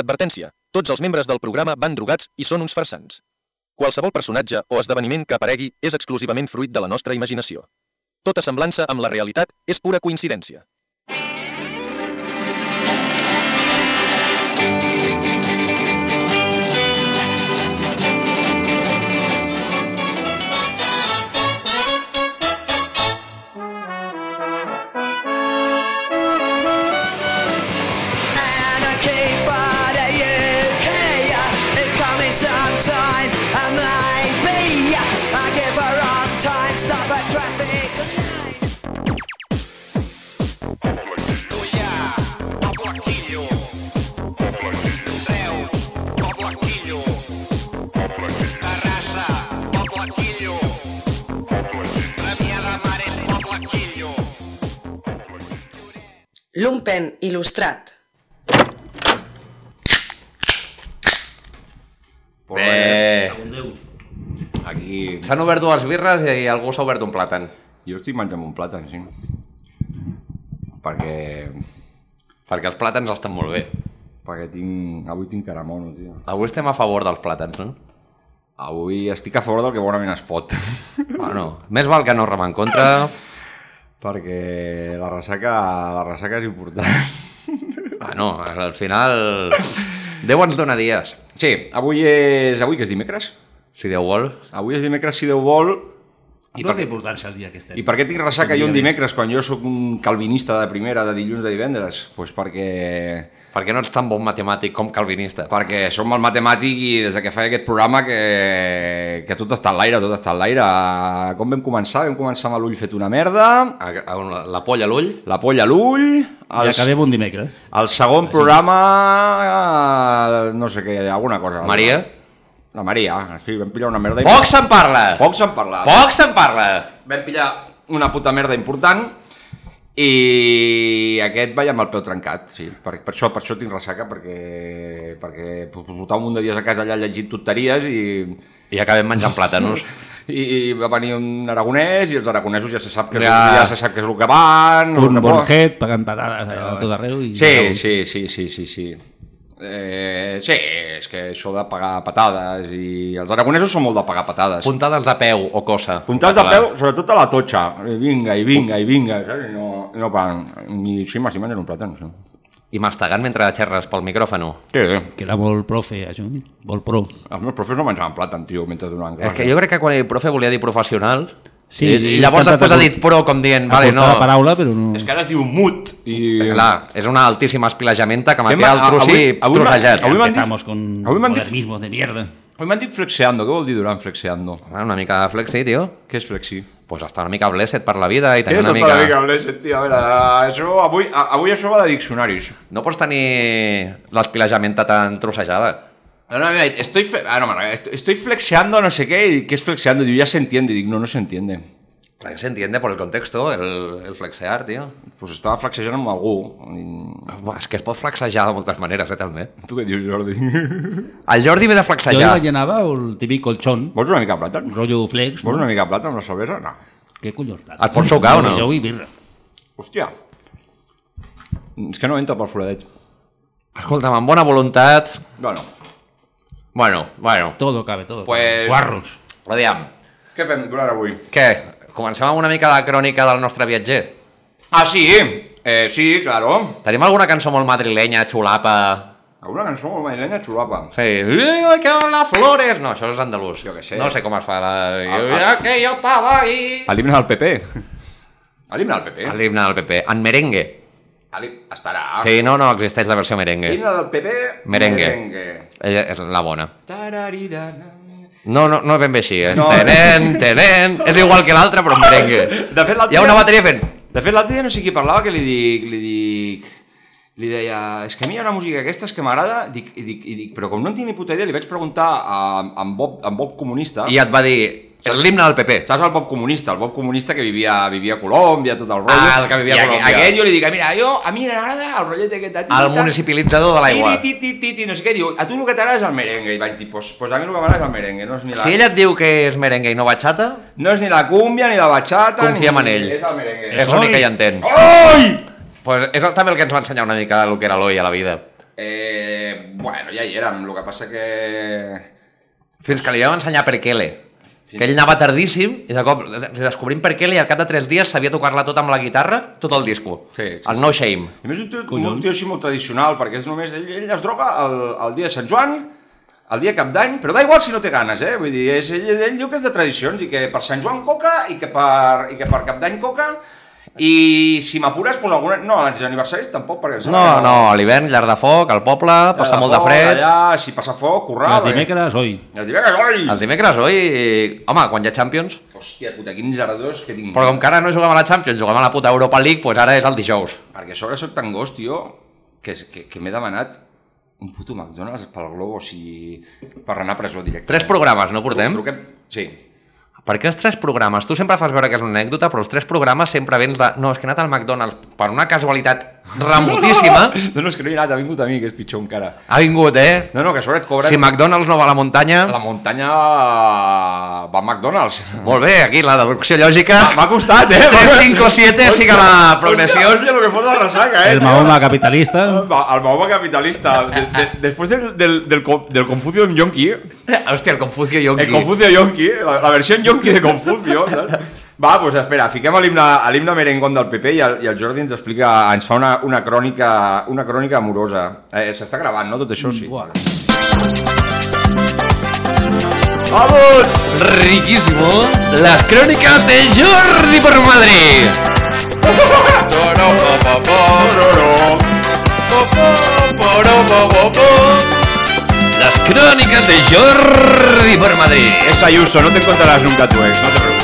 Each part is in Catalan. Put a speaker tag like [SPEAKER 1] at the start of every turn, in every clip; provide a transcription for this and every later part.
[SPEAKER 1] Advertència. Tots els membres del programa van drogats i són uns farsants. Qualsevol personatge o esdeveniment que aparegui és exclusivament fruit de la nostra imaginació. Tota semblança amb la realitat és pura coincidència.
[SPEAKER 2] Anarchy for the UK It's coming sometime I might be I give her on time Stop a traffic
[SPEAKER 3] Lumpen il·lustrat.
[SPEAKER 4] Bé.
[SPEAKER 5] Aquí...
[SPEAKER 4] Eh. S'han obert dues birres i algú s'ha obert un plàtan.
[SPEAKER 5] Jo estic menjant un plàtan, sí. Perquè...
[SPEAKER 4] Perquè els plàtans estan molt bé.
[SPEAKER 5] Perquè tinc... Avui tinc caramono, tio.
[SPEAKER 4] Avui estem a favor dels plàtans, no?
[SPEAKER 5] Avui estic a favor del que bonament es pot.
[SPEAKER 4] Bueno, més val que no remar en contra.
[SPEAKER 5] perquè la ressaca, la ressaca és important.
[SPEAKER 4] Bueno, al final... Déu ens dona dies.
[SPEAKER 5] Sí, avui és... Avui que és dimecres?
[SPEAKER 4] Si Déu vol.
[SPEAKER 5] Avui és dimecres, si Déu vol.
[SPEAKER 6] I per què importància el dia que estem?
[SPEAKER 5] I per què tinc ressaca jo un dimecres quan jo sóc un calvinista de primera, de dilluns, de divendres? Doncs pues perquè...
[SPEAKER 4] Perquè no ets tan bon matemàtic com calvinista.
[SPEAKER 5] Perquè som el matemàtic i des de que feia aquest programa que, que tot està en l'aire, tot està en l'aire. Ah, Com vam començar? Vam començar amb l'ull fet una merda,
[SPEAKER 4] A, a, on la- la polla a l'ull.
[SPEAKER 5] la polla a l'ull...
[SPEAKER 6] I
[SPEAKER 5] Pues-
[SPEAKER 6] acabem un dimecres.
[SPEAKER 5] El segon programa... eh, No sé què, alguna cosa.
[SPEAKER 4] Maria.
[SPEAKER 5] La Maria, sí, vam pillar una merda...
[SPEAKER 4] Poc se'n parla!
[SPEAKER 5] Poc se'n parla.
[SPEAKER 4] Poc se'n parla!
[SPEAKER 5] Vam pillar una puta merda important i aquest vaig amb el peu trencat, sí. Per, per, això, per això tinc ressaca, perquè, perquè portava un munt de dies a casa allà llegint tonteries i,
[SPEAKER 4] I acabem menjant plàtanos.
[SPEAKER 5] i, i va venir un aragonès i els aragonesos ja se sap que, ja.
[SPEAKER 4] Ja.
[SPEAKER 5] Ja se sap que és el que van... el
[SPEAKER 6] Un
[SPEAKER 5] que
[SPEAKER 6] bon
[SPEAKER 5] poden.
[SPEAKER 6] head, pagant patades allà a tot arreu. I
[SPEAKER 5] Sí, sí, sí, sí, sí, sí. Eh, sí, és que això de pagar patades i els aragonesos són molt de pagar patades.
[SPEAKER 4] Puntades de peu o cosa.
[SPEAKER 5] Puntals de peu, sobretot a la totxa. Eh, Vinga, i vinga, i vinga. saps? I No, no paguen. I sí, m'estic menjant un plàtan. Sí,
[SPEAKER 4] I mastegant mentre xerres pel micròfano.
[SPEAKER 5] sí.
[SPEAKER 6] Que era molt profe, això. Molt pro.
[SPEAKER 5] Els meus profes no menjaven plàtan, tio, mentre donaven
[SPEAKER 4] És
[SPEAKER 5] classe.
[SPEAKER 4] que jo crec que quan el profe volia dir professional...
[SPEAKER 6] Sí,
[SPEAKER 4] Sí, i, i llavors
[SPEAKER 6] i
[SPEAKER 4] després ha
[SPEAKER 6] tanta-
[SPEAKER 4] dit pro com dient, vale,
[SPEAKER 6] Aportar
[SPEAKER 4] no...
[SPEAKER 6] la paraula, però no...
[SPEAKER 5] És que ara es diu mut. I...
[SPEAKER 4] Clar, és una altíssima espilejamenta que
[SPEAKER 5] Què
[SPEAKER 4] manté el
[SPEAKER 5] m'ha-
[SPEAKER 4] trossi
[SPEAKER 5] avui- avui m'ha-
[SPEAKER 4] trossejat.
[SPEAKER 5] avui m'han dit-
[SPEAKER 6] Empezamos con
[SPEAKER 5] avui m'han dit-
[SPEAKER 6] modernismos de mierda.
[SPEAKER 5] Avui m'han dit flexeando. Què vol dir durant flexeando?
[SPEAKER 4] Ah, Una mica de flexi, tio.
[SPEAKER 5] Què és flexi?
[SPEAKER 4] Pues estar una mica blessed per la vida i
[SPEAKER 5] Què
[SPEAKER 4] tenir
[SPEAKER 5] és
[SPEAKER 4] una
[SPEAKER 5] tota la mica
[SPEAKER 4] mica...
[SPEAKER 5] blessed, tio? A veure, això, avui, a- avui això va de diccionaris.
[SPEAKER 4] No pots tenir l'espilejamenta tan trossejada.
[SPEAKER 5] No, no, mira, estoy, fle- ah, no, mara, est- estoy flexeando no sé qué, y ¿qué es flexeando? Y Yo ya se entiende, y digo, no, no se entiende.
[SPEAKER 4] Clar que s'entiende por el contexto, el, el flexear, tio.
[SPEAKER 5] Pues estava flexejant amb algú.
[SPEAKER 4] Buah, és que es pot flexejar de moltes maneres, eh, també.
[SPEAKER 5] I Tu què dius, Jordi?
[SPEAKER 4] El Jordi ve de
[SPEAKER 6] Jo
[SPEAKER 4] flexejar.
[SPEAKER 6] ja llenava el típic colxón,
[SPEAKER 5] Vols una mica de plàtan?
[SPEAKER 6] rotllo flex,
[SPEAKER 5] Vols
[SPEAKER 6] no?
[SPEAKER 5] una mica de plàtan amb la cervesa? No.
[SPEAKER 6] Què collons?
[SPEAKER 4] Et pots sucar o no?
[SPEAKER 6] Jo vull birra.
[SPEAKER 5] Hòstia. És que no entra pel foradet.
[SPEAKER 4] Escolta'm, amb bona voluntat...
[SPEAKER 5] Bueno,
[SPEAKER 4] Bueno, bueno.
[SPEAKER 6] Todo cabe, todo.
[SPEAKER 4] Pues-
[SPEAKER 6] Guarros.
[SPEAKER 4] Aviam,
[SPEAKER 5] què fem durant avui?
[SPEAKER 4] què? Comencem amb una mica de crònica del nostre viatger.
[SPEAKER 5] Ah, sí! Eh, sí, claro.
[SPEAKER 4] Tenim alguna cançó molt madrilenya, xulapa...
[SPEAKER 5] Alguna cançó molt madrilenya xulapa.
[SPEAKER 4] Sí, "Uy, que van las flores! No, això és andalús.
[SPEAKER 5] Jo què sé.
[SPEAKER 4] No sé com es fa la...
[SPEAKER 5] Ah,
[SPEAKER 4] Ah,
[SPEAKER 5] ah.
[SPEAKER 4] que jo estava ahí...
[SPEAKER 5] A l'himne del PP. A l'himne del PP?
[SPEAKER 4] L'himne del PP. En merengue.
[SPEAKER 5] A l'himne... Estarà.
[SPEAKER 4] Sí, no, no, existeix la versió merengue.
[SPEAKER 5] L'himne del PP...
[SPEAKER 4] Merengue.
[SPEAKER 5] Merengue.
[SPEAKER 4] Ella és la bona.
[SPEAKER 5] Tararirana.
[SPEAKER 4] No, no, no és ben bé així, eh?
[SPEAKER 5] No.
[SPEAKER 4] No. Tenen, tenen... És igual que l'altra, però en merengue.
[SPEAKER 5] De fet, l'altre
[SPEAKER 4] Hi ha una
[SPEAKER 5] dia-
[SPEAKER 4] bateria fent...
[SPEAKER 5] De fet, l'altre dia no sé qui parlava que li dic... Li dic li deia, és que a mi hi ha una música aquesta que m'agrada, dic, i, dic, i dic, però com no en tinc ni puta idea, li vaig preguntar a, a, en Bob, a en Bob comunista,
[SPEAKER 4] I et va dir... És l'himne del PP.
[SPEAKER 5] saps el Bob comunista? El Bob comunista que vivia, vivia a Colòmbia, tot el rotllo.
[SPEAKER 4] Ah, el que vivia a
[SPEAKER 5] I aqu-
[SPEAKER 4] Colòmbia.
[SPEAKER 5] Aquest jo li dic, mira, jo, a mi m'agrada el rotllet aquest de...
[SPEAKER 4] El municipalitzador de l'aigua.
[SPEAKER 5] Ti, ti, ti, ti, no sé què, diu, a tu el que t'agrada és el merengue. I vaig dir, pues, pues a mi el que m'agrada és el merengue, no és ni la...
[SPEAKER 4] Si ella et diu que és merengue i no bachata,
[SPEAKER 5] No és ni la cúmbia, ni la bachata...
[SPEAKER 4] confiem
[SPEAKER 5] ni...
[SPEAKER 4] en ell.
[SPEAKER 5] És el merengue.
[SPEAKER 4] És l'únic que hi entén.
[SPEAKER 5] Oi!
[SPEAKER 4] Pues és també el que ens va ensenyar una mica el que era l'oi a la vida.
[SPEAKER 5] Eh, bueno, ja hi érem, el que passa que...
[SPEAKER 4] Fins que li vam ensenyar per Kele. Que ell anava tardíssim i de cop descobrim per Kele i al cap de 3 dies sabia tocar-la tot amb la guitarra, tot el disco.
[SPEAKER 5] Sí, sí,
[SPEAKER 4] el No Shame.
[SPEAKER 5] A més, un tio, com un tio així molt tradicional, perquè és només... Ell, ell es droga el, el dia de Sant Joan, el dia de Cap d'Any, però da igual si no té ganes, eh? Vull dir, és, ell, ell diu que és de tradicions i que per Sant Joan coca i que per, i que per Cap d'Any coca i si m'apures, doncs alguna... No, a els aniversaris tampoc, perquè... em sembla
[SPEAKER 4] No,
[SPEAKER 5] que
[SPEAKER 4] no, a l'hivern, llar de foc, al poble, passa molt de
[SPEAKER 5] foc,
[SPEAKER 4] fred.
[SPEAKER 5] Allà, si passa foc, currar...
[SPEAKER 6] Las dimecres, hoy.
[SPEAKER 5] Els dimecres, oi!
[SPEAKER 4] Els dimecres, oi? Home, quan hi ha Champions.
[SPEAKER 5] Hòstia puta, quins ardors que tinc.
[SPEAKER 4] Però com que ara no juguem a la Champions, juguem a la puta Europa League, doncs ara és el dijous.
[SPEAKER 5] Perquè a sobre soc tan gos, tio, que, que, que m'he demanat un puto McDonald's pel globo, o sigui, per anar a presó directe.
[SPEAKER 4] Tres programes, no portem?
[SPEAKER 5] Truquem... Sí.
[SPEAKER 4] Perquè els tres programes, tu sempre fas veure que és una anècdota, però els tres programes sempre vens de... No, és que he anat al McDonald's per una casualitat remotíssima.
[SPEAKER 5] No, no, és que no hi he anat, ha vingut a mi, que és pitjor encara.
[SPEAKER 4] Ha vingut, eh?
[SPEAKER 5] No, no, que a sobre et cobren...
[SPEAKER 4] Si McDonald's no va a la muntanya...
[SPEAKER 5] La muntanya va a McDonald's.
[SPEAKER 4] Molt bé, aquí la deducció lògica...
[SPEAKER 5] M'ha costat, eh?
[SPEAKER 4] 3, 5 o 7 sí que la
[SPEAKER 5] Hòstia,
[SPEAKER 4] progressió...
[SPEAKER 5] hòstia, lo que fot la ressaca, eh?
[SPEAKER 6] El Mahoma capitalista.
[SPEAKER 5] El Mahoma capitalista. De, de, després del, del, del, co- del Confucio en Yonki,
[SPEAKER 4] Hòstia, el Confucio Yonki.
[SPEAKER 5] El Confucio Yonki, la, la versió en Yonki de Confucio, saps? Va, doncs espera, fiquem a l'himne a l'himne merengón del PP i el, i el Jordi ens explica, ens fa una, una crònica, una crònica amorosa. Eh, S'està gravant, no? Tot això sí.
[SPEAKER 6] Buah.
[SPEAKER 5] Vamos!
[SPEAKER 4] Riquísimo. Las crónicas de Jordi por Madrid. Las crónicas de Jordi por Madrid.
[SPEAKER 5] Es Ayuso, no te encontrarás nunca tu ex, no te preocupes.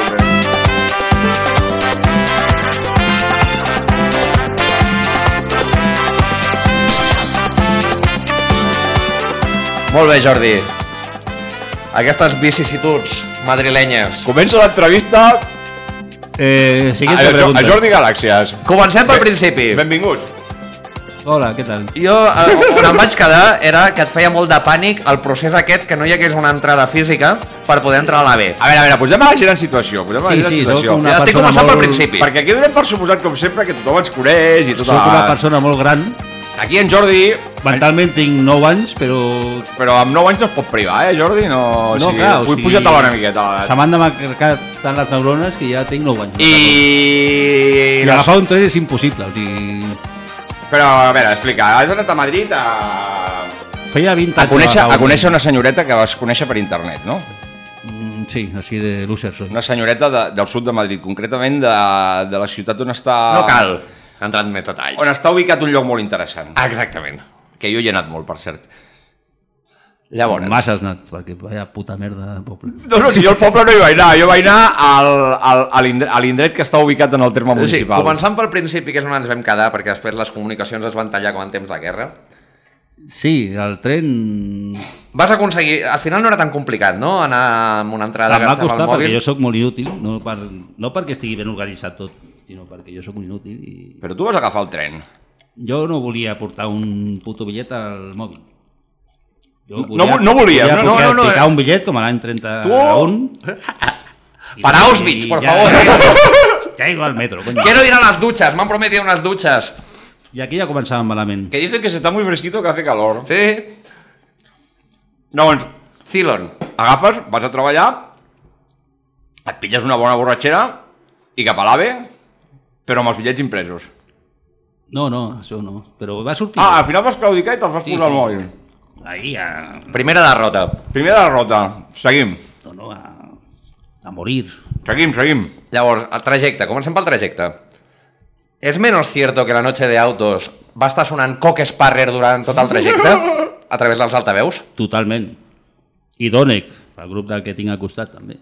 [SPEAKER 4] Molt bé, Jordi. Aquestes vicissituds madrilenyes.
[SPEAKER 5] Comença l'entrevista
[SPEAKER 6] Eh,
[SPEAKER 5] a,
[SPEAKER 6] siguiente
[SPEAKER 5] Jo-
[SPEAKER 6] pregunta.
[SPEAKER 5] a Jordi Galàxies.
[SPEAKER 4] Comencem pel principi.
[SPEAKER 5] Benvinguts.
[SPEAKER 6] Hola, què tal?
[SPEAKER 4] Jo, eh, on em vaig quedar era que et feia molt de pànic el procés aquest que no hi hagués una entrada física per poder entrar a la B.
[SPEAKER 5] A veure, a veure, posem a la gent en situació, posem a la
[SPEAKER 6] Sí,
[SPEAKER 5] gent en
[SPEAKER 6] sí, sóc
[SPEAKER 5] situació.
[SPEAKER 6] una
[SPEAKER 4] Ja estic
[SPEAKER 6] persona
[SPEAKER 4] començant pel
[SPEAKER 6] molt-
[SPEAKER 4] principi.
[SPEAKER 5] Perquè aquí donem per suposat, com sempre, que tothom ens coneix i tot.
[SPEAKER 6] Soc una persona molt gran.
[SPEAKER 5] Aquí en Jordi,
[SPEAKER 6] Mentalment tinc 9 anys, però...
[SPEAKER 5] però amb 9 anys no es pot privar, eh, Jordi? No, o
[SPEAKER 6] No,
[SPEAKER 5] sigui,
[SPEAKER 6] clar, o
[SPEAKER 5] vull
[SPEAKER 6] sigui,
[SPEAKER 5] pujar-te-la una miqueta. a
[SPEAKER 6] Se
[SPEAKER 5] l'edat.
[SPEAKER 6] m'han demarcat tant les neurones que ja tinc 9 anys.
[SPEAKER 4] I...
[SPEAKER 6] I agafar un tren és impossible. O sigui,
[SPEAKER 5] Però, a veure, explica, has anat a Madrid a...
[SPEAKER 6] feia 20 anys.
[SPEAKER 5] A conèixer,
[SPEAKER 6] que
[SPEAKER 5] a conèixer una senyoreta que vas conèixer per internet, no?
[SPEAKER 6] Mm, Sí, així de loser soy.
[SPEAKER 5] Una senyoreta de, del sud de Madrid, concretament de, de la ciutat on està...
[SPEAKER 4] No cal entrar en més detalls.
[SPEAKER 5] On està ubicat un lloc molt interessant.
[SPEAKER 4] Ah, Exactament.
[SPEAKER 5] Que jo hi he anat molt, per cert.
[SPEAKER 4] Llavors,
[SPEAKER 6] Massa has anat, perquè vaya puta merda de poble.
[SPEAKER 5] No, no, si jo al poble no hi vaig anar, jo vaig anar al, al, a l'indre- a l'indret que està ubicat en el terme
[SPEAKER 4] O sigui,
[SPEAKER 5] municipal.
[SPEAKER 4] començant pel principi, que és on ens vam quedar, perquè després les comunicacions es van tallar com en temps de guerra,
[SPEAKER 6] Sí, el tren...
[SPEAKER 4] vas aconseguir... Al final no era tan complicat, no?, anar amb una entrada
[SPEAKER 6] Em va
[SPEAKER 4] agafar
[SPEAKER 6] costar
[SPEAKER 4] el
[SPEAKER 6] perquè
[SPEAKER 4] mòbil.
[SPEAKER 6] jo sóc molt inútil, no, per, no perquè estigui ben organitzat tot, sinó perquè jo sóc molt inútil i
[SPEAKER 5] Però tu vas agafar el tren.
[SPEAKER 6] jo no volia portar un puto bitllet al mòbil. Jo
[SPEAKER 5] no- no volies,
[SPEAKER 6] volia
[SPEAKER 5] no?
[SPEAKER 6] no,
[SPEAKER 4] No, no, no,
[SPEAKER 6] picar
[SPEAKER 4] eh.
[SPEAKER 6] un bitllet com a l'any 31.
[SPEAKER 4] Per Auschwitz, por favor.
[SPEAKER 6] Caigo al metro, coño.
[SPEAKER 4] Quiero ir a les dutxes, m'han prometido unes dutxes.
[SPEAKER 6] I aquí ja començàvem malament.
[SPEAKER 5] Que dicen que se está muy fresquito que hace calor.
[SPEAKER 4] Sí?
[SPEAKER 5] Llavors,
[SPEAKER 4] Cilon.
[SPEAKER 5] agafes, vas a treballar, et pilles una bona borratxera i cap a l'AVE, però amb els bitllets impresos.
[SPEAKER 6] No, no, això no. Però va sortir.
[SPEAKER 5] Ah, al final vas claudicar i te'ls vas
[SPEAKER 6] Sí,
[SPEAKER 5] posar al
[SPEAKER 6] sí.
[SPEAKER 5] mòbil.
[SPEAKER 6] Ahir a...
[SPEAKER 4] Primera derrota.
[SPEAKER 5] Primera derrota. Seguim.
[SPEAKER 6] No, no, a, a morir.
[SPEAKER 5] Seguim, seguim.
[SPEAKER 4] Llavors, el trajecte. Comencem pel trajecte. És menos cierto que la noche de autos va estar sonant Coque Sparrer durant tot el trajecte? A través dels altaveus?
[SPEAKER 6] Totalment. I Donec, el grup del que tinc al costat, també.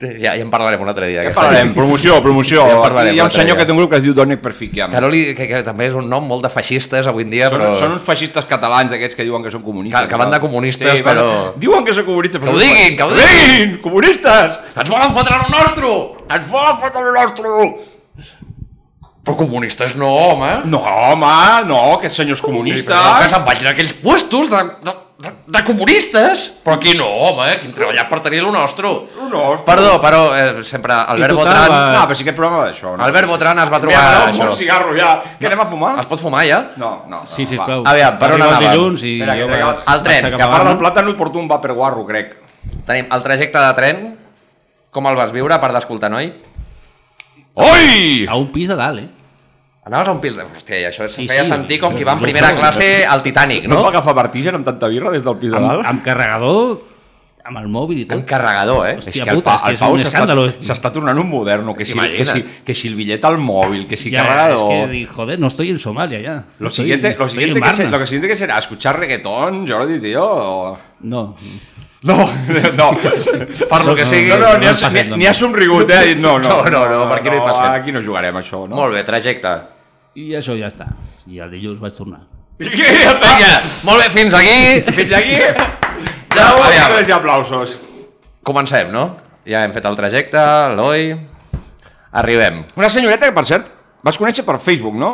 [SPEAKER 4] Ja, ja en parlarem un altre dia.
[SPEAKER 5] Ja
[SPEAKER 4] d'aquesta.
[SPEAKER 5] parlarem. Promoció, promoció.
[SPEAKER 4] Ja en parlarem
[SPEAKER 5] Aquí hi ha un
[SPEAKER 4] l'altre
[SPEAKER 5] senyor
[SPEAKER 4] dia.
[SPEAKER 5] que té un grup que es diu Donic Perficiam.
[SPEAKER 4] Caroli, que, que també és un nom molt de feixistes avui en dia,
[SPEAKER 5] Són,
[SPEAKER 4] però...
[SPEAKER 5] són uns feixistes catalans d'aquests que diuen que són comunistes.
[SPEAKER 4] Que- que van de comunistes,
[SPEAKER 5] van-
[SPEAKER 4] però-
[SPEAKER 5] Diuen que són comunistes, però...
[SPEAKER 4] Que ho
[SPEAKER 5] són-
[SPEAKER 4] diguin, que ho
[SPEAKER 5] diguin! Comunistes!
[SPEAKER 4] Ens volen fotre el nostre!
[SPEAKER 5] Ens volen fotre el nostre!
[SPEAKER 4] Però comunistes no, home!
[SPEAKER 5] No, home, no, aquests senyors comunistes...
[SPEAKER 4] Que se'n vagin a aquells puestos de, de, de, de comunistes? Però aquí no, home, eh? aquí hem treballat per tenir lo nostre.
[SPEAKER 5] No,
[SPEAKER 4] Perdó, però eh, sempre Albert
[SPEAKER 6] tu
[SPEAKER 4] Botran...
[SPEAKER 6] taves.
[SPEAKER 5] Ah, però sí que programa d'això. No?
[SPEAKER 4] Albert Botran es va
[SPEAKER 5] Mira,
[SPEAKER 4] trobar
[SPEAKER 5] no, un
[SPEAKER 4] això.
[SPEAKER 5] cigarro ja. Que anem a fumar?
[SPEAKER 4] Es pot fumar, ja?
[SPEAKER 5] No, no. no Ah,
[SPEAKER 6] Sí,
[SPEAKER 5] va.
[SPEAKER 6] sisplau.
[SPEAKER 4] Aviam, per on
[SPEAKER 6] Arriba el
[SPEAKER 4] anàvem?
[SPEAKER 6] dilluns i
[SPEAKER 5] Espera, que
[SPEAKER 6] jo
[SPEAKER 5] t'he acabat.
[SPEAKER 6] vaig-
[SPEAKER 4] El tren,
[SPEAKER 5] Que
[SPEAKER 6] vaig
[SPEAKER 5] a part
[SPEAKER 6] acabant.
[SPEAKER 5] del plàtan no hi porto un vaporguarro, crec.
[SPEAKER 4] Tenim el trajecte de tren. Com el vas viure, a part d'escoltar, noi? Oi!
[SPEAKER 6] A un pis de dalt, eh?
[SPEAKER 4] Anaves a un pis de... Hòstia, i això es
[SPEAKER 6] Sí,
[SPEAKER 4] feia
[SPEAKER 6] sí.
[SPEAKER 4] sentir com qui va en
[SPEAKER 6] Jo
[SPEAKER 4] primera
[SPEAKER 6] sé.
[SPEAKER 4] classe al Titanic,
[SPEAKER 5] No
[SPEAKER 4] no?
[SPEAKER 5] es va agafar vertigen amb tanta birra des del pis de
[SPEAKER 6] Amb,
[SPEAKER 5] dalt?
[SPEAKER 6] amb carregador, amb el mòbil i
[SPEAKER 4] Un
[SPEAKER 6] tot.
[SPEAKER 4] carregador, eh?
[SPEAKER 6] Hòstia puta, és que és un escàndalo.
[SPEAKER 5] s'està- s'està tornant un moderno, que si, que,
[SPEAKER 4] T'imagines?
[SPEAKER 5] si, que si el bitllet al mòbil, que si
[SPEAKER 6] Ya,
[SPEAKER 5] carregador...
[SPEAKER 6] Es que, di- joder, no estoy en Somalia ya.
[SPEAKER 5] Lo
[SPEAKER 6] Estoy-
[SPEAKER 5] siguiente, lo
[SPEAKER 6] estoy
[SPEAKER 5] siguiente
[SPEAKER 6] en
[SPEAKER 5] que se-
[SPEAKER 6] Varna.
[SPEAKER 5] lo que siguiente que será escuchar reggaetón, Jordi, tío.
[SPEAKER 6] No,
[SPEAKER 5] No, no.
[SPEAKER 4] Per lo que
[SPEAKER 6] No,
[SPEAKER 4] sigui...
[SPEAKER 5] No, no, ni
[SPEAKER 6] no
[SPEAKER 5] ha,
[SPEAKER 6] em passem,
[SPEAKER 5] ni,
[SPEAKER 6] no.
[SPEAKER 5] ni ha somrigut, eh? Ha dit, No, no,
[SPEAKER 4] No, no, no, per aquí no hi passem.
[SPEAKER 5] Aquí no jugarem, això, no?
[SPEAKER 4] Molt bé, trajecte.
[SPEAKER 6] i això ja està. I el dilluns vaig tornar.
[SPEAKER 4] Vinga, molt bé, fins aquí.
[SPEAKER 5] Fins aquí.
[SPEAKER 4] Ja,
[SPEAKER 5] Bravo,
[SPEAKER 4] aviam.
[SPEAKER 5] i aplausos.
[SPEAKER 4] Comencem, no? Ja hem fet el trajecte, l'Eloi... Arribem.
[SPEAKER 5] Una senyoreta que, per cert, vas conèixer per Facebook, no?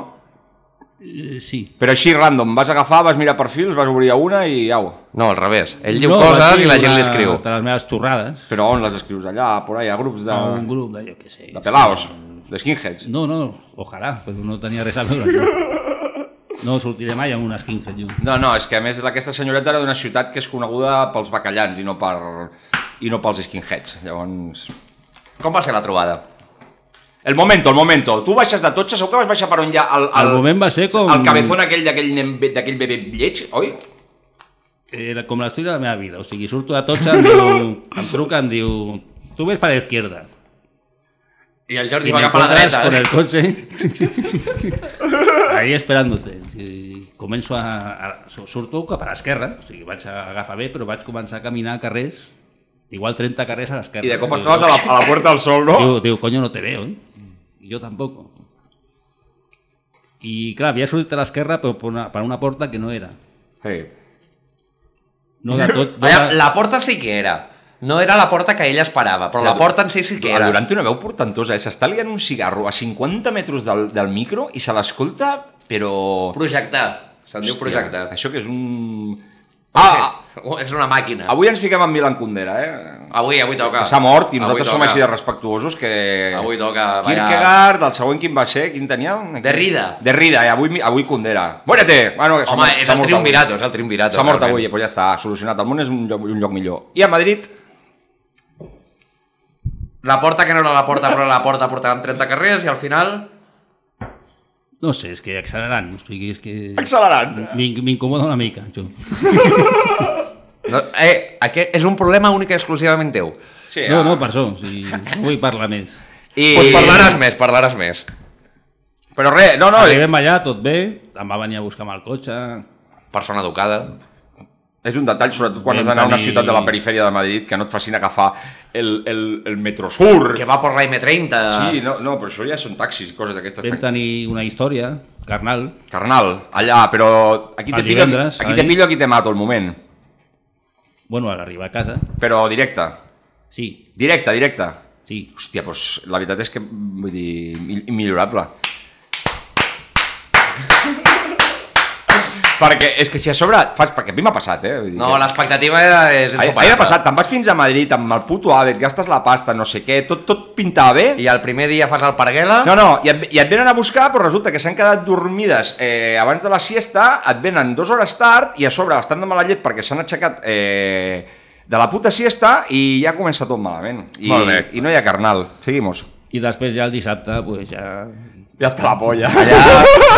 [SPEAKER 6] Eh, Sí.
[SPEAKER 5] Però així, random, vas agafar, vas mirar perfils, vas obrir una i au.
[SPEAKER 4] No, al revés. Ell diu
[SPEAKER 6] No, vaig
[SPEAKER 4] coses
[SPEAKER 6] dir
[SPEAKER 4] i la gent li
[SPEAKER 6] una
[SPEAKER 4] escriu.
[SPEAKER 6] De les meves xorrades,
[SPEAKER 5] Però on les escrius? Allà, por ahí, a grups de,
[SPEAKER 6] a un grup de, jo què sé.
[SPEAKER 5] de pelaos, de skinheads.
[SPEAKER 6] No, no, ojalà, però no tenia res a veure. No, no sortiré mai amb una skinhead, jo.
[SPEAKER 5] No, no, és que a més aquesta senyoreta era d'una ciutat que és coneguda pels bacallans i no, per, i no pels skinheads. Llavors...
[SPEAKER 4] Com va ser la trobada?
[SPEAKER 5] El momento, el momento. Tu baixes de totxa, segur que vas baixar per on hi ha el,
[SPEAKER 6] El moment va ser com-
[SPEAKER 5] El cabezón aquell d'aquell nen ve- d'aquell bebè lleig, oi?
[SPEAKER 6] Eh, com la història de la meva vida. O sigui, surto de totxa, em, diu, em truca, em diu... Tu ves per la izquierda.
[SPEAKER 4] I el Jordi
[SPEAKER 6] Y
[SPEAKER 4] va
[SPEAKER 6] me
[SPEAKER 4] cap a la
[SPEAKER 6] encuentras
[SPEAKER 4] dreta.
[SPEAKER 5] eh?
[SPEAKER 6] con el coche. ¿eh? Ahí esperándote. I Començo a... a sur- surto cap a l'esquerra, o sigui, vaig a agafar bé, però vaig començar a caminar carrers, igual 30 carrers a l'esquerra.
[SPEAKER 5] I de cop es trobes a la, a la Puerta del Sol, no?
[SPEAKER 6] Digo, digo, coño, no te veo, ¿eh? Y yo tampoco. Y claro, había suerte a la izquierda, pero por una- para una puerta que no era.
[SPEAKER 5] Sí.
[SPEAKER 6] No da tot- no
[SPEAKER 4] Allà,
[SPEAKER 6] da-
[SPEAKER 4] la porta sí que era. No era la porta que ella esperava, però la porta en si sí que
[SPEAKER 5] El
[SPEAKER 4] era.
[SPEAKER 5] Durant té una veu portentosa, eh? s'està liant un cigarro a 50 metres del, del micro i se l'escolta, però...
[SPEAKER 4] Projectar. Se'n diu
[SPEAKER 5] Hòstia,
[SPEAKER 4] projectar.
[SPEAKER 5] Això que és un... Ah,
[SPEAKER 4] És una màquina.
[SPEAKER 5] avui ens fiquem amb Milan Kundera, eh?
[SPEAKER 4] Avui, avui toca.
[SPEAKER 5] Que s'ha mort i
[SPEAKER 4] Avui
[SPEAKER 5] nosaltres som
[SPEAKER 4] toca.
[SPEAKER 5] així de respectuosos que...
[SPEAKER 4] Avui toca, vaya.
[SPEAKER 5] Kierkegaard, el següent quin va ser? Quin tenia?
[SPEAKER 4] Derrida.
[SPEAKER 5] Derrida, i avui, avui Kundera. Muérete! Bueno, que s'ha
[SPEAKER 4] Home,
[SPEAKER 5] mort-
[SPEAKER 4] és
[SPEAKER 5] s'ha
[SPEAKER 4] el
[SPEAKER 5] mort
[SPEAKER 4] triumvirato, és
[SPEAKER 5] avui.
[SPEAKER 4] el triumvirato.
[SPEAKER 5] S'ha mort
[SPEAKER 4] realment.
[SPEAKER 5] avui, eh, però ja està, solucionat. El món és un lloc, un lloc millor. I a Madrid,
[SPEAKER 4] La porta que no era la porta, però era la porta portàvem 30 carrers i al final...
[SPEAKER 6] No sé, es que accelerarán. O sigui, és que...
[SPEAKER 5] accelerant.
[SPEAKER 6] m'in- M'incomoda una mica, jo.
[SPEAKER 4] No, eh, aquest és un problema únic i exclusivament teu.
[SPEAKER 5] Sí,
[SPEAKER 4] ah.
[SPEAKER 6] No, no, per això. O sigui, no vull parlar més.
[SPEAKER 4] I... Pues parlaràs més, parlaràs més.
[SPEAKER 5] Però res, no, no,
[SPEAKER 6] Arribem allà, tot bé, em va venir a buscar amb el cotxe,
[SPEAKER 4] Persona educada.
[SPEAKER 5] És un detall, sobretot quan
[SPEAKER 6] Vam
[SPEAKER 5] has d'anar a una
[SPEAKER 6] tenir-
[SPEAKER 5] ciutat de la perifèria de Madrid, que no et facin agafar el, el, el metro sur.
[SPEAKER 4] Que va per la M30.
[SPEAKER 5] Sí, no, no, però això ja són taxis i coses d'aquestes.
[SPEAKER 6] vam tenir una història, carnal,
[SPEAKER 5] Carnal, allà, però aquí te,
[SPEAKER 6] El
[SPEAKER 5] pillo,
[SPEAKER 6] divendres,
[SPEAKER 5] aquí te
[SPEAKER 6] ahir.
[SPEAKER 5] pillo, aquí te mato, el moment.
[SPEAKER 6] bueno, a l'arribar a casa,
[SPEAKER 5] Però directe,
[SPEAKER 6] sí,
[SPEAKER 5] directe, directe.
[SPEAKER 6] sí,
[SPEAKER 5] Hòstia, doncs la veritat és que, vull dir, mil- immillorable. perquè és que si a sobre et fas... Perquè a mi m'ha passat, eh? Vull dir
[SPEAKER 4] No,
[SPEAKER 5] que-
[SPEAKER 4] l'expectativa és
[SPEAKER 5] Ahir,
[SPEAKER 4] insuperable.
[SPEAKER 5] ahir ha passat, te'n vas fins a Madrid amb el puto ave, et gastes la pasta, no sé què, tot, tot pintava bé.
[SPEAKER 4] I el primer dia fas el Parguela...
[SPEAKER 5] No, no, i et, i et venen a buscar, però resulta que s'han quedat dormides eh, abans de la siesta, et venen dues hores tard i a sobre estan de mala llet perquè s'han aixecat eh, de la puta siesta i ja comença tot malament. I,
[SPEAKER 4] Molt bé.
[SPEAKER 5] I no hi ha carnal. Seguimos.
[SPEAKER 6] i després ja el dissabte, pues ja...
[SPEAKER 5] Ja està la polla.
[SPEAKER 4] Allà,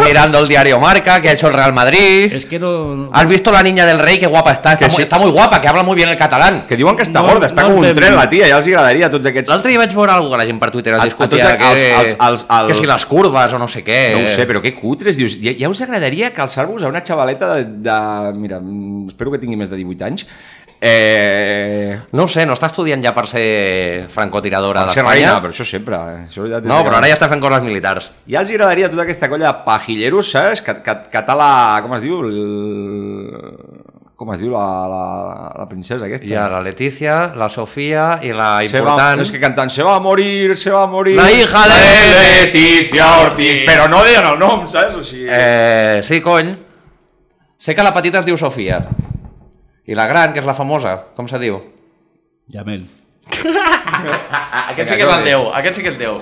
[SPEAKER 4] mirando el diario Marca, que ha hecho el Real Madrid.
[SPEAKER 6] És que no...
[SPEAKER 4] ¿Has visto la niña del rey? Qué guapa está. Está,
[SPEAKER 5] Que
[SPEAKER 4] muy,
[SPEAKER 5] sí.
[SPEAKER 4] está muy guapa, que habla muy bien el catalán.
[SPEAKER 5] Que diuen que està
[SPEAKER 6] No-
[SPEAKER 5] gorda, està
[SPEAKER 6] no
[SPEAKER 5] com un
[SPEAKER 6] entenc.
[SPEAKER 5] tren la tia, ja els hi agradaria a tots aquests...
[SPEAKER 4] L'altre dia vaig veure algú que la gent per Twitter
[SPEAKER 5] A-
[SPEAKER 4] es
[SPEAKER 5] a
[SPEAKER 4] discutia
[SPEAKER 5] tots els-
[SPEAKER 4] que,
[SPEAKER 5] els- els- els-
[SPEAKER 4] que si les curves o no sé què.
[SPEAKER 5] No ho sé, però que cutres, dius, ja, ja us agradaria calçar-vos a una xavaleta de, de... Mira, mm, espero que tingui més de 18 anys. Eh...
[SPEAKER 4] No ho sé, no està estudiant ja per ser francotiradora
[SPEAKER 5] Ser reina,
[SPEAKER 4] d'Espanya.
[SPEAKER 5] però això sempre. eh, Això ja
[SPEAKER 4] No, però ara ja està fent coses militars.
[SPEAKER 5] Ja els agradaria a tota aquesta colla de pajilleros, saps? Cat, cat, català... Com es diu? El... Com es diu la, la, la princesa aquesta?
[SPEAKER 4] Hi ha la Letícia, la Sofia i la
[SPEAKER 5] Se va,
[SPEAKER 4] important...
[SPEAKER 5] és que cantant se va a morir, se va a morir...
[SPEAKER 4] La hija de
[SPEAKER 5] Letícia Ortiz! Però no deien el nom,
[SPEAKER 6] Eh,
[SPEAKER 5] saps? O sigui...
[SPEAKER 4] Eh, sí, cony. Sé que la petita es diu Sofia. I la gran, que és la famosa, com se diu?
[SPEAKER 6] Jamel.
[SPEAKER 7] Ah, aquest sí que és el Déu, aquest sí que és Déu.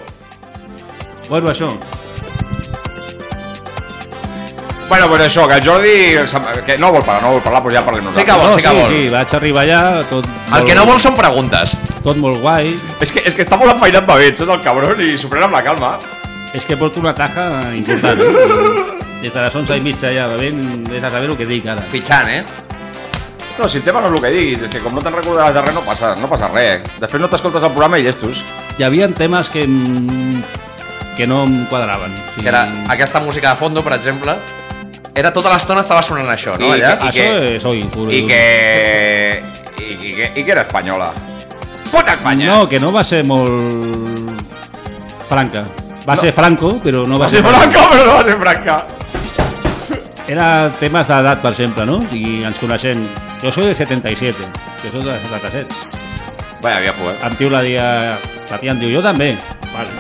[SPEAKER 6] Bueno, això.
[SPEAKER 5] Oh, Bueno, pues això, que el Jordi... em- Que no vol parlar, no vol parlar, però ja
[SPEAKER 4] Sí
[SPEAKER 5] parlem nosaltres.
[SPEAKER 4] que vol,
[SPEAKER 6] no,
[SPEAKER 4] sí que
[SPEAKER 6] sí,
[SPEAKER 4] vol.
[SPEAKER 6] sí, vaig arribar allà, tot
[SPEAKER 4] El que no vol són preguntes.
[SPEAKER 6] tot molt guai.
[SPEAKER 5] És que, és que està molt enfeinat Bavet, saps el cabron, i s'ho pren amb la calma.
[SPEAKER 6] És que porto una taja important. eh? Des de les 11 i mitja ja bevent, vés a saber el que dic ara.
[SPEAKER 4] Fitxant, eh?
[SPEAKER 5] No, si el tema no és el que diguis, és que com no te'n recordaràs de res, no passa, no passa res. Després no t'escoltes el programa i llestos.
[SPEAKER 6] Hi havia temes que, em- que no em quadraven. O sigui,
[SPEAKER 4] Que era aquesta música de fondo, per exemple, era tota l'estona estava sonant això, no?
[SPEAKER 5] I-
[SPEAKER 4] Allà?
[SPEAKER 6] Això
[SPEAKER 5] que-
[SPEAKER 6] és oi, puro.
[SPEAKER 5] I
[SPEAKER 6] duro.
[SPEAKER 5] que... I, i, que, i que era espanyola. Puta Espanya!
[SPEAKER 6] No, que no va ser molt... franca. Va ser franco, però no va,
[SPEAKER 5] va ser franca, però no va ser franca.
[SPEAKER 6] Era temes d'edat, per exemple, no? I ens coneixem. Jo soy de 77, jo soy de 77.
[SPEAKER 5] Vaja, viejo, eh?
[SPEAKER 6] Em diu la dia... La tia em diu, jo també. Vale.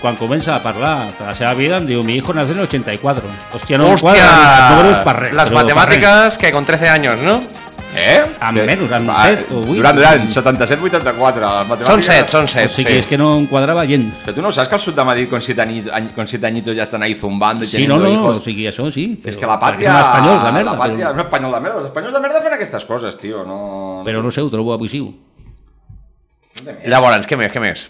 [SPEAKER 6] Quan comença a parlar de la seva vida, em diu, mi hijo nació en el 84. Hòstia, no em
[SPEAKER 4] Hòstia!
[SPEAKER 6] quadren els números per
[SPEAKER 4] les
[SPEAKER 6] res. però per res.
[SPEAKER 4] matemàtiques, que con 13 anys, no?
[SPEAKER 5] Eh?
[SPEAKER 6] Amb
[SPEAKER 5] Sí.
[SPEAKER 6] menys, amb
[SPEAKER 5] Va,
[SPEAKER 6] set o vuit.
[SPEAKER 5] Durant, durant, 77-84.
[SPEAKER 4] Són 7, són
[SPEAKER 6] O
[SPEAKER 4] 7,
[SPEAKER 6] sigui, és
[SPEAKER 4] sí.
[SPEAKER 6] que no em quadrava gent.
[SPEAKER 5] Però tu no saps que al sud de Madrid con siete, añitos, añ- con siete añitos ya están ahí zumbando y
[SPEAKER 6] Sí, no,
[SPEAKER 5] teniendo
[SPEAKER 6] no,
[SPEAKER 5] hijos?
[SPEAKER 6] o sigui, això sí.
[SPEAKER 5] És
[SPEAKER 6] però-
[SPEAKER 5] que la
[SPEAKER 6] perquè
[SPEAKER 5] pàtria...
[SPEAKER 6] Són espanyols, de merda.
[SPEAKER 5] La pàtria és
[SPEAKER 6] però,
[SPEAKER 5] un espanyol de merda. Els espanyols de merda fan aquestes coses, tio. No...
[SPEAKER 6] però no sé, ho trobo abusiu.
[SPEAKER 4] Llavors, què més, què més?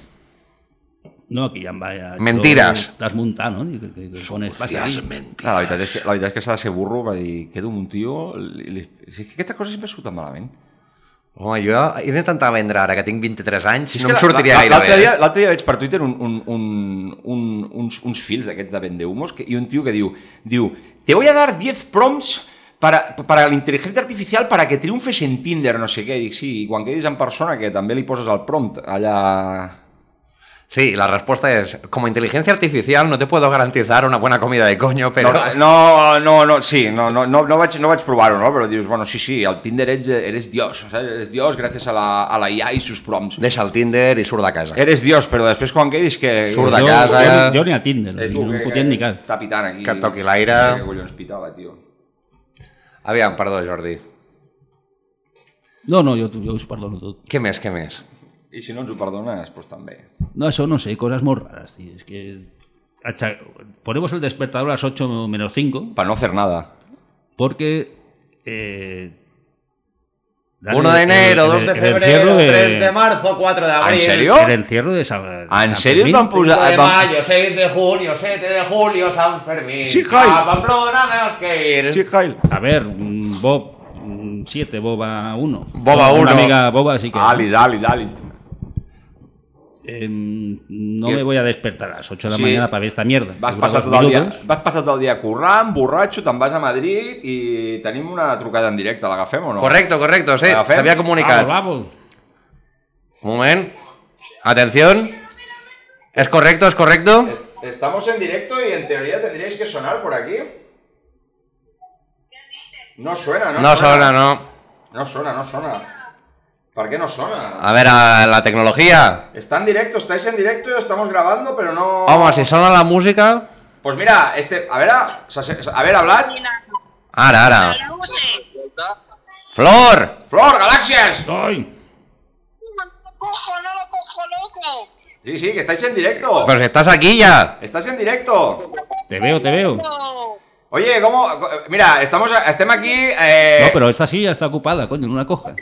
[SPEAKER 6] No, aquí ja em va... Ja,
[SPEAKER 4] Mentiras.
[SPEAKER 6] Desmuntar, no? Que, que, que, on és,
[SPEAKER 5] Clar, la veritat és que, la veritat és que s'ha de ser burro, va dir, quedo amb un tio... Li, li... És que aquestes coses sempre surten malament.
[SPEAKER 4] Home, jo he d'intentar vendre ara, que tinc 23 anys,
[SPEAKER 5] És
[SPEAKER 4] no em
[SPEAKER 5] que la-
[SPEAKER 4] sortiria
[SPEAKER 5] la-
[SPEAKER 4] gaire
[SPEAKER 5] l'altre
[SPEAKER 4] bé.
[SPEAKER 5] Dia, l'altre dia veig per Twitter un, un, un, un, uns, uns fils d'aquests de vendehumos que, i un tio que diu, diu te voy a dar 10 prompts para, para la intel·ligència artificial para que triunfes en Tinder, no sé què. I dic, sí, i quan quedis en persona que també li poses el prompt allà...
[SPEAKER 4] Sí, la respuesta es, como inteligencia artificial no te puedo garantizar una buena comida de coño, pero...
[SPEAKER 5] No, no, no, no, sí, no, no, no, no vaig, no vaig provar-ho, no? Però dius, bueno, sí, sí, al Tinder ets, eres dios, saps? Eres dios gràcies a la, a la IA i sus prompts.
[SPEAKER 4] Deixa el Tinder i surt de casa.
[SPEAKER 5] Eres dios, però després quan quedis que...
[SPEAKER 4] Surt de
[SPEAKER 6] jo,
[SPEAKER 4] casa,
[SPEAKER 6] Jo,
[SPEAKER 4] eh?
[SPEAKER 6] jo ni a Tinder,
[SPEAKER 5] Eh,
[SPEAKER 6] no
[SPEAKER 5] tu,
[SPEAKER 6] em
[SPEAKER 5] que-
[SPEAKER 6] fotien ni cap.
[SPEAKER 5] Està pitant aquí.
[SPEAKER 4] Que toqui l'aire.
[SPEAKER 5] No sé què collons pitava, tio.
[SPEAKER 4] Aviam, perdó, Jordi.
[SPEAKER 6] No, no, jo, jo us perdono tot.
[SPEAKER 4] Què més, què més?
[SPEAKER 5] I si no ens ho perdones, doncs també.
[SPEAKER 6] No, això no sé, coses molt rares, tio. És que... acha- Ponemos el despertador a las 8 menos 5
[SPEAKER 5] Per no fer nada.
[SPEAKER 6] porque... Eh,
[SPEAKER 4] 1 de enero, 2 de febrero, 3 de marzo, 4 de
[SPEAKER 5] ¿En
[SPEAKER 4] abril.
[SPEAKER 5] serio?
[SPEAKER 6] El encierro de San de San
[SPEAKER 5] ¿Ah, En sèrio et
[SPEAKER 6] Fermín.
[SPEAKER 5] van
[SPEAKER 4] 5
[SPEAKER 5] posar...
[SPEAKER 4] de
[SPEAKER 5] Et van...
[SPEAKER 4] mayo, 6 de junio, 7 de julio, San Fermín.
[SPEAKER 5] Sí, Jaime.
[SPEAKER 4] A Pamplona tenemos que ir.
[SPEAKER 5] Sí, Kyle.
[SPEAKER 6] A ver, mm, Bob 7, Boba 1.
[SPEAKER 4] Boba
[SPEAKER 6] Una
[SPEAKER 4] 1.
[SPEAKER 6] amiga Boba, así que...
[SPEAKER 5] Àlid, àlid, àlid.
[SPEAKER 6] Em, no
[SPEAKER 5] ¿Qué?
[SPEAKER 6] me voy a despertar a las 8 de la
[SPEAKER 5] Sí.
[SPEAKER 6] mañana para ver esta mierda.
[SPEAKER 5] Vas
[SPEAKER 6] Dura
[SPEAKER 5] passar,
[SPEAKER 6] dos
[SPEAKER 5] tot el dia,
[SPEAKER 6] minutos.
[SPEAKER 5] vas passar tot el dia currant, borratxo, te'n vas a Madrid i tenim una trucada en directe, l'agafem o no?
[SPEAKER 4] Correcto, correcto, sí.
[SPEAKER 5] Agafem.
[SPEAKER 4] S'havia comunicat.
[SPEAKER 6] Vamos, vamos.
[SPEAKER 4] Un moment. Atención. ¿Es correcto, es correcto?
[SPEAKER 5] Es- Estamos en directo y en teoría tendríais que sonar por aquí. No suena, ¿no?
[SPEAKER 4] No sona, no.
[SPEAKER 5] No suena, no suena. ¿Por qué no suena?
[SPEAKER 4] A ver, a la tecnología.
[SPEAKER 5] Está en directo, estáis en directo, estamos grabando, pero no...
[SPEAKER 4] Vamos, si sona la música...
[SPEAKER 5] Pues mira, este... A ver, a, a ver, hablad.
[SPEAKER 4] Ara, ara. Flor!
[SPEAKER 5] ¡Flor, galaxias!
[SPEAKER 6] Estoy.
[SPEAKER 8] cojo, no lo cojo, loco.
[SPEAKER 5] Sí, sí, que estáis en directo.
[SPEAKER 4] Pero si Pues estás aquí ya.
[SPEAKER 5] Estás en directo.
[SPEAKER 6] Te veo, te veo.
[SPEAKER 5] Eh.
[SPEAKER 8] No.
[SPEAKER 5] Oye, ¿cómo...? co- Mira, estamos... a- Estemos aquí... eh,
[SPEAKER 6] No, pero esta silla está ocupada, coño, no la coja.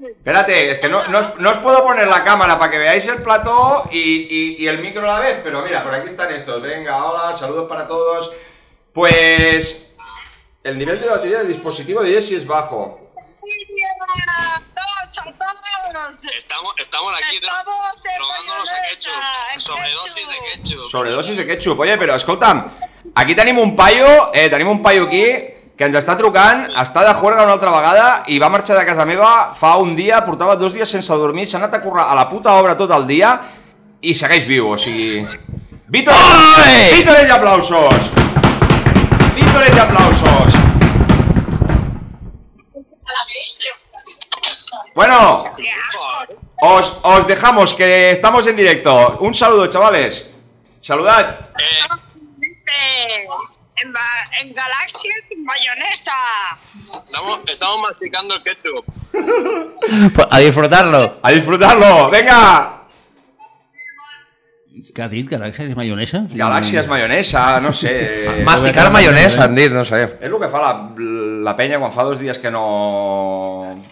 [SPEAKER 5] Espérate, es que no, no os, no os puedo poner la cámara para que veáis el plató y, y- y el micro a la vez, pero mira, por aquí están estos. Venga, hola, saludos para todos. Pues el nivel de batería del dispositivo de Jesse es bajo.
[SPEAKER 9] Estamos, estamos aquí tra-
[SPEAKER 8] Estamos en
[SPEAKER 9] trobándonos a
[SPEAKER 8] mayonesa,
[SPEAKER 9] ketchup,
[SPEAKER 8] en
[SPEAKER 9] sobredosis de
[SPEAKER 8] ketchup.
[SPEAKER 9] ketchup.
[SPEAKER 5] Sobredosis de ketchup. Oye, però escolta'm, aquí tenim un paio, eh, tenim un paio aquí que ens està trucant, està de juerga una altra vegada i va marxar de casa meva fa un dia, portava dos dies sense dormir, s'ha anat a currar a la puta obra tot el dia i segueix viu, o sigui... Víctor,
[SPEAKER 4] Ole!
[SPEAKER 5] Víctor i aplausos! Víctor i aplausos! Bueno, os, os dejamos que estamos en directo. Un saludo, chavales. Saludad.
[SPEAKER 9] Eh,
[SPEAKER 8] en, ba- en Galaxia sin mayonesa.
[SPEAKER 9] Estamos, estamos masticando el ketchup.
[SPEAKER 7] Pues A disfrutarlo.
[SPEAKER 5] A disfrutarlo, venga!
[SPEAKER 6] Què ha dit? Galàxies i maionesa?
[SPEAKER 5] Galàxies, maionesa, no sé...
[SPEAKER 4] Masticar mayonesa, han dit, no sé.
[SPEAKER 5] És el que fa la, la penya quan fa dos dies que no...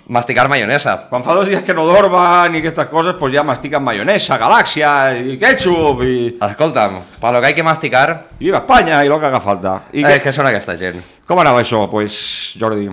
[SPEAKER 4] Masticar mayonesa.
[SPEAKER 5] Quan fa dos dies que no dormen i aquestes coses, doncs ja mastiquen maionesa, galàxia i ketchup i...
[SPEAKER 4] Escolta'm, pa lo que hay que masticar,
[SPEAKER 5] I viva Espanya i el que haga falta. I
[SPEAKER 4] eh,
[SPEAKER 5] que,
[SPEAKER 4] que són aquesta gent.
[SPEAKER 5] Com anava això, pues, Jordi?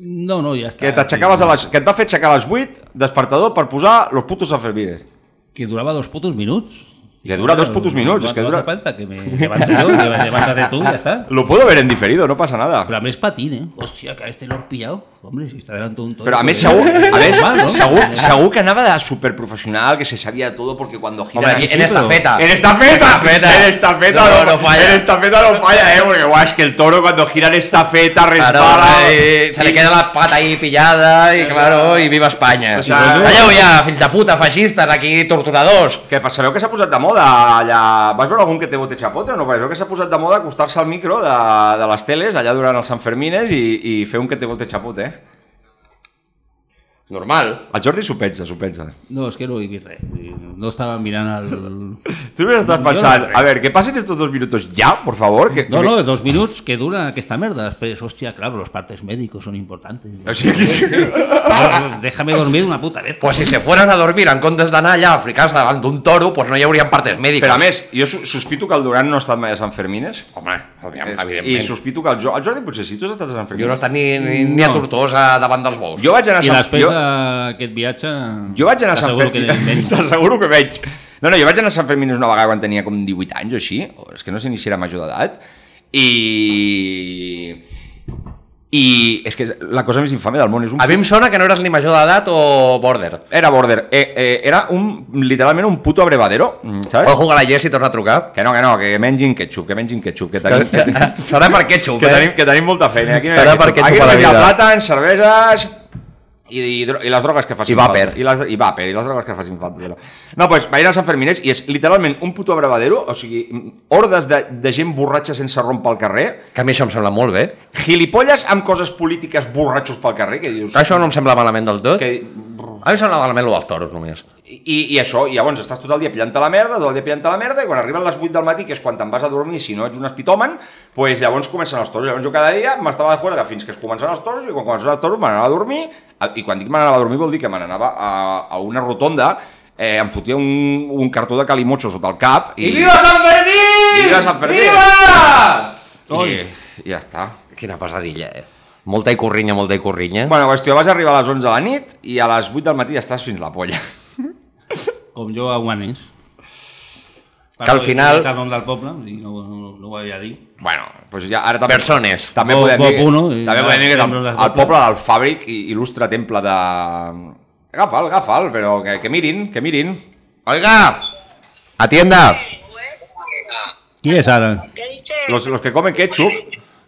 [SPEAKER 6] No, no, ja està.
[SPEAKER 5] Que t'aixecaves a les... Que et va fer aixecar a les 8, despertador, per posar los putos a fer vires.
[SPEAKER 6] Que durava dos putos minuts.
[SPEAKER 5] Que dura dos putos minuts, és que dura-
[SPEAKER 6] No falta que me levante yo, que me levántate tú, ya está.
[SPEAKER 5] Lo puedo ver en diferido, no pasa nada.
[SPEAKER 6] Pero a més patín, eh? Hòstia, que a este lo han pillado. Hombre, si está delante un toro.
[SPEAKER 5] Pero a mí
[SPEAKER 6] més
[SPEAKER 5] segur, a ver,
[SPEAKER 6] Normal, ¿no?
[SPEAKER 5] segur, segur que nada de superprofesional, que se sabía todo porque cuando gira...
[SPEAKER 4] Hombre, aquí, en esta feta.
[SPEAKER 5] En estafeta,
[SPEAKER 4] Estafeta.
[SPEAKER 5] en estafeta
[SPEAKER 4] No,
[SPEAKER 5] no,
[SPEAKER 4] no falla.
[SPEAKER 5] En estafeta no falla, eh, porque guau, es que el toro cuando gira en estafeta
[SPEAKER 4] Claro,
[SPEAKER 5] resbala.
[SPEAKER 4] eh, se le queda la pata ahí pillada y claro, y viva Espanya.
[SPEAKER 5] O sea- eh,
[SPEAKER 4] Calleu ja, fills de puta, feixistes, aquí, torturadors.
[SPEAKER 5] Que pa- sabeu que s'ha posat de moda allà... Vas veure algun que té bote xapote o no? Sabeu que s'ha posat de moda acostar-se al micro de, de les teles allà durant els Sanfermines i, i fer un que té bote xapote, eh?
[SPEAKER 4] Normal.
[SPEAKER 5] El Jordi s'ho pensa, s'ho pensa.
[SPEAKER 6] No, és que no he vist res. No estava mirant el...
[SPEAKER 5] Tu només estàs pensant, a veure, que passen estos dos minutos ja, por favor, que...
[SPEAKER 6] No, no, dos minuts que dura aquesta merda. Després, hòstia, claro, los partes médicos son importantes.
[SPEAKER 5] O sigui, que sí.
[SPEAKER 6] Claro, déjame dormir una puta vez.
[SPEAKER 4] Pues si se fueran a dormir en comptes d'anar allà a ficar-se davant d'un toro, pues no hi haurien partes mèdiques.
[SPEAKER 5] Però a més, jo sus- sospito que el Duran no ha estat mai a Sant Fermines.
[SPEAKER 4] Home, òbviament,
[SPEAKER 5] I
[SPEAKER 4] evidentment.
[SPEAKER 5] sospito que el, jo el Jordi potser sí, tu has estat a Sant
[SPEAKER 4] Jo no
[SPEAKER 5] Fermines.
[SPEAKER 4] estic ni, ni, ni a
[SPEAKER 6] No.
[SPEAKER 4] Tortosa davant dels bous.
[SPEAKER 5] Jo vaig anar a
[SPEAKER 6] I
[SPEAKER 5] Sant
[SPEAKER 6] després
[SPEAKER 5] jo,
[SPEAKER 6] d'aquest viatge...
[SPEAKER 5] jo vaig anar a Sant
[SPEAKER 6] t'asseguro que
[SPEAKER 5] Fermines.
[SPEAKER 6] menjo.
[SPEAKER 5] T'asseguro que veig. No, no, jo vaig anar a Sant Fermines una vegada quan tenia com 18 anys o així, o és que no sé ni si era major d'edat, i... I és que la cosa més infame del món és un...
[SPEAKER 4] A mi em sona que no eres ni major d'edat o border.
[SPEAKER 5] Era border. Eh, eh, era un, literalment un puto abrevadero, mm,
[SPEAKER 4] Vol
[SPEAKER 5] saps?
[SPEAKER 4] jugar a la Jess i torna a trucar?
[SPEAKER 5] Que no, que no, que mengin ketchup, que mengin ketchup, que tenim...
[SPEAKER 4] Que- Serà per ketchup,
[SPEAKER 5] que,
[SPEAKER 4] eh?
[SPEAKER 5] tenim, que tenim molta feina. Aquí, no hi ha
[SPEAKER 4] Serà
[SPEAKER 5] ketchup.
[SPEAKER 4] perquè ets
[SPEAKER 5] aquí
[SPEAKER 4] per la
[SPEAKER 5] només hi ha
[SPEAKER 4] vida.
[SPEAKER 5] plàtans, cerveses i, i, dro- i les drogues que facin
[SPEAKER 4] I vàper.
[SPEAKER 5] falta. I, les, I vàper, i les drogues que facin falta. Però. No, doncs, vaig anar a Sant Ferminès i és literalment un puto abrevadero, o sigui, hordes de, de gent borratxa sense rompa al carrer,
[SPEAKER 4] Que a mi això em sembla molt bé.
[SPEAKER 5] gilipolles amb coses polítiques borratxos pel carrer, que dius...
[SPEAKER 4] Això no em sembla malament del tot.
[SPEAKER 5] Que,
[SPEAKER 4] A mi em sembla malament lo dels toros, només.
[SPEAKER 5] i, I això, i llavors estàs tot el dia pillant la merda, tot el dia pillant la merda, i quan arriben les 8 del matí, que és quan te'n vas a dormir, si no ets un espitomen, pues llavors comencen els toros. Llavors jo cada dia m'estava de juerga fins que es començaven els toros, i quan començaven els toros me n'anava a dormir, a- i quan dic me n'anava a dormir vol dir que me n'anava a, a una rotonda, eh, em fotia un, un cartó de calimocho sota el cap, i...
[SPEAKER 4] Sant Fermín!
[SPEAKER 5] Viva Sant Fermín!
[SPEAKER 4] Oi.
[SPEAKER 5] I, I ja està.
[SPEAKER 4] Quina pesadilla, eh? Molta i corrinya, molta i corrinya.
[SPEAKER 5] Bueno, qüestió, vas arribar a les 11 de la nit i a les 8 del matí ja estàs fins la polla.
[SPEAKER 6] Com jo a Guanés.
[SPEAKER 4] Que al final-
[SPEAKER 6] El nom del poble, i no, no, no ho havia dit.
[SPEAKER 5] Bueno, doncs ja ara també...
[SPEAKER 4] Persones.
[SPEAKER 5] També
[SPEAKER 6] Bo-
[SPEAKER 5] podem
[SPEAKER 6] bo
[SPEAKER 5] dir,
[SPEAKER 6] puno, i
[SPEAKER 5] també
[SPEAKER 6] ja
[SPEAKER 5] podem dir que és el,
[SPEAKER 6] sembla una
[SPEAKER 5] el
[SPEAKER 6] copla.
[SPEAKER 5] poble del fàbric i il·lustre temple de... Agafa'l, agafa'l, però que, que mirin, que mirin.
[SPEAKER 4] Oiga! Atienda!
[SPEAKER 9] Ah.
[SPEAKER 6] Qui és ara?
[SPEAKER 8] ¿Qué dice?
[SPEAKER 5] Los, los que comen ketchup,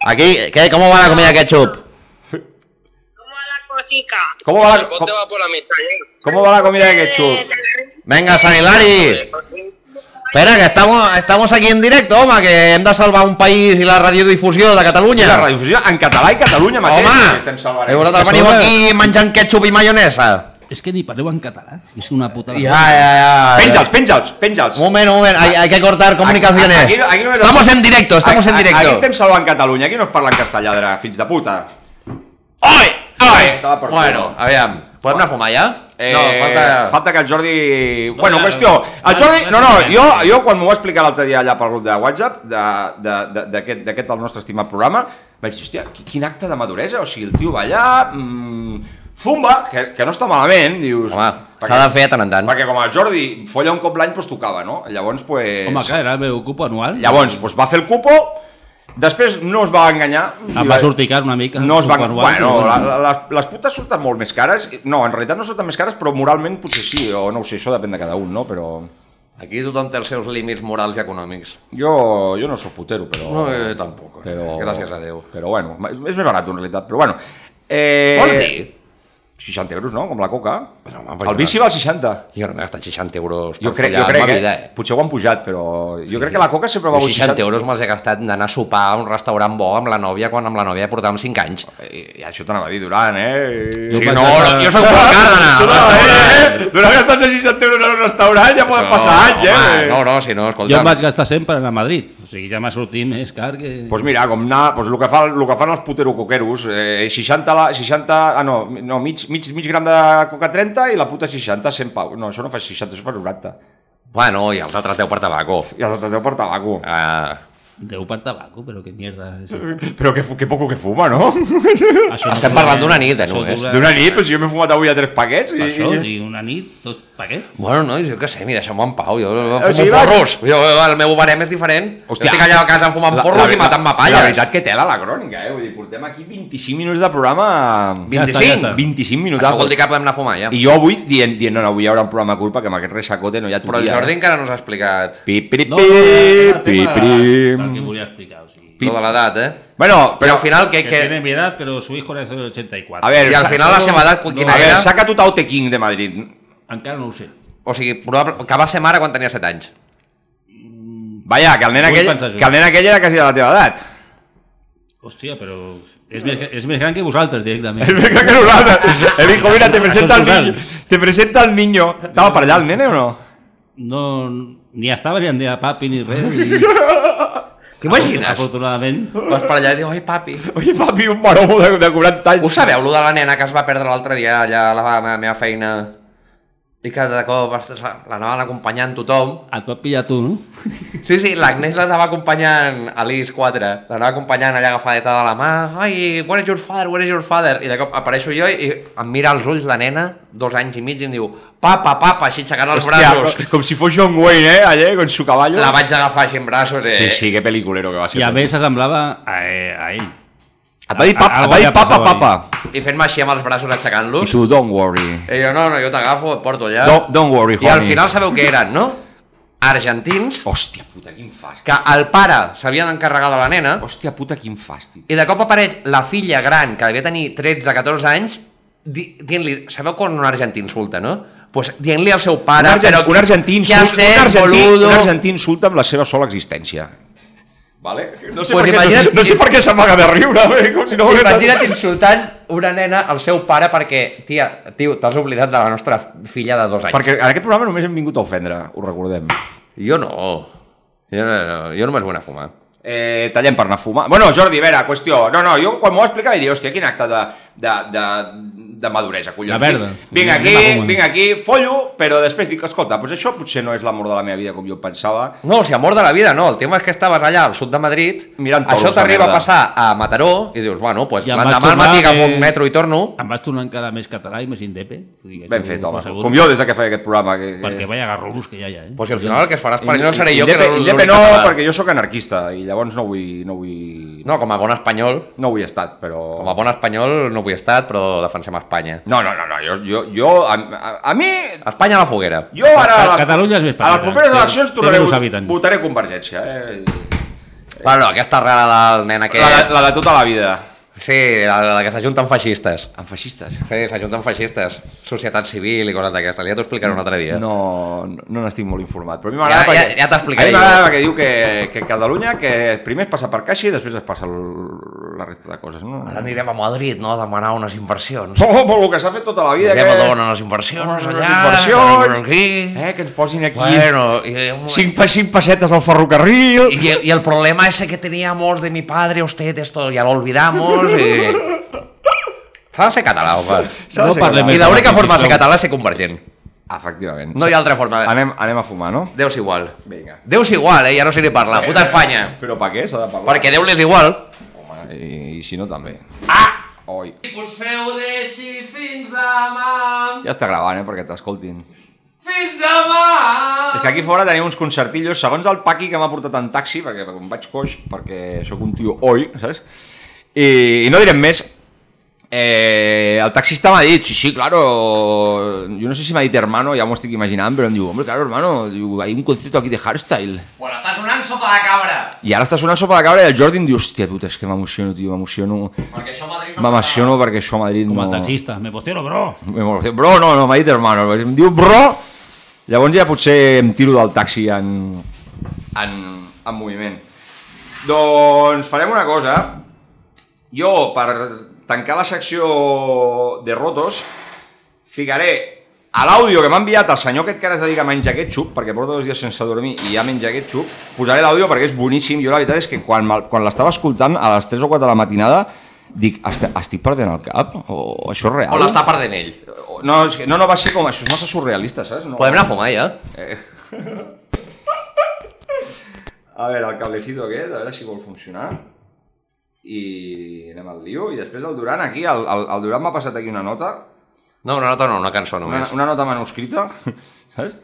[SPEAKER 4] Aquí, ¿qué? ¿Cómo va la comida ketchup?
[SPEAKER 8] ¿Cómo va la cosica?
[SPEAKER 5] ¿cómo va, la,
[SPEAKER 9] El
[SPEAKER 5] com,
[SPEAKER 9] pote va por la mitad, ¿eh?
[SPEAKER 5] ¿cómo va la comida de ketchup?
[SPEAKER 4] Venga, San Hilari! Espera, que estamos, estamos aquí en directo, home, que hem de salvar un país i la radiodifusió de Catalunya.
[SPEAKER 5] La radiofusió en català i Catalunya mateix.
[SPEAKER 4] Home,
[SPEAKER 5] que estem salvant.
[SPEAKER 4] i vosaltres veniu
[SPEAKER 6] Sobre-
[SPEAKER 4] aquí menjant ketchup i maionesa.
[SPEAKER 6] És que ni parleu en català. És una puta...
[SPEAKER 4] Ja, ja, ja.
[SPEAKER 5] Penja'ls, penja'ls, penja'ls.
[SPEAKER 4] Un moment, un moment, hay, hay que cortar comunicaciones.
[SPEAKER 5] Aquí- aquí- aquí només-
[SPEAKER 4] estamos en directo, estamos en
[SPEAKER 5] Aquí- este-
[SPEAKER 4] directo.
[SPEAKER 5] Aquí estem salvant Catalunya, aquí no es parla en castellà, de fills de puta.
[SPEAKER 4] ¡Ay! ¡Ay!
[SPEAKER 5] Estava per
[SPEAKER 4] Bueno,
[SPEAKER 5] culo.
[SPEAKER 4] aviam, podem anar a fumar ja?
[SPEAKER 5] Eh,
[SPEAKER 4] no, falta...
[SPEAKER 5] falta que el Jordi... No, bueno,
[SPEAKER 6] no,
[SPEAKER 5] qüestió.
[SPEAKER 6] no,
[SPEAKER 5] El Jordi... No,
[SPEAKER 6] no,
[SPEAKER 5] no,
[SPEAKER 6] no, no.
[SPEAKER 5] jo, jo quan m'ho va explicar l'altre dia allà pel grup de WhatsApp de- de- de- d'aquest d'aquest del nostre estimat programa, vaig dir, hòstia, qui- quin acte de maduresa. O sigui, el tio va allà... Mmm, fumba, que, que no està malament, dius...
[SPEAKER 4] Home,
[SPEAKER 5] perquè,
[SPEAKER 4] s'ha de fer de tant en tant.
[SPEAKER 5] Perquè com el Jordi folla un cop l'any, doncs tocava, no? Llavors, pues...
[SPEAKER 6] Home, clar, era el meu cupo anual.
[SPEAKER 5] Llavors, pues, va fer el cupo, després no es va enganyar.
[SPEAKER 6] Em va sorticar una mica.
[SPEAKER 5] No es van...
[SPEAKER 6] Cupo
[SPEAKER 5] Bueno,
[SPEAKER 6] anual, però
[SPEAKER 5] la- la- les, les putes surten molt més cares. No, en realitat no surten més cares, però moralment potser sí, o no ho sé, això depèn de cada un, no? Però
[SPEAKER 4] Aquí tothom té els seus límits morals i econòmics.
[SPEAKER 5] jo, jo no sóc putero, però...
[SPEAKER 4] No, jo tampoc, eh.
[SPEAKER 5] Però...
[SPEAKER 4] gràcies a Déu.
[SPEAKER 5] Però bueno, és, és més barat en realitat, però bueno. Eh...
[SPEAKER 4] Vol dir
[SPEAKER 5] 60 euros, no? Com la coca.
[SPEAKER 4] Pues home, pues
[SPEAKER 5] el
[SPEAKER 4] jo
[SPEAKER 5] bici
[SPEAKER 4] no-
[SPEAKER 5] val 60.
[SPEAKER 4] Jo no m'he gastat 60 euros per
[SPEAKER 5] Jo crec,
[SPEAKER 4] follar
[SPEAKER 5] jo
[SPEAKER 4] en
[SPEAKER 5] crec
[SPEAKER 4] ma
[SPEAKER 5] que...
[SPEAKER 4] vida, eh?
[SPEAKER 5] Potser ho han pujat, però... Jo crec que la coca sempre va
[SPEAKER 4] Uns
[SPEAKER 5] valer
[SPEAKER 4] 60 euros me'ls he gastat d'anar a sopar a un restaurant bo amb la nòvia quan amb la nòvia portàvem 5 anys.
[SPEAKER 5] I això t'anava a dir, Duran, eh?
[SPEAKER 4] Sí,
[SPEAKER 6] vaig
[SPEAKER 4] no,
[SPEAKER 6] anar-
[SPEAKER 4] no, jo soc Juan Cárdenas.
[SPEAKER 5] Això t'anava a dir, eh? Duran gastar 60 euros en un restaurant ja poden passar anys, eh?
[SPEAKER 4] home, No, no, si no, escolta...
[SPEAKER 6] Jo em vaig gastar 100 per anar a Madrid. O sigui, ja m'ha sortit més car que...
[SPEAKER 5] Pues mira, com anar, pues lo, que fa, lo que fan els puterocoqueros, eh, 60, la, 60 ah, no, no mig, mig, mig gram de coca 30 i la puta 60, 100 pau. No, això no fa 60, això fa 90.
[SPEAKER 4] Bueno, i els altres 10 per tabaco.
[SPEAKER 5] I els altres 10 per tabaco.
[SPEAKER 4] Ah,
[SPEAKER 6] Deu per tabaco, però que mierda és esta?
[SPEAKER 5] Però que, fu- que poco que fuma, no?
[SPEAKER 6] Això no
[SPEAKER 4] Estem
[SPEAKER 6] dura-
[SPEAKER 4] parlant d'una nit, eh,
[SPEAKER 6] això
[SPEAKER 4] només.
[SPEAKER 6] dura-
[SPEAKER 5] D'una nit, però si jo m'he fumat avui a tres paquets. I,
[SPEAKER 6] Això,
[SPEAKER 5] i...
[SPEAKER 6] i una nit, dos paquets.
[SPEAKER 4] bueno, nois, jo què sé, mira, deixeu-me en pau. Jo fumo
[SPEAKER 5] O sigui, vaig-
[SPEAKER 4] porros. Jo, eh, el meu barem és diferent.
[SPEAKER 5] Hòstia.
[SPEAKER 4] Hòstia, jo estic allà a casa fumant porros i matant-me palles.
[SPEAKER 5] La veritat que tela la crònica, eh? Vull dir, portem aquí 25 minuts de programa...
[SPEAKER 6] Ja està, ja està.
[SPEAKER 5] 25 minuts.
[SPEAKER 4] Això vol dir que podem anar a fumar, ja.
[SPEAKER 5] I jo avui dient, dient, no, no, avui hi haurà un programa curt perquè amb aquest ressacote no hi ha tu
[SPEAKER 4] Però el Jordi encara no s'ha explicat.
[SPEAKER 5] Pi, pi,
[SPEAKER 6] No,
[SPEAKER 5] pi,
[SPEAKER 6] era
[SPEAKER 5] pi,
[SPEAKER 6] tema
[SPEAKER 5] pi.
[SPEAKER 6] del que volia explicar. O sigui,
[SPEAKER 4] Lo de l'edat, eh?
[SPEAKER 5] Bueno,
[SPEAKER 4] Però
[SPEAKER 5] però...
[SPEAKER 4] al final, què...
[SPEAKER 6] que,
[SPEAKER 4] què...
[SPEAKER 6] tiene mi edad, pero su hijo nació en el 84.
[SPEAKER 5] A veure,
[SPEAKER 4] I al
[SPEAKER 5] sa-
[SPEAKER 4] final la
[SPEAKER 5] no,
[SPEAKER 4] seva edat,
[SPEAKER 5] no,
[SPEAKER 4] quina
[SPEAKER 5] a veure,
[SPEAKER 4] era?
[SPEAKER 5] s'ha catut a Ote King de Madrid.
[SPEAKER 6] encara no ho sé.
[SPEAKER 4] O sigui, probable, que va ser mare quan tenia 7 anys.
[SPEAKER 5] Vaja, que el nen,
[SPEAKER 6] Vull
[SPEAKER 5] aquell,
[SPEAKER 6] pensar això.
[SPEAKER 5] que el nen aquell era quasi de la teva edat.
[SPEAKER 6] Hòstia, però és més, és més gran que vosaltres directament.
[SPEAKER 5] És més gran que nosaltres. El hijo, mira, te
[SPEAKER 6] Això
[SPEAKER 5] presenta
[SPEAKER 6] és
[SPEAKER 5] el
[SPEAKER 6] total.
[SPEAKER 5] niño. Te presenta el niño. Estava per allà el nene o no?
[SPEAKER 6] No, ni estava ni en deia papi ni res. I,
[SPEAKER 4] T'imagines?
[SPEAKER 6] Afortunadament.
[SPEAKER 4] Vas per allà i dius, oi, papi.
[SPEAKER 5] Oye, papi, un maromo de, de 40 anys.
[SPEAKER 4] Ho sabeu, lo de la nena que es va perdre l'altre dia allà a la, a la meva feina? I que de cop ostres, l'anaven acompanyant tothom.
[SPEAKER 6] Et va pillar tu, no?
[SPEAKER 4] Sí, sí, l'Agnès l'anava acompanyant a l'IS 4. L'anava acompanyant allà agafadeta de la mà. Ai, where is your father, where is your father? I de cop apareixo jo i em mira als ulls la nena, dos anys i mig, i em diu, papa, papa, així aixecant els
[SPEAKER 5] Hòstia,
[SPEAKER 4] braços.
[SPEAKER 5] com- com si fos John Wayne, eh, allà, con su caballo.
[SPEAKER 4] La vaig agafar així en braços. Eh?
[SPEAKER 5] Sí, sí, que peliculero que va ser.
[SPEAKER 6] I a més s'assemblava a, eh, a ell.
[SPEAKER 5] Et va dir papa,
[SPEAKER 6] Algo
[SPEAKER 5] et va dir
[SPEAKER 6] ja
[SPEAKER 5] papa,
[SPEAKER 6] passava
[SPEAKER 5] papa.
[SPEAKER 4] I fent-me així amb els braços
[SPEAKER 5] I
[SPEAKER 4] aixecant-los.
[SPEAKER 5] tu, don't worry.
[SPEAKER 4] I jo, no, no, jo t'agafo, et porto allà.
[SPEAKER 5] Don't, don't worry,
[SPEAKER 4] I
[SPEAKER 5] homie.
[SPEAKER 4] al final sabeu què eren, no? Argentins,
[SPEAKER 5] Hòstia puta, quin fàstic.
[SPEAKER 4] que el pare s'havien encarregat de la nena,
[SPEAKER 5] Hòstia puta, quin fàstic.
[SPEAKER 4] i de cop apareix la filla gran, que devia tenir 13-14 anys, di dient-li... Sabeu quan un argentí insulta, no? Pues dient-li al seu
[SPEAKER 5] Un,
[SPEAKER 4] pare...
[SPEAKER 5] argent,
[SPEAKER 4] però,
[SPEAKER 5] un argentí
[SPEAKER 4] ja
[SPEAKER 5] insulta,
[SPEAKER 4] sé,
[SPEAKER 5] un, argentí,
[SPEAKER 4] boludo.
[SPEAKER 5] un argentí insulta amb la seva sola existència. Vale? No sé,
[SPEAKER 4] Pues
[SPEAKER 5] per, què,
[SPEAKER 4] imagina't-
[SPEAKER 5] no, no sé per què s'amaga de riure, bé, com si no ho
[SPEAKER 4] Imagina't insultant una nena al seu pare perquè, tia, tio, t'has oblidat de la nostra filla de dos anys.
[SPEAKER 5] Perquè en aquest programa només hem vingut a ofendre, ho recordem.
[SPEAKER 4] Jo no. Jo, no, no, jo només vull anar a fumar.
[SPEAKER 5] Eh, tallem per anar a fumar. Bueno, Jordi, a veure, qüestió. No, no, jo quan m'ho va explicar vaig dir, hòstia, quin acte de, de, de, de maduresa, collons.
[SPEAKER 6] La verda.
[SPEAKER 5] Vinc
[SPEAKER 6] Sí,
[SPEAKER 5] aquí,
[SPEAKER 6] la goma.
[SPEAKER 5] vinc aquí, follo, però després dic, escolta, doncs això potser no és l'amor de la meva vida com jo pensava.
[SPEAKER 4] No, si amor de la vida, no. El tema és que estaves allà al sud de Madrid,
[SPEAKER 5] Mirant toros,
[SPEAKER 4] això t'arriba
[SPEAKER 5] la
[SPEAKER 4] a
[SPEAKER 5] merda.
[SPEAKER 4] passar a Mataró i dius, bueno, pues,
[SPEAKER 6] I em vaig
[SPEAKER 4] l'endemà al
[SPEAKER 6] tornar
[SPEAKER 4] matí agafo
[SPEAKER 6] que-
[SPEAKER 4] un metro i torno.
[SPEAKER 6] Em vas tornar encara més català i més indepe. O sigui,
[SPEAKER 5] Ben
[SPEAKER 6] això
[SPEAKER 5] fet,
[SPEAKER 6] ho
[SPEAKER 5] home.
[SPEAKER 6] he sabut.
[SPEAKER 5] Com jo des de que feia aquest programa. Que, que...
[SPEAKER 6] Perquè vaya garrulos que hi ha, ja, eh?
[SPEAKER 4] Pues si al final el que es farà espanyol
[SPEAKER 5] Inde-
[SPEAKER 4] seré jo
[SPEAKER 5] Indepe,
[SPEAKER 4] que no
[SPEAKER 5] Indepe no, perquè jo sóc anarquista i llavors no vull... No, vull...
[SPEAKER 4] No, com a bon espanyol,
[SPEAKER 5] no vull estat, però...
[SPEAKER 4] com a bon espanyol no vull estat, però defensem Espanya.
[SPEAKER 5] No, no, no, no, jo, jo, jo a, a, a mi...
[SPEAKER 4] Espanya a la foguera.
[SPEAKER 5] Jo ara... a
[SPEAKER 6] Ca- Catalunya és més
[SPEAKER 5] A les
[SPEAKER 6] petita, eh?
[SPEAKER 5] properes
[SPEAKER 6] té-
[SPEAKER 5] eleccions
[SPEAKER 6] té
[SPEAKER 5] tornaré,
[SPEAKER 6] menys
[SPEAKER 5] a-
[SPEAKER 6] habitants.
[SPEAKER 5] votaré Convergència, eh?
[SPEAKER 4] Bueno, aquesta rara del nen
[SPEAKER 5] Que...
[SPEAKER 4] aquest...
[SPEAKER 5] La, de, la de tota la vida.
[SPEAKER 4] Sí, la, la que s'ajunta amb feixistes.
[SPEAKER 5] Amb feixistes.
[SPEAKER 4] Sí, s'ajunta amb feixistes. Societat civil i coses d'aquestes. Ja t'ho explicaré un altre dia.
[SPEAKER 5] No, no- no n'estic molt informat. Però a mi
[SPEAKER 4] Ja-
[SPEAKER 5] m'agrada perquè...
[SPEAKER 4] ja- ja t'explicaré
[SPEAKER 5] A mi m'agrada
[SPEAKER 4] jo.
[SPEAKER 5] perquè diu que, que Catalunya que primer es passa per caixa i després es passa el, la resta de coses. No?
[SPEAKER 4] Ara anirem a Madrid, no?, a demanar unes inversions.
[SPEAKER 5] Oh, però el que s'ha fet tota la vida...
[SPEAKER 4] Ja
[SPEAKER 5] que...
[SPEAKER 4] me donen les inversions
[SPEAKER 5] Home,
[SPEAKER 4] allà,
[SPEAKER 5] les inversions,
[SPEAKER 4] les aquí...
[SPEAKER 5] eh, que ens posin aquí
[SPEAKER 4] Bueno, i, un-
[SPEAKER 5] cinc, pa- cinc pessetes al ferrocarril...
[SPEAKER 4] y, el- y el problema ese que teníamos de mi padre, usted, esto ya lo olvidamos. Y... S'ha de ser català, home.
[SPEAKER 5] S'ha de ser
[SPEAKER 6] No parlem
[SPEAKER 4] I
[SPEAKER 5] català.
[SPEAKER 6] més.
[SPEAKER 4] l'única
[SPEAKER 6] Sisplau.
[SPEAKER 4] forma de ser català és ser convergent.
[SPEAKER 5] Efectivament.
[SPEAKER 4] No hi ha altra forma. De...
[SPEAKER 5] Anem, anem a fumar, no?
[SPEAKER 4] Déu és igual.
[SPEAKER 5] Vinga.
[SPEAKER 4] Déu és igual, eh? Ja no sé ni parlar. Puta Espanya.
[SPEAKER 5] Però per què s'ha de parlar?
[SPEAKER 4] Perquè Déu l'és igual.
[SPEAKER 5] Home, i, I si no, també.
[SPEAKER 4] Ah!
[SPEAKER 5] Oi.
[SPEAKER 4] Potser ho deixi fins demà.
[SPEAKER 5] Ja està gravant, eh, perquè t'escoltin.
[SPEAKER 4] Fins demà.
[SPEAKER 5] És que aquí fora tenim uns concertillos, segons el Paqui que m'ha portat en taxi, perquè em vaig coix, perquè sóc un tio oi, saps? I, i no direm més, Eh, el taxista m'ha dit, sí, sí, claro, jo no sé si m'ha dit hermano, ja m'ho estic imaginant, però em diu, hombre, claro, hermano, diu, hay un concierto aquí de hardstyle.
[SPEAKER 4] Bueno, està sonant sopa de cabra.
[SPEAKER 5] I ara està sonant sopa la cabra i el Jordi em diu, hòstia, puta, és que m'emociono, tio, m'emociono.
[SPEAKER 4] Perquè això a Madrid no
[SPEAKER 5] M'emociono perquè això a Madrid
[SPEAKER 6] Com
[SPEAKER 5] no...
[SPEAKER 6] a taxista, me postero, bro.
[SPEAKER 5] M'emociono. Bro, no, no, m'ha dit hermano, em diu bro, llavors ja potser em tiro del taxi en, en, en moviment. Doncs farem una cosa, jo per tancar la secció de rotos ficaré a l'àudio que m'ha enviat el senyor aquest que ara es dedica a menjar ketchup, perquè porta dos dies sense dormir i ja menja ketchup, posaré l'àudio perquè és boníssim. Jo la veritat és que quan, me'l- quan l'estava escoltant a les 3 o 4 de la matinada dic, "Est- estic perdent el cap? O això és real?
[SPEAKER 4] O l'està perdent ell.
[SPEAKER 5] O- No, és que, no, no, va ser com això, és massa surrealista, saps? Pues No.
[SPEAKER 4] Podem anar a fumar, ja?
[SPEAKER 5] A veure, el cablecito aquest, a veure si vol funcionar. I anem al lío. I després el Duran aquí, el, el, el Duran m'ha passat aquí una nota,
[SPEAKER 4] No, una nota no, una cançó
[SPEAKER 5] una,
[SPEAKER 4] només.
[SPEAKER 5] una nota manuscrita, saps?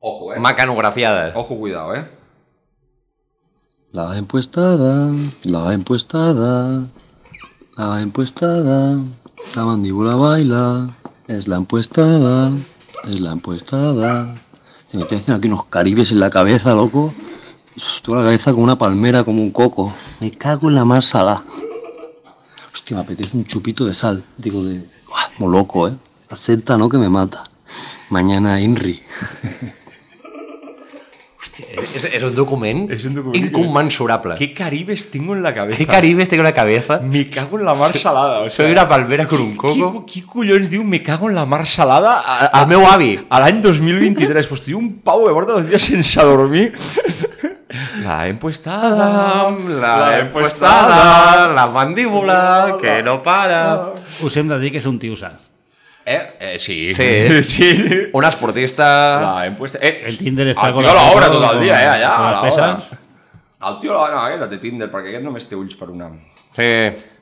[SPEAKER 5] Ojo, eh?
[SPEAKER 4] Mecanografiada.
[SPEAKER 5] Ojo, cuidado, eh?
[SPEAKER 10] La empuestada, la empuestada, la empuestada, la mandíbula baila, es la empuestada, es la empuestada. Se me estoy haciendo aquí unos caribes en la cabeza, loco. Uf, Tengo la cabeza como una palmera, como un coco. Me cago en la mar salá. Hostia, me apetece un chupito de sal. Digo, de. Buah, Como loco, ¿eh? La seta no que me mata. Mañana, Inri.
[SPEAKER 4] És, és un document,
[SPEAKER 5] És un document que-
[SPEAKER 4] inconmensurable. Que,
[SPEAKER 5] ¿Qué caribes tengo en la cabeza?
[SPEAKER 4] que caribes tengo en la cabeza.
[SPEAKER 5] Me cago en la mar salada, o sea...
[SPEAKER 4] Soy una palmera con un
[SPEAKER 5] Qui,
[SPEAKER 4] coco.
[SPEAKER 5] qui collons diu me cago en la mar salada a, a,
[SPEAKER 4] El meu avi.
[SPEAKER 5] a l'any 2023? pues tio, un pau que porta dos dies sense dormir. La empuestada,
[SPEAKER 4] La empuestada, la mandíbula, que no para.
[SPEAKER 6] Us hem de dir que és un tio sa.
[SPEAKER 4] Eh? eh sí. sí.
[SPEAKER 5] Sí.
[SPEAKER 4] Un esportista...
[SPEAKER 5] La empuesta. Eh,
[SPEAKER 6] El Tinder està
[SPEAKER 5] el
[SPEAKER 6] con
[SPEAKER 5] tio
[SPEAKER 6] la-
[SPEAKER 5] l'obra
[SPEAKER 6] con-
[SPEAKER 5] tot el dia, eh, allà,
[SPEAKER 6] con
[SPEAKER 5] a
[SPEAKER 6] les
[SPEAKER 5] l'obra.
[SPEAKER 6] peces.
[SPEAKER 5] El tio l'obra, no, aquest no té Tinder, perquè aquest només té ulls per una,
[SPEAKER 4] Sí.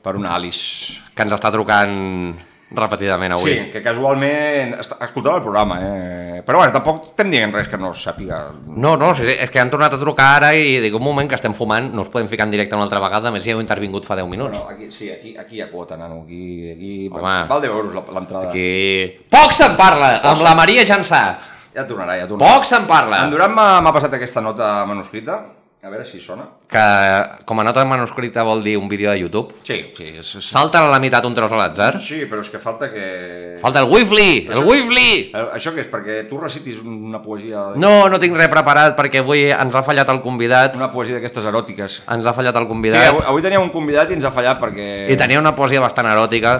[SPEAKER 5] per una Alice.
[SPEAKER 4] Que ens està trucant repetidament avui.
[SPEAKER 5] Sí, que casualment està- escoltava el programa, eh? Però bueno, tampoc estem dient res que no es sàpiga.
[SPEAKER 4] No, no, sí, és que han tornat a trucar ara i dic, un moment, que estem fumant, no us podem ficar en directe una altra vegada, a més ja heu intervingut fa 10 minuts.
[SPEAKER 5] Però aquí, sí, aquí, aquí hi ha quota, nano. Aquí, aquí
[SPEAKER 4] Home.
[SPEAKER 5] val 10 euros la- l'entrada.
[SPEAKER 4] Aquí... Poc se'n parla, amb la Maria Jansà.
[SPEAKER 5] Ja tornarà, ja tornarà.
[SPEAKER 4] Poc se'n parla.
[SPEAKER 5] En Durant m'ha m'ha passat aquesta nota manuscrita. A veure si sona.
[SPEAKER 4] Que com a nota manuscrita vol dir un vídeo de YouTube.
[SPEAKER 5] Sí, sí, és, és...
[SPEAKER 4] Salta a la meitat un tros a l'atzar.
[SPEAKER 5] Sí, però és que falta que...
[SPEAKER 4] Falta el Wifli! El Wifli!
[SPEAKER 5] Eh, Això què és? Perquè tu recitis una poesia...
[SPEAKER 4] No, no tinc res preparat perquè avui ens ha fallat el convidat.
[SPEAKER 5] Una poesia d'aquestes eròtiques.
[SPEAKER 4] Ens ha fallat el
[SPEAKER 5] Sí, avui,
[SPEAKER 4] convidat.
[SPEAKER 5] avui teníem un convidat i ens ha fallat perquè...
[SPEAKER 4] I tenia una poesia bastant eròtica.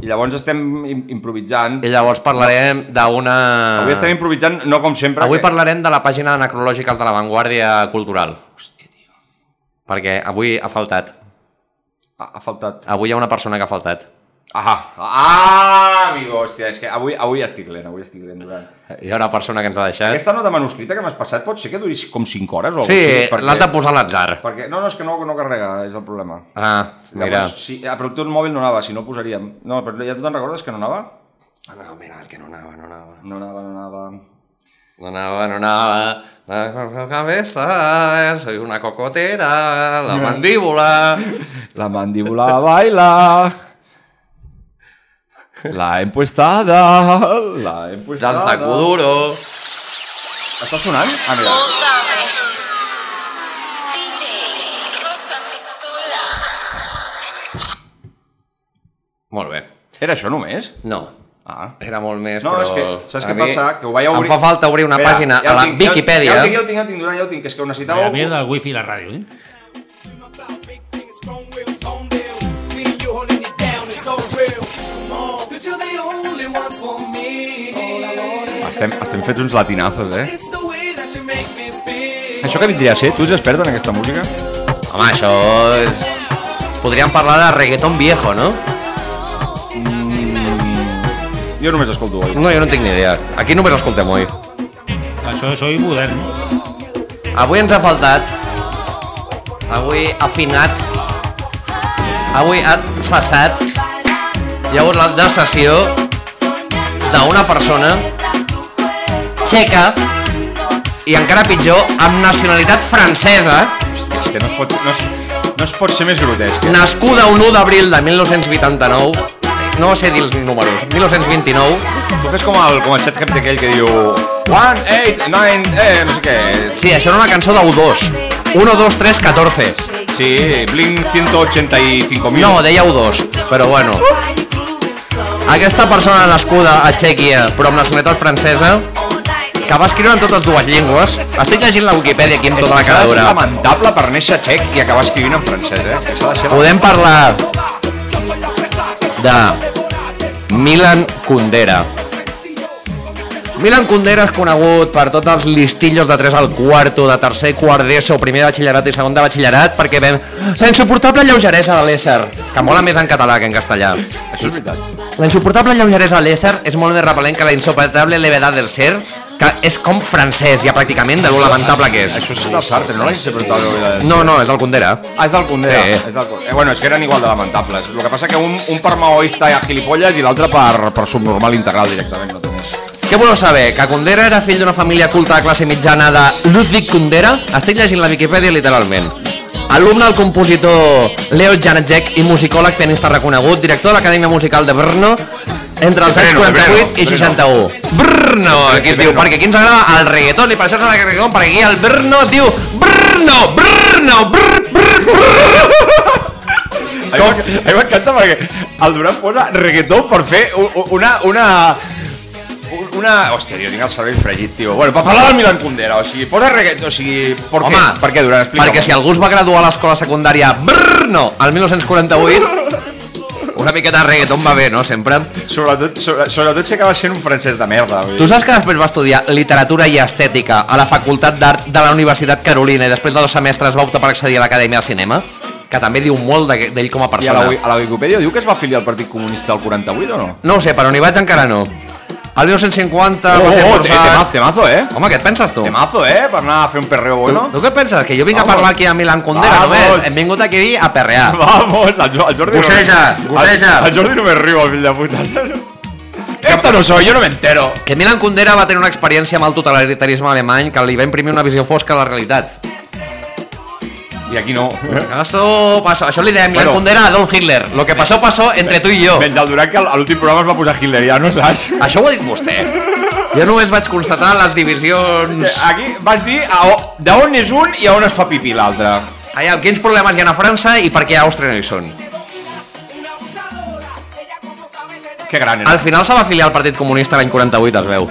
[SPEAKER 5] I llavors estem im improvisant.
[SPEAKER 4] I llavors parlarem d'una...
[SPEAKER 5] Avui estem improvisant, no com sempre.
[SPEAKER 4] Avui
[SPEAKER 5] que-
[SPEAKER 4] parlarem de la pàgina de necrològiques de l'avantguàrdia cultural. Hòstia, tio. Perquè avui ha faltat.
[SPEAKER 5] Ha, ha faltat.
[SPEAKER 4] Avui hi ha una persona que ha faltat.
[SPEAKER 5] Ah, ah, amigo, hòstia, és que avui, avui estic lent, avui estic lent durant.
[SPEAKER 4] Hi ha una persona que ens ha deixat.
[SPEAKER 5] Aquesta nota manuscrita que m'has passat pot ser que duri com 5 hores o alguna
[SPEAKER 4] Sí,
[SPEAKER 5] cosa així, perquè-
[SPEAKER 4] l'has de posar a l'atzar.
[SPEAKER 5] Perquè, no, no, és que no, no carrega, és el problema.
[SPEAKER 4] Ah, mira.
[SPEAKER 5] Llavors, si, ah, però el teu mòbil no anava, si no ho posaríem. No, però ja tu te'n recordes que no anava?
[SPEAKER 4] Ah, no, mira, el que no anava, no anava.
[SPEAKER 5] No anava, no anava...
[SPEAKER 4] No anava, no anava. La cabeza, soy una cocotera, la mandíbula.
[SPEAKER 5] La mandíbula baila. La empuestada. La empuestada.
[SPEAKER 4] Danza Kuduro.
[SPEAKER 5] Està sonant? Ah, mira.
[SPEAKER 4] Molt bé.
[SPEAKER 5] Era això només?
[SPEAKER 4] No,
[SPEAKER 5] Ah.
[SPEAKER 4] era molt més,
[SPEAKER 5] No,
[SPEAKER 4] però...
[SPEAKER 5] és que, saps
[SPEAKER 4] a
[SPEAKER 5] què
[SPEAKER 4] mi
[SPEAKER 5] passa? Que ho vaig obrir...
[SPEAKER 4] Em fa falta obrir una
[SPEAKER 5] Mira,
[SPEAKER 4] pàgina
[SPEAKER 5] ja
[SPEAKER 4] a
[SPEAKER 5] ho
[SPEAKER 4] la
[SPEAKER 5] tinc, ja-
[SPEAKER 4] Viquipèdia.
[SPEAKER 5] Ja ho tinc, ja ho tinc, ja ho tinc, Duran, ja ho tinc, que és que ho necessitava...
[SPEAKER 6] La mierda, el wifi i la ràdio, eh?
[SPEAKER 5] Estem, estem fets uns latinazos,
[SPEAKER 4] Mm.
[SPEAKER 5] eh? Això que vindria a ser? Tu ets expert en aquesta música?
[SPEAKER 4] Home, això és... Podríem parlar de reggaeton viejo, no?
[SPEAKER 5] Jo només escolto oi.
[SPEAKER 4] No, jo no en tinc ni idea. Aquí només escoltem oi.
[SPEAKER 6] Això és oi modern.
[SPEAKER 4] Avui ens ha faltat... Avui afinat... Avui ha cessat... Hi ha hagut la decessió d'una persona txeca i encara pitjor, amb nacionalitat francesa,
[SPEAKER 5] Hòstia, és que no es pot... No es... No es pot ser més grotesc. eh?
[SPEAKER 4] Nascuda un 1 d'abril de 1989, no sé dir els números, 1929,
[SPEAKER 5] Tu fes com el, com el xat aquell que diu... One, eight, nine, eh, no sé què...
[SPEAKER 4] sí, això era una cançó d'U2, 1, 2, 3, 14,
[SPEAKER 5] Sí, Blink 185.000.
[SPEAKER 4] no, deia U2, però bueno. Aquesta persona nascuda a Txèquia, però amb nacionalitat francesa, que va escriure en totes dues llengües, estic llegint la Wikipedia aquí amb tota la
[SPEAKER 5] S'ha de ser
[SPEAKER 4] cadura.
[SPEAKER 5] lamentable per néixer txec i acabar escrivint en francès, eh? És que S'ha de ser...
[SPEAKER 4] Podem parlar de Milan Kundera. Milan Kundera és conegut per tots els listillos de 3 al quarto, de tercer, quart d'ESO, primer de batxillerat i segon de batxillerat, perquè ven la insuportable lleugeresa de l'ésser, que mola més en català que en castellà.
[SPEAKER 5] Això és veritat.
[SPEAKER 4] La insuportable lleugeresa de l'ésser és molt més repel·lent que la insuportable levedad del ser, que és com francès, ja pràcticament, de lo lamentable que és.
[SPEAKER 5] Això és del Sartre, no l'he interpretat. No.
[SPEAKER 4] No, no, és el Kundera.
[SPEAKER 5] Ah, és del Condé.
[SPEAKER 4] Sí.
[SPEAKER 5] És del... Condé. Eh, bueno, és que eren igual de lamentables. El que passa que un, un per maoista i gilipolles i l'altre per, per subnormal integral directament. No té més.
[SPEAKER 4] Què voleu saber? Que Kundera era fill d'una família culta de classe mitjana de Ludwig Kundera? Estic llegint la Viquipèdia literalment. Alumne del compositor Leo Janáček i musicòleg pianista reconegut, director de l'Acadèmia Musical de Brno, entre els anys
[SPEAKER 5] Brno,
[SPEAKER 4] 48 i
[SPEAKER 5] Brno,
[SPEAKER 4] 61. Brno, aquí es diu,
[SPEAKER 5] Brno.
[SPEAKER 4] perquè aquí ens agrada el reggaeton i per això ens agrada el reggaeton, perquè aquí el Brno diu Brno, Brno, Brr, Brr, Brr.
[SPEAKER 5] A mi m'enc- a mi m'encanta perquè el Durant posa reggaetó per fer u- u- una... una un- una... Hòstia, jo tinc el cervell fregit, tio. Bueno, per parlar del Milan Kundera, o sigui, posa reggaetó, o sigui... Per
[SPEAKER 4] Home,
[SPEAKER 5] què? Per què, Durant? Explica
[SPEAKER 4] Perquè si algú es va graduar a l'escola secundària Brno, al 1948, una miqueta de reggaeton va bé, no?, sempre.
[SPEAKER 5] Sobretot, sobre, sobretot si acaba sent un francès de merda. vull dir.
[SPEAKER 4] Tu saps que després va estudiar literatura i estètica a la Facultat d'Art de la Universitat Carolina i després de dos semestres va optar per accedir a l'Acadèmia de Cinema, que també diu molt d'aqu- d'ell com a
[SPEAKER 5] I a la,
[SPEAKER 4] persona.
[SPEAKER 5] Wi- a la Wikipedia diu que es va afiliar al Partit Comunista al 48 o no?
[SPEAKER 4] No ho sé, però on hi vaig encara no. El
[SPEAKER 5] Ah,
[SPEAKER 4] 1950... va ser
[SPEAKER 5] Oh, te-
[SPEAKER 4] forçat-
[SPEAKER 5] temazo, temazo, eh?
[SPEAKER 4] Home, què et penses tu?
[SPEAKER 5] Temazo, eh? Per anar a fer un perreo bueno.
[SPEAKER 4] Tu què et penses? Que jo vinc a
[SPEAKER 5] Vamos.
[SPEAKER 4] parlar aquí a Milan Kundera,
[SPEAKER 5] Vamos.
[SPEAKER 4] només. Hem vingut aquí a perrear.
[SPEAKER 5] Vamos, el, Jo- el Jordi...
[SPEAKER 4] Gosseja,
[SPEAKER 5] no-
[SPEAKER 4] gosseja.
[SPEAKER 5] El, el Jordi només riu, el fill de puta. Esto no soy, yo no me entero.
[SPEAKER 4] Que Milan Kundera va tenir una experiència amb el totalitarisme alemany que li va imprimir una visió fosca de la realitat.
[SPEAKER 5] I aquí no.
[SPEAKER 4] Això, passó, això li deia Milan
[SPEAKER 5] Bueno.
[SPEAKER 4] Kundera a Adolf Hitler. Lo que pasó, pasó entre tu i jo.
[SPEAKER 5] Menys el Durant, que a l'últim programa es va posar hitleriano, saps?
[SPEAKER 4] Això ho ha dit vostè. Jo només vaig constatar les divisions...
[SPEAKER 5] Eh, Aquí vas dir a o- d'on és un i a on es fa pipí l'altre.
[SPEAKER 4] Allà, quins problemes hi ha a França i per què a Àustria no hi són.
[SPEAKER 5] Que gran era.
[SPEAKER 4] Al final se va afiliar al Partit Comunista l'any 48, es veu.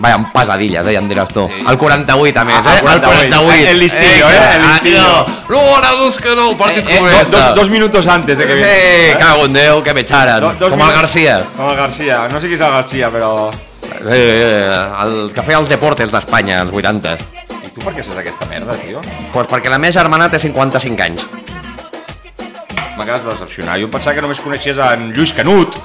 [SPEAKER 4] Vaja, amb pesadilles, eh, ja em diràs tu. El 48, a més,
[SPEAKER 5] Ah,
[SPEAKER 4] eh?
[SPEAKER 5] el 48. El listillo, eh, el listillo.
[SPEAKER 4] Luego ahora dos que no, el Partit
[SPEAKER 5] Eh, do-
[SPEAKER 4] Comunista.
[SPEAKER 5] dos, dos minutos antes de que...
[SPEAKER 4] Sí, cago en Déu, que me xaren.
[SPEAKER 5] Eh? Do- dos
[SPEAKER 4] Com el
[SPEAKER 5] minuts.
[SPEAKER 4] Garcia.
[SPEAKER 5] Com el Garcia, no sé qui és el Garcia, però...
[SPEAKER 4] Eh, eh, el que feia els deportes d'Espanya, als 80.
[SPEAKER 5] I tu per què saps aquesta merda, tio?
[SPEAKER 4] Pues perquè la meva germana té 55 anys.
[SPEAKER 5] M'ha quedat decepcionar. Jo em pensava que només coneixies en Lluís Canut.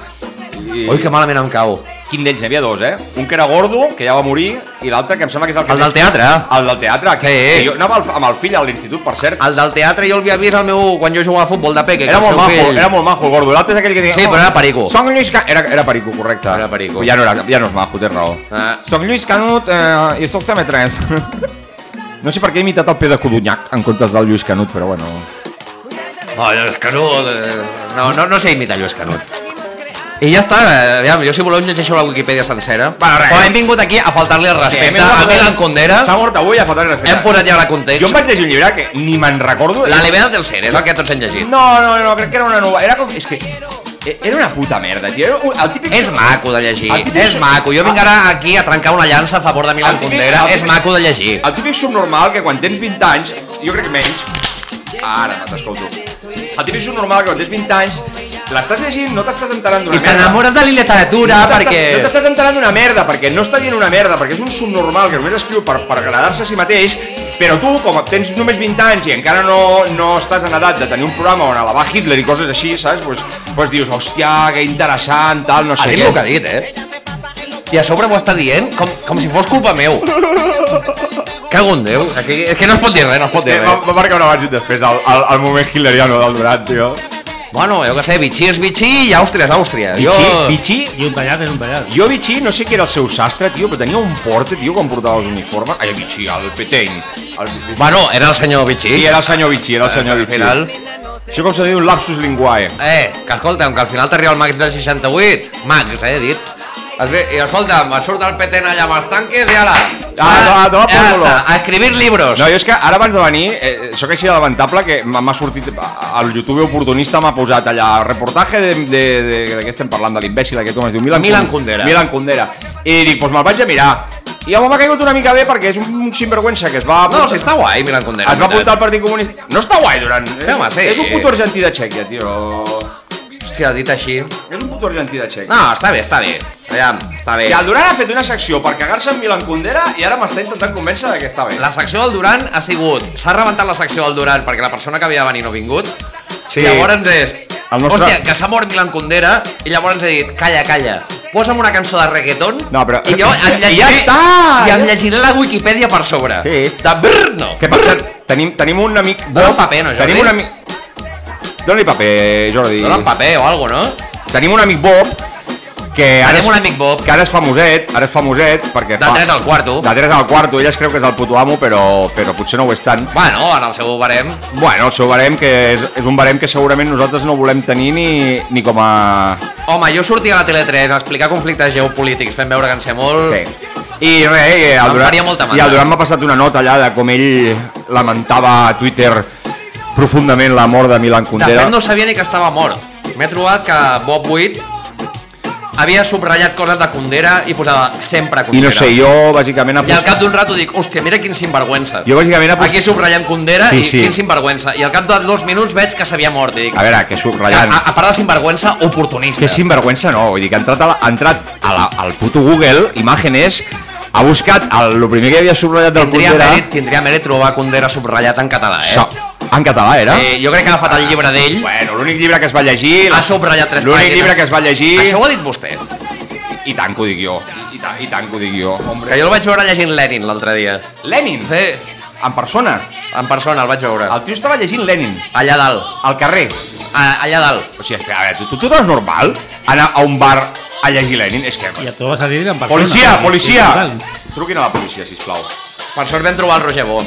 [SPEAKER 5] I...
[SPEAKER 4] Ui, que malament em cau.
[SPEAKER 5] Quin d'ells? N'hi havia dos, eh? Un que era gordo, que ja va morir, i l'altre que em sembla que és el que...
[SPEAKER 4] El del teatre.
[SPEAKER 5] El del teatre. Que,
[SPEAKER 4] Sí.
[SPEAKER 5] que jo anava al- amb el fill a l'institut, per cert.
[SPEAKER 4] El del teatre jo el havia vist al meu, quan jo jugava a futbol de peque. que
[SPEAKER 5] Era
[SPEAKER 4] el
[SPEAKER 5] molt
[SPEAKER 4] seu
[SPEAKER 5] majo,
[SPEAKER 4] fill-
[SPEAKER 5] era molt majo el gordo. L'altre és aquell que deia...
[SPEAKER 4] Sí, però era perico.
[SPEAKER 5] Soc Lluís Canut... Era, era perico, correcte.
[SPEAKER 4] Era perico.
[SPEAKER 5] Ja no, era, ja no és majo, tens raó.
[SPEAKER 4] Ah.
[SPEAKER 5] Soc Lluís Canut eh, i soc TV3. no sé per què he imitat el Pere Codonyac en comptes del Lluís Canut, però bueno...
[SPEAKER 4] No, Lluís Canut... eh, No, no, no sé imitar Lluís Canut. I ja està, eh, aviam, jo si voleu em llegeixo la Wikipedia sencera.
[SPEAKER 5] Va, res.
[SPEAKER 4] Però hem vingut aquí a faltar-li el respecte a Milan Kundera.
[SPEAKER 5] S'ha mort avui, ha faltat el respecte.
[SPEAKER 4] Hem posat ja la context.
[SPEAKER 5] Jo em vaig llegir un llibre que ni me'n recordo.
[SPEAKER 4] La levedad del ser, eh, és el que tots hem llegit.
[SPEAKER 5] No, no, no, crec que era una nova... Era com... És que... e- Era una puta merda, tio. Era un- el típic...
[SPEAKER 4] És maco de llegir,
[SPEAKER 5] El típic-
[SPEAKER 4] és maco. Jo vinc ara aquí a trencar una llança a favor de Milan
[SPEAKER 5] El típic-
[SPEAKER 4] Kundera.
[SPEAKER 5] el
[SPEAKER 4] És
[SPEAKER 5] típic-
[SPEAKER 4] maco de llegir.
[SPEAKER 5] El típic subnormal que quan tens 20 anys, jo crec que menys... Ara, no t'escolto. El típic subnormal que quan tens 20 anys, l'estàs llegint, no t'estàs enterant
[SPEAKER 4] I
[SPEAKER 5] d'una merda.
[SPEAKER 4] t'enamores de la literatura
[SPEAKER 5] No t'estàs-
[SPEAKER 4] perquè...
[SPEAKER 5] No t'estàs enterant d'una merda, perquè no està dient una merda, perquè és un subnormal que només escriu per, per agradar-se a si mateix, però tu, com tens només 20 anys i encara no, no estàs en edat de tenir un programa on elevar Hitler i coses així, saps? Pues, pues dius, hòstia, que interessant, tal, no
[SPEAKER 4] Ha
[SPEAKER 5] sé
[SPEAKER 4] dit
[SPEAKER 5] què.
[SPEAKER 4] el que ha Ah, dit, eh? I a sobre ho està dient com, com si fos culpa meu. Cago en Déu. Aquí, és que no es pot dir res, no es pot dir
[SPEAKER 5] Eh, va,
[SPEAKER 4] res.
[SPEAKER 5] va marcar un abans i un després, el, el, el moment hitleriano del Durant, tio.
[SPEAKER 4] Bueno, jo què sé, bitxí és bitxí i Àustria és Àustria.
[SPEAKER 5] Bitxí,
[SPEAKER 4] jo...
[SPEAKER 6] Pichi i un tallat és un tallat.
[SPEAKER 5] Jo, Vichy, no sé qui era el seu sastre, tio, però tenia un porte, tio, quan portava els uniformes. Ai, Vichy, el Petain. El...
[SPEAKER 4] Bueno, era el senyor bitxí.
[SPEAKER 5] I era el senyor Vichy, era el
[SPEAKER 4] Eh, Al
[SPEAKER 5] senyor Vichy.
[SPEAKER 4] final-
[SPEAKER 5] Això com se diu un lapsus linguae.
[SPEAKER 4] Eh, que escolta'm, que al final t'arriba el Max del 68. Max, eh, he dit. Es ve- I escolta'm, et surt el Petén allà amb els tanques i ala.
[SPEAKER 5] Ah, a tomar por
[SPEAKER 4] Ja
[SPEAKER 5] culo.
[SPEAKER 4] està, a escribir llibros.
[SPEAKER 5] No, jo és que ara abans de venir, eh, sóc així de lamentable que m'ha m'ha sortit, el youtuber oportunista m'ha posat allà, reportatge de, de, de, de què estem parlant, de l'imbècil aquest, com es diu? Milan,
[SPEAKER 4] Milan Kundera.
[SPEAKER 5] Milan Kundera. I dic, doncs me'l vaig a mirar. I home, m'ha caigut una mica bé perquè és un, un sinvergüenza que es va...
[SPEAKER 4] No, si està guai, Milan Kundera.
[SPEAKER 5] Es va apuntar al Partit Comunista. No està guai, Durant.
[SPEAKER 4] Sí, home, sí.
[SPEAKER 5] És un puto argentí de Txèquia, tio.
[SPEAKER 4] Hòstia, dit així...
[SPEAKER 5] És un puto argentí de Txèquia.
[SPEAKER 4] No, està bé, està bé. Aviam, està bé.
[SPEAKER 5] I el Durant ha fet una secció per cagar-se en Milan Kundera i ara m'està intentant convèncer de que està bé.
[SPEAKER 4] La secció del Duran ha sigut... S'ha rebentat la secció del Duran perquè la persona que havia de venir no ha vingut.
[SPEAKER 5] Sí.
[SPEAKER 4] Sí. Llavors és... El
[SPEAKER 5] El nostre-
[SPEAKER 4] nostre... Hòstia, que s'ha mort Milan Kundera i llavors he dit, calla, calla, posa'm una cançó de reggaeton
[SPEAKER 5] No, però-
[SPEAKER 4] i jo em
[SPEAKER 5] I ja
[SPEAKER 4] llegiré,
[SPEAKER 5] està!
[SPEAKER 4] i em llegiré la Wikipedia per sobre.
[SPEAKER 5] Sí.
[SPEAKER 4] De brrr, no.
[SPEAKER 5] Que per cert, tenim, tenim un amic...
[SPEAKER 4] Dóna'm paper, no, Jordi?
[SPEAKER 5] Tenim un amic... Dóna-li paper, Jordi.
[SPEAKER 4] Dóna'm paper o alguna cosa, no?
[SPEAKER 5] Tenim un amic Bob, que ara,
[SPEAKER 4] Tenim
[SPEAKER 5] és,
[SPEAKER 4] un amic Bob.
[SPEAKER 5] que ara és famoset, ara és famoset, perquè
[SPEAKER 4] De
[SPEAKER 5] fa...
[SPEAKER 4] tres al quarto.
[SPEAKER 5] De 3 al quarto, ell es creu que és el puto amo, però, però potser no ho és tant.
[SPEAKER 4] Bueno, en el seu barem.
[SPEAKER 5] Bueno, el seu barem, que és, és un barem que segurament nosaltres no volem tenir ni, ni com a...
[SPEAKER 4] Home, jo sortia a la Tele3 a explicar conflictes geopolítics fent veure que en sé molt...
[SPEAKER 5] Sí. I res, i el
[SPEAKER 4] Mm. Em
[SPEAKER 5] Durant,
[SPEAKER 4] faria molta
[SPEAKER 5] i
[SPEAKER 4] mandra.
[SPEAKER 5] el Durant m'ha passat una nota allà de com ell lamentava a Twitter profundament la mort de Milan
[SPEAKER 4] De
[SPEAKER 5] Kundera.
[SPEAKER 4] fet, no sabia ni que estava mort. M'he trobat que Bob Witt havia subratllat coses de Condera i posava sempre
[SPEAKER 5] I
[SPEAKER 4] Condera.
[SPEAKER 5] no sé, jo bàsicament...
[SPEAKER 4] I al cap d'un rato dic, hòstia, mira quin sinvergüenza.
[SPEAKER 5] Jo bàsicament apost-
[SPEAKER 4] Aquí subratllant Condera
[SPEAKER 5] Sí,
[SPEAKER 4] sí,
[SPEAKER 5] sí.
[SPEAKER 4] sí. i quin sinvergüenza. I al cap de dos minuts veig que s'havia mort. I dic,
[SPEAKER 5] A veure, que subratllant.
[SPEAKER 4] A, a part de sinvergüenza, oportunista.
[SPEAKER 5] Que sinvergüenza no, vull dir que ha entrat, a la, ha entrat a la, al puto Google, imágenes, ha buscat el, el primer que havia subratllat del
[SPEAKER 4] tindria,
[SPEAKER 5] Kundera...
[SPEAKER 4] mèrit, tindria mèrit trobar Condera subratllat en català, eh?
[SPEAKER 5] So, en català, era?
[SPEAKER 4] eh jo crec que ha agafat el llibre d'ell,
[SPEAKER 5] Bueno, l'únic llibre que es va llegir...
[SPEAKER 4] ha subratllat tres
[SPEAKER 5] L'únic
[SPEAKER 4] pàgines.
[SPEAKER 5] llibre que es va llegir...
[SPEAKER 4] Això ho ha dit vostè,
[SPEAKER 5] I tant que ho dic jo. I, tant, i tant que ho dic jo. Hombre.
[SPEAKER 4] que jo el vaig veure llegint Lenin l'altre dia.
[SPEAKER 5] Lenin,
[SPEAKER 4] Sí,
[SPEAKER 5] en persona.
[SPEAKER 4] en persona el vaig veure.
[SPEAKER 5] El tio estava llegint Lenin,
[SPEAKER 4] Allà dalt.
[SPEAKER 5] al carrer.
[SPEAKER 4] A- Allà dalt.
[SPEAKER 5] O sigui, espera, a veure, tu, tu, tu és normal anar a un bar a llegir Lenin? És que...
[SPEAKER 6] I a tu vas a dir en persona.
[SPEAKER 5] Policia,
[SPEAKER 6] Sí,
[SPEAKER 5] policia!
[SPEAKER 6] total.
[SPEAKER 5] Truquin a la policia, sisplau.
[SPEAKER 4] Per sort vam trobar el Roger Bo.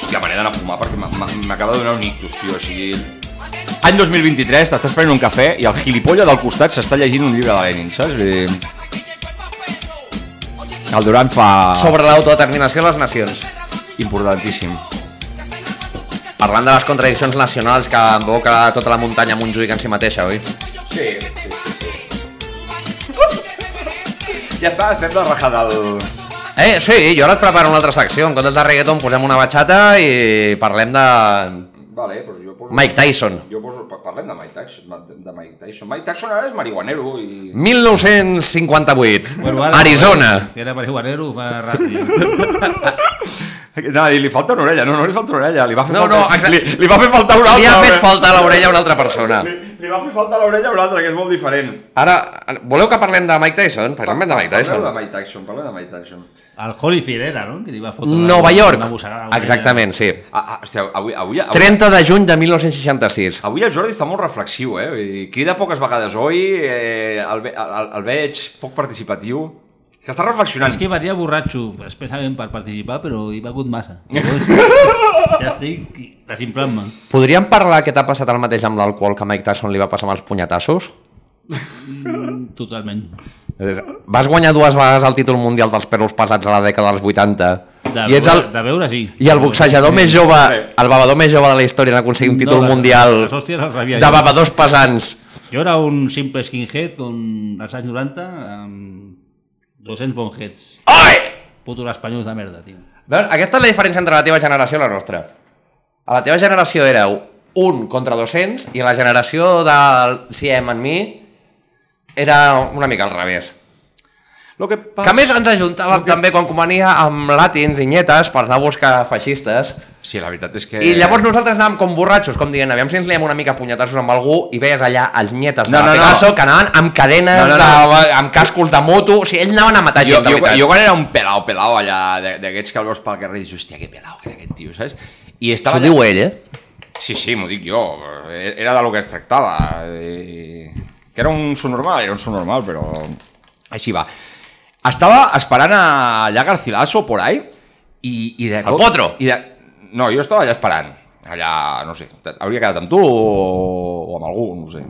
[SPEAKER 5] Hòstia, me n'he d'anar a fumar perquè m'ha- m'ha- m'acaba de donar un ictus, tio, o sigui... Any 2023 t'estàs prenent un cafè i el gilipolla del costat s'està llegint un llibre de Lenin, saps? Vull dir... El Durant fa...
[SPEAKER 4] Sobre l'autodeterminació de les nacions.
[SPEAKER 5] Importantíssim.
[SPEAKER 4] Parlant de les contradiccions nacionals que invoca tota la muntanya Montjuïc en si mateixa, oi?
[SPEAKER 5] Sí, sí, sí. ja està, estem de rajar del...
[SPEAKER 4] Eh, sí, jo ara et preparo una altra secció. En comptes de reggaeton posem una batxata i parlem de
[SPEAKER 5] Vale, doncs jo poso...
[SPEAKER 4] Mike Tyson.
[SPEAKER 5] Jo poso... pa- Parlem de Mike Tyson. De Mike Tyson, Mike Tyson ara és marihuanero i...
[SPEAKER 4] 1958,
[SPEAKER 6] Bueno, ara- eh?
[SPEAKER 4] Arizona.
[SPEAKER 6] Si era marihuanero, ho fa ràpid.
[SPEAKER 5] No, i li falta una orella, no, no li falta una orella, li va fer
[SPEAKER 4] No,
[SPEAKER 5] falta...
[SPEAKER 4] no, exacte.
[SPEAKER 5] li, li va fer faltar una altra.
[SPEAKER 4] Li ha fet
[SPEAKER 5] eh?
[SPEAKER 4] falta a l'orella a una altra persona.
[SPEAKER 5] Li, li va fer falta l'orella a un altre, que és molt diferent.
[SPEAKER 4] Ara, voleu que parlem de Mike Tyson? Parlem de Mike Tyson.
[SPEAKER 5] Parleu de Mike Tyson, parleu de Mike Tyson.
[SPEAKER 6] El Holyfield era, no? Que li va fotre una-
[SPEAKER 4] Nova York.
[SPEAKER 6] una mossegada a l'orella.
[SPEAKER 4] Exactament, sí.
[SPEAKER 5] Ah, ah, hòstia, avui, avui, avui,
[SPEAKER 4] 30 de juny de 1966.
[SPEAKER 5] avui el Jordi està molt reflexiu, eh? Vull dir, Crida poques vegades, oi? Eh, el, ve- el, el veig poc participatiu. És Que està reflexionant.
[SPEAKER 6] És que venia borratxo expressament per participar, però hi va hagut massa. Llavors, ja estic desinflant-me.
[SPEAKER 4] Podríem parlar què t'ha passat el mateix amb l'alcohol que a Mike Tyson li va passar amb els punyetassos?
[SPEAKER 6] Mm, Totalment.
[SPEAKER 4] Vas guanyar dues vegades el títol mundial dels pesos pesats a la dècada dels 80.
[SPEAKER 6] De,
[SPEAKER 4] I, ets el,
[SPEAKER 6] veure, de veure, sí.
[SPEAKER 4] I el boxejador més jove, el babador més jove de la història en aconseguir un títol mundial
[SPEAKER 6] Les hòsties les rebia
[SPEAKER 4] de
[SPEAKER 6] jo.
[SPEAKER 4] babadors pesants.
[SPEAKER 6] Jo era un simple skinhead con, als anys 90 amb 200 bonheads.
[SPEAKER 4] Oi!
[SPEAKER 6] Putos espanyols de merda, tio.
[SPEAKER 4] Veus, aquesta és la diferència entre la teva generació i la nostra. A la teva generació éreu un contra 200 i la generació del CM en mi era una mica al revés.
[SPEAKER 5] Lo que
[SPEAKER 4] Que
[SPEAKER 5] passa...
[SPEAKER 4] a més ens ajuntàvem també quan convenia amb latins i nyetes per anar a buscar feixistes.
[SPEAKER 5] Sí, la veritat és que...
[SPEAKER 4] I llavors nosaltres anàvem com borratxos, com dient, aviam si ens liem una mica a punyetassos amb algú i veies allà els nyetes de
[SPEAKER 5] No,
[SPEAKER 4] no,
[SPEAKER 5] no,
[SPEAKER 4] no,
[SPEAKER 5] no.
[SPEAKER 4] Picasso que anaven amb cadenes,
[SPEAKER 5] No, no, no.
[SPEAKER 4] De, amb cascos de moto, o sigui, ells anaven a matar
[SPEAKER 5] jo,
[SPEAKER 4] gent, de
[SPEAKER 5] jo,
[SPEAKER 4] veritat.
[SPEAKER 5] jo quan era un pelau, pelau allà, de- d'aquests que el veus pel carrer, i dius, hòstia, que pelau que era aquest tio, saps? I estava...
[SPEAKER 4] Això ho diu ell, eh?
[SPEAKER 5] Sí, sí, m'ho dic jo. E-, Era de lo que es tractava. I... Que era un subnormal, era un subnormal, però... Així va. Estava esperant a allà Garcilaso, por ahí, i, i de
[SPEAKER 4] El potro.
[SPEAKER 5] I de... No, jo estava allà esperant. Allà, no sé, t- hauria quedat amb tu o, o amb algú, no sé.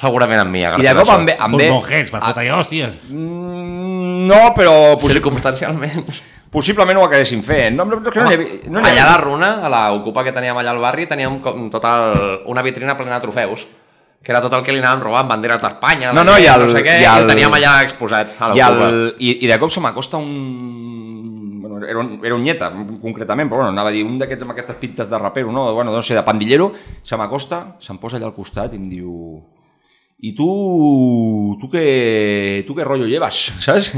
[SPEAKER 4] Segurament amb mi,
[SPEAKER 5] I de cop em ve... Em
[SPEAKER 6] Amb
[SPEAKER 5] ve...
[SPEAKER 6] monjets, per fotre-hi hòsties.
[SPEAKER 5] Mm, No, però possi
[SPEAKER 4] Circumstancialment.
[SPEAKER 5] possiblement ho acabéssim fent. No, no, no, no, n'hi havia- no,
[SPEAKER 4] No
[SPEAKER 5] n'hi
[SPEAKER 4] allà a
[SPEAKER 5] havia-
[SPEAKER 4] la runa, a la ocupa que teníem allà al barri, teníem com total una vitrina plena de trofeus que era tot el que li anàvem robant, banderes d'Espanya,
[SPEAKER 5] No, no,
[SPEAKER 4] la-
[SPEAKER 5] i
[SPEAKER 4] no
[SPEAKER 5] el-
[SPEAKER 4] sé què, i
[SPEAKER 5] i
[SPEAKER 4] el
[SPEAKER 5] el-
[SPEAKER 4] teníem allà exposat a la
[SPEAKER 5] I,
[SPEAKER 4] ocupa.
[SPEAKER 5] el, i, I de cop se m'acosta un... Bueno, era, un, era un nyeta, concretament, però bueno, anava a dir un d'aquests amb aquestes pintes de rapero, no? Bueno, no sé, de pandillero, se m'acosta, se'm posa allà al costat i em diu... I tu... Tu què... Tu què rotllo llevas, saps?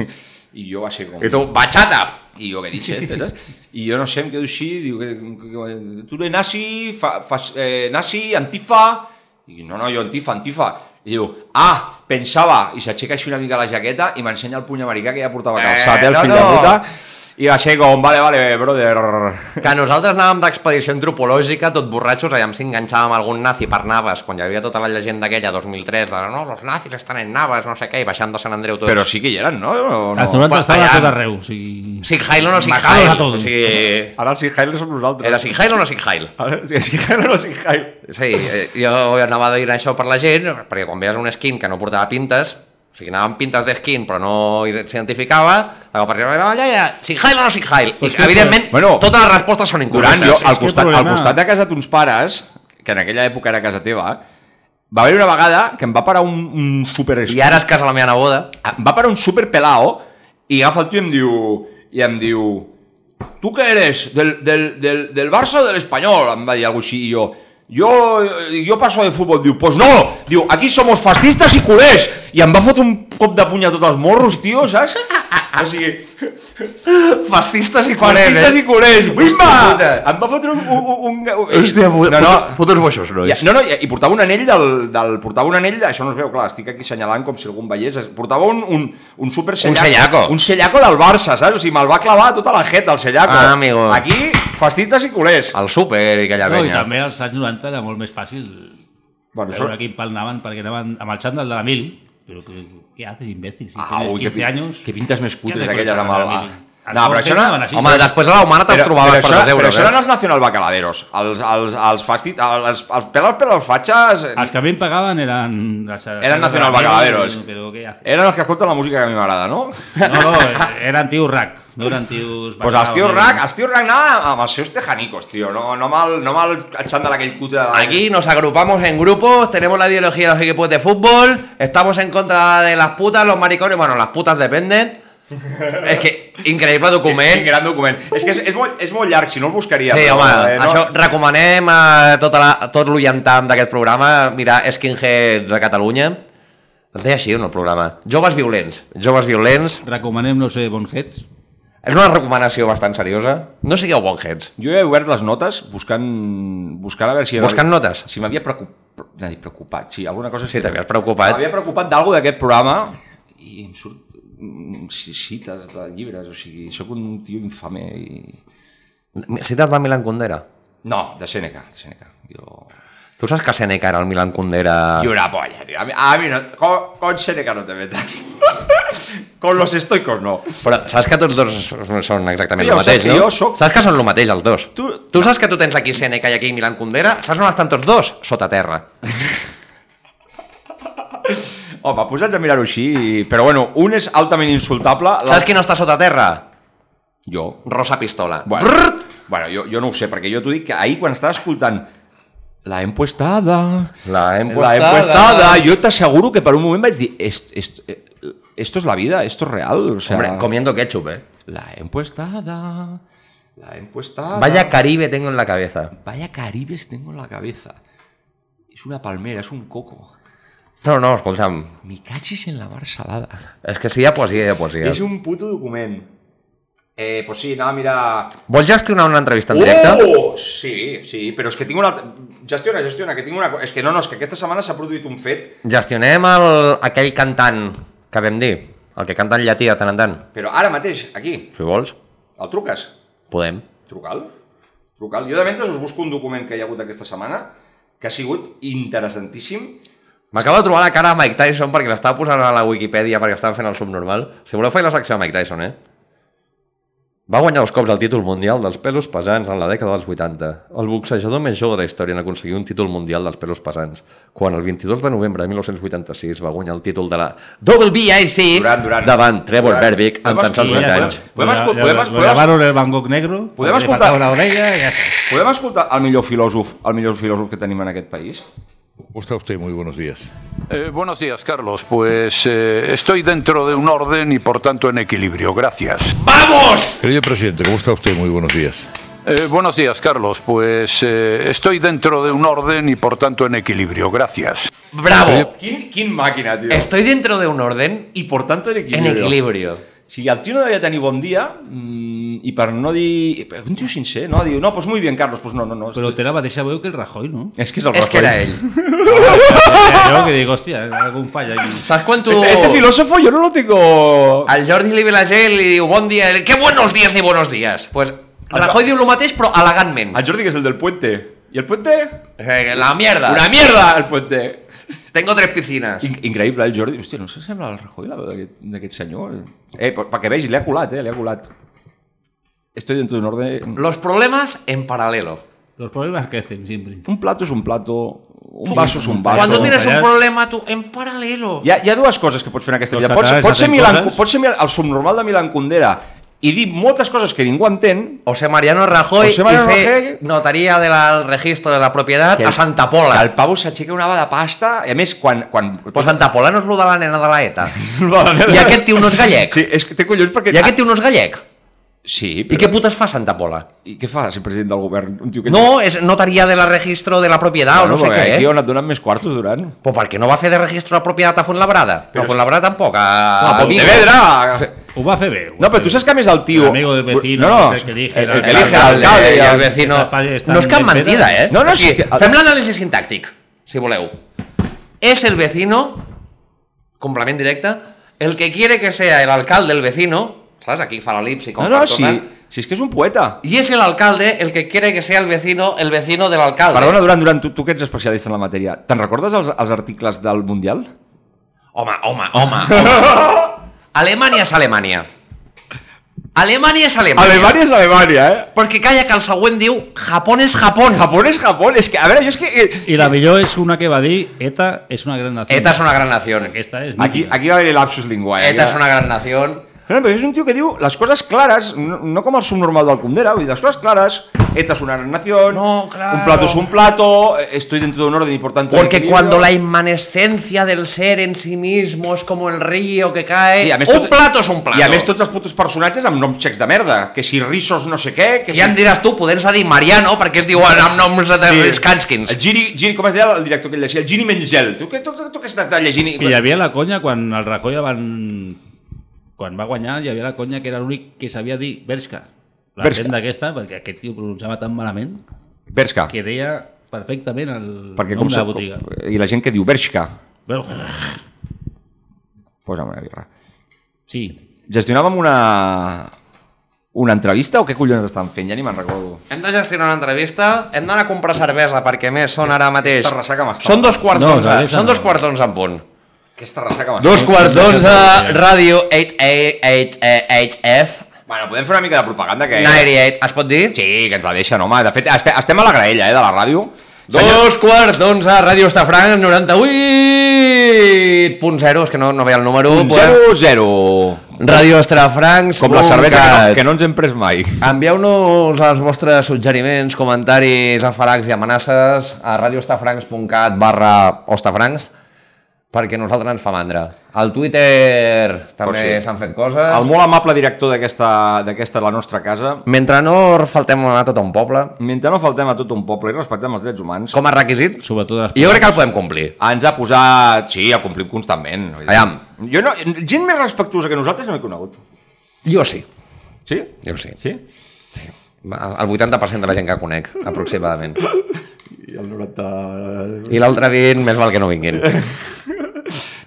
[SPEAKER 5] I jo va ser com...
[SPEAKER 4] I tu, bachata!
[SPEAKER 5] I jo, què dice este, saps? I jo no sé, em quedo així, diu que, que, que tu de nazi, fa, fas, eh, nazi, antifa... I dic, no, no, jo antifa, antifa. I diu, ah, pensava, i s'aixeca així una mica la jaqueta i m'ensenya el puny americà que ja portava calçat, eh, el
[SPEAKER 4] no,
[SPEAKER 5] fill
[SPEAKER 4] no.
[SPEAKER 5] de puta. I va ser com, vale, vale, brother...
[SPEAKER 4] Que nosaltres anàvem d'expedició antropològica, tot borratxos, allà si enganxàvem algun nazi per Naves, quan hi havia tota la llegenda aquella, 2003, de no, los nazis estan en Naves, no sé què, i baixant de Sant Andreu tots.
[SPEAKER 5] Però sí que hi eren, no? O
[SPEAKER 6] Els
[SPEAKER 5] no?
[SPEAKER 6] 90 estaven a
[SPEAKER 4] allà-
[SPEAKER 6] tot arreu, o sigui...
[SPEAKER 4] Sig Heil o no Sig
[SPEAKER 6] Majados
[SPEAKER 4] Heil?
[SPEAKER 6] a todos.
[SPEAKER 4] O sigui,
[SPEAKER 5] Ara els Hijail som nosaltres.
[SPEAKER 4] era Sig Heil o no Sig Heil?
[SPEAKER 5] Ara, sí, sí, ara no els Hijail.
[SPEAKER 4] Sí, eh, jo anava a dir això per la gent, perquè quan veies un skin que no portava pintes, o sigui, anaven pintes de skin però no s'identificava, llavors per exemple, allà ja, Sig Heil o no Sig Heil? I,
[SPEAKER 6] Pues que-
[SPEAKER 4] evidentment,
[SPEAKER 5] Bueno,
[SPEAKER 4] totes les respostes són
[SPEAKER 5] Durant,
[SPEAKER 4] incorrectes.
[SPEAKER 5] jo,
[SPEAKER 6] és
[SPEAKER 5] al
[SPEAKER 6] que el
[SPEAKER 5] costat, al
[SPEAKER 6] problema-
[SPEAKER 5] costat de casa d'uns pares, que en aquella època era casa teva, va haver una vegada que em va parar un, un super...
[SPEAKER 4] I ara es casa la meva neboda.
[SPEAKER 5] Em Ah, va parar un super pelao i agafa el tio i em diu... I em diu... Tu què eres? Del, del, del, del Barça o de l'Espanyol? Em va dir alguna així i jo... Jo, jo passo de futbol, diu, pues no, diu, aquí somos fascistas i culers, i em va fotre un cop de puny a tots els morros, tio, saps? O sigui,
[SPEAKER 4] Fascistes i
[SPEAKER 5] fascistes i culers, bimba!
[SPEAKER 4] puta.
[SPEAKER 5] Em va fotre un... un, un, un...
[SPEAKER 4] Hòstia,
[SPEAKER 5] no, no,
[SPEAKER 4] putos boixos, nois.
[SPEAKER 5] ja, no, no, i, i portava un anell del, del... Portava un anell, de- això no es veu, clar, estic aquí senyalant com si algú em veiés, es- portava un, un, un super sellaco.
[SPEAKER 4] sellaco.
[SPEAKER 5] Un sellaco del Barça, saps? O sigui, me'l va clavar a tota la jeta, el sellaco.
[SPEAKER 4] Ah, amigo.
[SPEAKER 5] Aquí, fascistes i culers.
[SPEAKER 4] Al súper i aquella
[SPEAKER 6] No, i
[SPEAKER 4] penya.
[SPEAKER 6] també als anys 90 era molt més fàcil
[SPEAKER 5] Bueno, això...
[SPEAKER 6] veure a quin pal anaven, perquè anaven amb el xandall de la mil, però que, què haces, imbècil? Si
[SPEAKER 5] Ah,
[SPEAKER 6] tienes
[SPEAKER 5] ui, que,
[SPEAKER 6] 15 años...
[SPEAKER 5] que pintes més cutres
[SPEAKER 6] Què has de
[SPEAKER 5] aquelles amb el...
[SPEAKER 6] col·locar a la mili?
[SPEAKER 5] Ah, No, però això
[SPEAKER 6] Entonces anaven
[SPEAKER 5] era...
[SPEAKER 6] així.
[SPEAKER 4] Home, després de la humana te'ls trobaves per
[SPEAKER 5] això,
[SPEAKER 4] 2
[SPEAKER 5] però
[SPEAKER 4] euros.
[SPEAKER 5] això
[SPEAKER 4] eh?
[SPEAKER 5] eren els nacional bacaladeros, els, els, els, fastit, els, els pelos per les fatxes...
[SPEAKER 6] Els que a mi em pagaven eren... les-
[SPEAKER 5] Eren nacional
[SPEAKER 6] de la mil,
[SPEAKER 5] bacaladeros.
[SPEAKER 6] Però què haces?
[SPEAKER 5] Eren els que escolten la música que a mi m'agrada, no?
[SPEAKER 6] No, no, eren tios rac, no eren tios...
[SPEAKER 5] Pues els tios
[SPEAKER 6] eh,
[SPEAKER 5] rac, els tios rac anaven amb els seus tejanicos, tio, no, no amb el, no amb el xandall aquell cutre de...
[SPEAKER 4] Aquí nos agrupamos en grupos, tenemos la ideología de los equipos de fútbol, estamos en contra de las putas, los maricones, bueno, las putas dependen. Es que, increïble
[SPEAKER 5] Document.
[SPEAKER 4] document.
[SPEAKER 5] gran document. És que és, és, molt, és molt llarg, si no el buscaria.
[SPEAKER 4] eh? Sí,
[SPEAKER 5] però,
[SPEAKER 4] home,
[SPEAKER 5] eh, no,
[SPEAKER 4] això recomanem a tota la, a tot l'ullentam d'aquest programa mirar Skinheads de Catalunya. Es deia així, no, el programa? Joves violents. Joves violents.
[SPEAKER 6] Recomanem, no sé, Bonheads.
[SPEAKER 4] És una recomanació bastant seriosa. No sigueu bonheads.
[SPEAKER 5] Jo he obert les notes buscant, buscant a veure si...
[SPEAKER 4] Buscant notes.
[SPEAKER 5] Si m'havia preocupat, no, preocupat, sí, alguna cosa...
[SPEAKER 4] Sí, t'havies preocupat.
[SPEAKER 5] M'havia preocupat d'algo d'aquest programa i em surt mm, ci- cites de llibres, o sigui, sóc un tio infame i...
[SPEAKER 4] Cites de Milan Kundera.
[SPEAKER 5] No, de Seneca, de Seneca. Jo...
[SPEAKER 4] Tu saps que Seneca era el Milan Kundera...
[SPEAKER 5] Y una polla, tío. A mí, a mí no. Con, con Seneca no te metas. con los estoicos no.
[SPEAKER 4] Però saps que tots dos són exactament
[SPEAKER 5] Jo
[SPEAKER 4] el mateix,
[SPEAKER 5] sé que
[SPEAKER 4] no?
[SPEAKER 5] jo sóc-
[SPEAKER 4] Saps que són el mateix els dos?
[SPEAKER 5] Tu-
[SPEAKER 4] tu saps que tu tens aquí Seneca i aquí Milan Kundera? Saps on estan tots dos? Sota terra.
[SPEAKER 5] Home, posats a mirar-ho així, però bueno, un és altament insultable.
[SPEAKER 4] Saps qui no està sota terra?
[SPEAKER 5] Jo.
[SPEAKER 4] Rosa Pistola.
[SPEAKER 5] Bueno, bueno jo, jo no ho sé, perquè jo t'ho dic que ahir quan estava escoltant la empuestada,
[SPEAKER 4] La
[SPEAKER 5] la
[SPEAKER 4] empuestada.
[SPEAKER 5] empuestada, jo t'asseguro que per un moment vaig dir est, est, eh, esto es la vida, esto es real, o sea,
[SPEAKER 4] Hombre, comiendo ketchup, eh?
[SPEAKER 5] la empuestada, la empuestada.
[SPEAKER 4] Vaya Caribe tengo en la cabeza.
[SPEAKER 5] Vaya caribes tengo en la cabeza. Es una palmera, es un coco.
[SPEAKER 4] No, no, escolta'm.
[SPEAKER 5] Mi cachis en la mar salada.
[SPEAKER 4] És que si hi ha poesia, hi ha poesia.
[SPEAKER 5] És un puto document. Eh, pues sí, anava a mirar...
[SPEAKER 4] Vols gestionar una entrevista en directe?
[SPEAKER 5] Oh! Sí, sí, però és que tinc una... altra- Gestiona, gestiona, que tinc una... co- És que no, no, és que aquesta setmana s'ha produït un fet,
[SPEAKER 4] Gestionem el, aquell cantant que vam dir. El que canta en llatí de tant en tant.
[SPEAKER 5] però ara mateix, aquí,
[SPEAKER 4] Si vols,
[SPEAKER 5] el truques.
[SPEAKER 4] podem.
[SPEAKER 5] Truca'l. local. Jo de mentre us busco un document que hi ha hagut aquesta setmana que ha sigut interessantíssim.
[SPEAKER 4] M'acabo de trobar la cara a Mike Tyson perquè l'estava posant a la Wikipedia perquè estava fent el subnormal. Si voleu fer la secció de Mike Tyson, eh? Va guanyar dos cops el títol mundial dels pesos pesants en la dècada dels 80. El boxejador més jove de la història en aconseguir un títol mundial dels pesos pesants, quan el 22 de novembre de 1986 va guanyar el títol de la WBIC
[SPEAKER 5] Durant, durant.
[SPEAKER 4] davant Trevor
[SPEAKER 5] Durant.
[SPEAKER 4] Berbick amb
[SPEAKER 5] Podem
[SPEAKER 4] tan sols 20
[SPEAKER 5] escoltar-
[SPEAKER 6] Pues
[SPEAKER 4] anys.
[SPEAKER 5] Podem,
[SPEAKER 6] Lo-
[SPEAKER 5] escol-
[SPEAKER 6] lo-
[SPEAKER 5] podem,
[SPEAKER 6] lo
[SPEAKER 5] podem, podem,
[SPEAKER 6] llamaron el Van Gogh negro,
[SPEAKER 5] Podem
[SPEAKER 6] le
[SPEAKER 5] escoltar-
[SPEAKER 6] faltaba una orella y ya está.
[SPEAKER 5] podem escoltar el millor filòsof, el millor filòsof que tenim en aquest país?
[SPEAKER 11] Gusta usted, muy buenos días.
[SPEAKER 12] Eh, buenos días, Carlos. Pues estoy dentro de un orden y por tanto en equilibrio. Gracias.
[SPEAKER 11] ¡Vamos! Querido presidente, ¿cómo está usted? Muy buenos días.
[SPEAKER 12] Eh, buenos días, Carlos. Pues estoy dentro de un orden y por tanto en equilibrio. Gracias.
[SPEAKER 4] Bravo!
[SPEAKER 5] Quin, quin màquina, tio.
[SPEAKER 4] Estoy dentro de un orden
[SPEAKER 5] I por tanto en
[SPEAKER 4] en
[SPEAKER 5] equilibrio.
[SPEAKER 4] equilibrio.
[SPEAKER 5] O sigui, el tio no devia tenir bon dia mm, i per no dir... Un tio sincer, no? Diu, no, pues muy bien, Carlos, pues no, no, no.
[SPEAKER 6] Pero te la mateixa veu que el Rajoy, ¿no?
[SPEAKER 5] És que és el
[SPEAKER 4] És que
[SPEAKER 5] Rajoy.
[SPEAKER 4] era ell.
[SPEAKER 6] Yo que digo, hostia, algún fallo aquí.
[SPEAKER 4] Saps quan tu...
[SPEAKER 5] Este, este filósofo yo no lo tengo...
[SPEAKER 4] Al Jordi li ve la gent i li diu bon dia, que buenos días ni buenos días. Pues Rajoy diu el mateix però elegantment.
[SPEAKER 5] El Jordi que és el del puente. I el puente?
[SPEAKER 4] Eh, La mierda.
[SPEAKER 5] Una mierda, el puente.
[SPEAKER 4] Tengo tres piscinas.
[SPEAKER 5] In Increïble, el Jordi. Hòstia, no se sembla al Rajoy, la veu d'aquest- d'aquest senyor. Eh, però- perquè vegi, li ha colat, eh, li ha colat. Estoy dentro d'un ordre...
[SPEAKER 4] Los problemas en paralelo.
[SPEAKER 6] Los problemas crecen siempre.
[SPEAKER 5] Un plato és un plato, un vaso és un vaso.
[SPEAKER 4] Cuando tienes un
[SPEAKER 6] callas.
[SPEAKER 4] problema tú en paralelo.
[SPEAKER 5] Hi ha, hi ha dues coses que pots fer en aquesta
[SPEAKER 6] Dos
[SPEAKER 5] vida. Pots,
[SPEAKER 6] catalans
[SPEAKER 5] pots, ser
[SPEAKER 6] hacen
[SPEAKER 5] Milan,
[SPEAKER 6] coses.
[SPEAKER 5] pots ser Milan, el subnormal de Milan Kundera i dir moltes coses que ningú entén,
[SPEAKER 4] O sea, Mariano Rajoy
[SPEAKER 5] José Mariano
[SPEAKER 4] y se
[SPEAKER 5] Rajoy.
[SPEAKER 4] notaría del al registro de la propiedad
[SPEAKER 5] Que
[SPEAKER 4] a
[SPEAKER 5] el-
[SPEAKER 4] Santa
[SPEAKER 5] que
[SPEAKER 4] Pola.
[SPEAKER 5] el pavo s'aixeca una va de pasta, i a més, quan... quan
[SPEAKER 4] Pues Santa Pola no és lo de la nena de la ETA.
[SPEAKER 5] I
[SPEAKER 4] I aquest tio no és gallec.
[SPEAKER 5] Sí, és que té collons perquè... Ah,
[SPEAKER 4] I aquest tio no és gallec.
[SPEAKER 5] Sí,
[SPEAKER 4] I
[SPEAKER 5] però...
[SPEAKER 4] què putes fa Santa Pola?
[SPEAKER 5] I què fa ser president del govern? Un tio que...
[SPEAKER 4] No, és notaria de la registro de la propiedad o no sé
[SPEAKER 5] perquè
[SPEAKER 4] què, eh?
[SPEAKER 5] Aquí on et donen més quartos, Duran.
[SPEAKER 4] Pues perquè no va fer de registro de propietat a Fontlabrada. Però a Fontlabrada tampoc, a,
[SPEAKER 5] a Ah, Pontevedra!
[SPEAKER 6] Ho va fer bé. ho
[SPEAKER 5] No,
[SPEAKER 6] va
[SPEAKER 5] però
[SPEAKER 6] fer
[SPEAKER 5] tu
[SPEAKER 6] bé.
[SPEAKER 5] saps que a més el tio...
[SPEAKER 6] El amigo del vecino,
[SPEAKER 5] no,
[SPEAKER 6] és el que elige,
[SPEAKER 5] El,
[SPEAKER 6] el
[SPEAKER 4] El
[SPEAKER 5] el, el,
[SPEAKER 4] elige
[SPEAKER 5] el
[SPEAKER 4] l'alcalde
[SPEAKER 5] alcalde.
[SPEAKER 4] i el
[SPEAKER 5] El,
[SPEAKER 4] vecino.
[SPEAKER 6] Estas calles están
[SPEAKER 4] No és cap
[SPEAKER 6] bien
[SPEAKER 4] mentida,
[SPEAKER 6] fetes.
[SPEAKER 4] eh?
[SPEAKER 5] No, no,
[SPEAKER 4] o sigui,
[SPEAKER 5] sí que-
[SPEAKER 4] Fem l'anàlisi sintàctic, si voleu. És el vecino, complement directe, el que quiere que sea el alcalde, el vecino, saps? Aquí fa l'elipsi, com
[SPEAKER 5] no, no,
[SPEAKER 4] per tot
[SPEAKER 5] sí.
[SPEAKER 4] tant.
[SPEAKER 5] Si és que és un poeta.
[SPEAKER 4] Y es el alcalde el que quiere que sea el vecino, el vecino del alcalde.
[SPEAKER 5] Perdona, Duran, Duran, tu, tu que ets especialista en la matèria, te'n recordes els, els articles del Mundial?
[SPEAKER 4] Home, home, home, home. Alemanya és Alemanya. Alemanya és Alemanya.
[SPEAKER 5] Alemanya és Alemanya, eh?
[SPEAKER 4] Perquè calla que el següent diu Japó és Japó.
[SPEAKER 5] Japón és Japó, és que, a veure, jo és que... eh,
[SPEAKER 6] Y la millor és una que va dir ETA és una gran nació.
[SPEAKER 4] ETA és una gran nació.
[SPEAKER 6] Aquesta és
[SPEAKER 5] Aquí,
[SPEAKER 6] mítica.
[SPEAKER 5] aquí va haver-hi lapsus linguae.
[SPEAKER 4] ETA és una gran nació.
[SPEAKER 5] No, però és un tio que diu les coses clares, no, no com el subnormal del Condera, vull dir, les coses clares, ETA és una gran nació,
[SPEAKER 4] No, claro.
[SPEAKER 5] un plato és un plato, eh, estoy dentro de un orden importante.
[SPEAKER 4] Porque cuando la inmanescencia del ser en sí mismo es como el río que cae, un plato es un plato.
[SPEAKER 5] I a més tots els putos personatges amb noms xecs de merda, que si Rissos no sé què... Que
[SPEAKER 4] ja em
[SPEAKER 5] si...
[SPEAKER 4] diràs tu, podent dir Mariano, perquè es diuen amb noms de sí. Skanskins.
[SPEAKER 5] El Giri, Giri, com es deia el director que el llegia? El Gini Menzel. Tu, que- tu, tu, tu que estàs llegint... i-
[SPEAKER 6] Que hi havia la conya quan el Rajoy van... Quan va guanyar, hi havia la conya que era l'únic que sabia dir Bershka. La
[SPEAKER 5] Bershka.
[SPEAKER 6] gent d'aquesta, perquè aquest tio pronunciava tan malament,
[SPEAKER 5] Bershka.
[SPEAKER 6] que deia perfectament el
[SPEAKER 5] Perquè
[SPEAKER 6] nom
[SPEAKER 5] com
[SPEAKER 6] de
[SPEAKER 5] se...
[SPEAKER 6] la botiga.
[SPEAKER 5] I la gent que diu Bershka.
[SPEAKER 6] Però,
[SPEAKER 5] Posa'm una birra.
[SPEAKER 6] sí,
[SPEAKER 5] Gestionàvem una... Una entrevista o què collons estan fent? Ja ni me'n recordo.
[SPEAKER 4] Hem de gestionar una entrevista, hem d'anar a comprar cervesa, perquè a més són ara mateix...
[SPEAKER 5] Aquesta ressaca m'està-
[SPEAKER 4] Són dos quarts
[SPEAKER 6] No,
[SPEAKER 4] d'onze,
[SPEAKER 6] cervesa
[SPEAKER 4] són
[SPEAKER 6] no.
[SPEAKER 4] dos quarts d'onze en punt.
[SPEAKER 5] Aquesta ressaca m'està...
[SPEAKER 4] Dos quarts d'onze,
[SPEAKER 6] cervesa.
[SPEAKER 4] ràdio eh, 888HF,
[SPEAKER 5] Bueno, podem fer una mica de propaganda que...
[SPEAKER 4] 98, es pot dir?
[SPEAKER 5] Sí, que ens la deixen, home. De fet, este, estem a la graella, eh, de la ràdio. Senyor-
[SPEAKER 4] Dos quarts d'onze, Ràdio Estafranc, 98.0, és que no, no veia el número.
[SPEAKER 5] Un
[SPEAKER 4] pues.
[SPEAKER 5] zero, zero.
[SPEAKER 4] Ràdio Estafrancs,
[SPEAKER 5] Com la cervesa que no, que no ens hem pres mai.
[SPEAKER 4] Envieu-nos els vostres suggeriments, comentaris, afalacs i amenaces a radioestafrancs.cat barra ostafrancs perquè a nosaltres ens fa mandra. Al Twitter també
[SPEAKER 5] sí.
[SPEAKER 4] s'han fet coses.
[SPEAKER 5] El molt amable director d'aquesta, d'aquesta la nostra casa,
[SPEAKER 4] Mentre no faltem a tot un poble,
[SPEAKER 5] mentre no faltem a tot un poble i respectem els drets humans,
[SPEAKER 4] com a requisit,
[SPEAKER 6] sobretot les...
[SPEAKER 4] jo crec que el podem complir.
[SPEAKER 5] ens ha posat... Sí, el complim constantment. Vull dir-
[SPEAKER 4] Aviam.
[SPEAKER 5] Jo no, gent més respectuosa que nosaltres no he conegut.
[SPEAKER 4] Jo sí.
[SPEAKER 5] Sí?
[SPEAKER 4] Jo sí.
[SPEAKER 5] Sí?
[SPEAKER 4] El 80% de la gent que conec, aproximadament.
[SPEAKER 5] I el 90...
[SPEAKER 4] I l'altre 20, més val que no vinguin.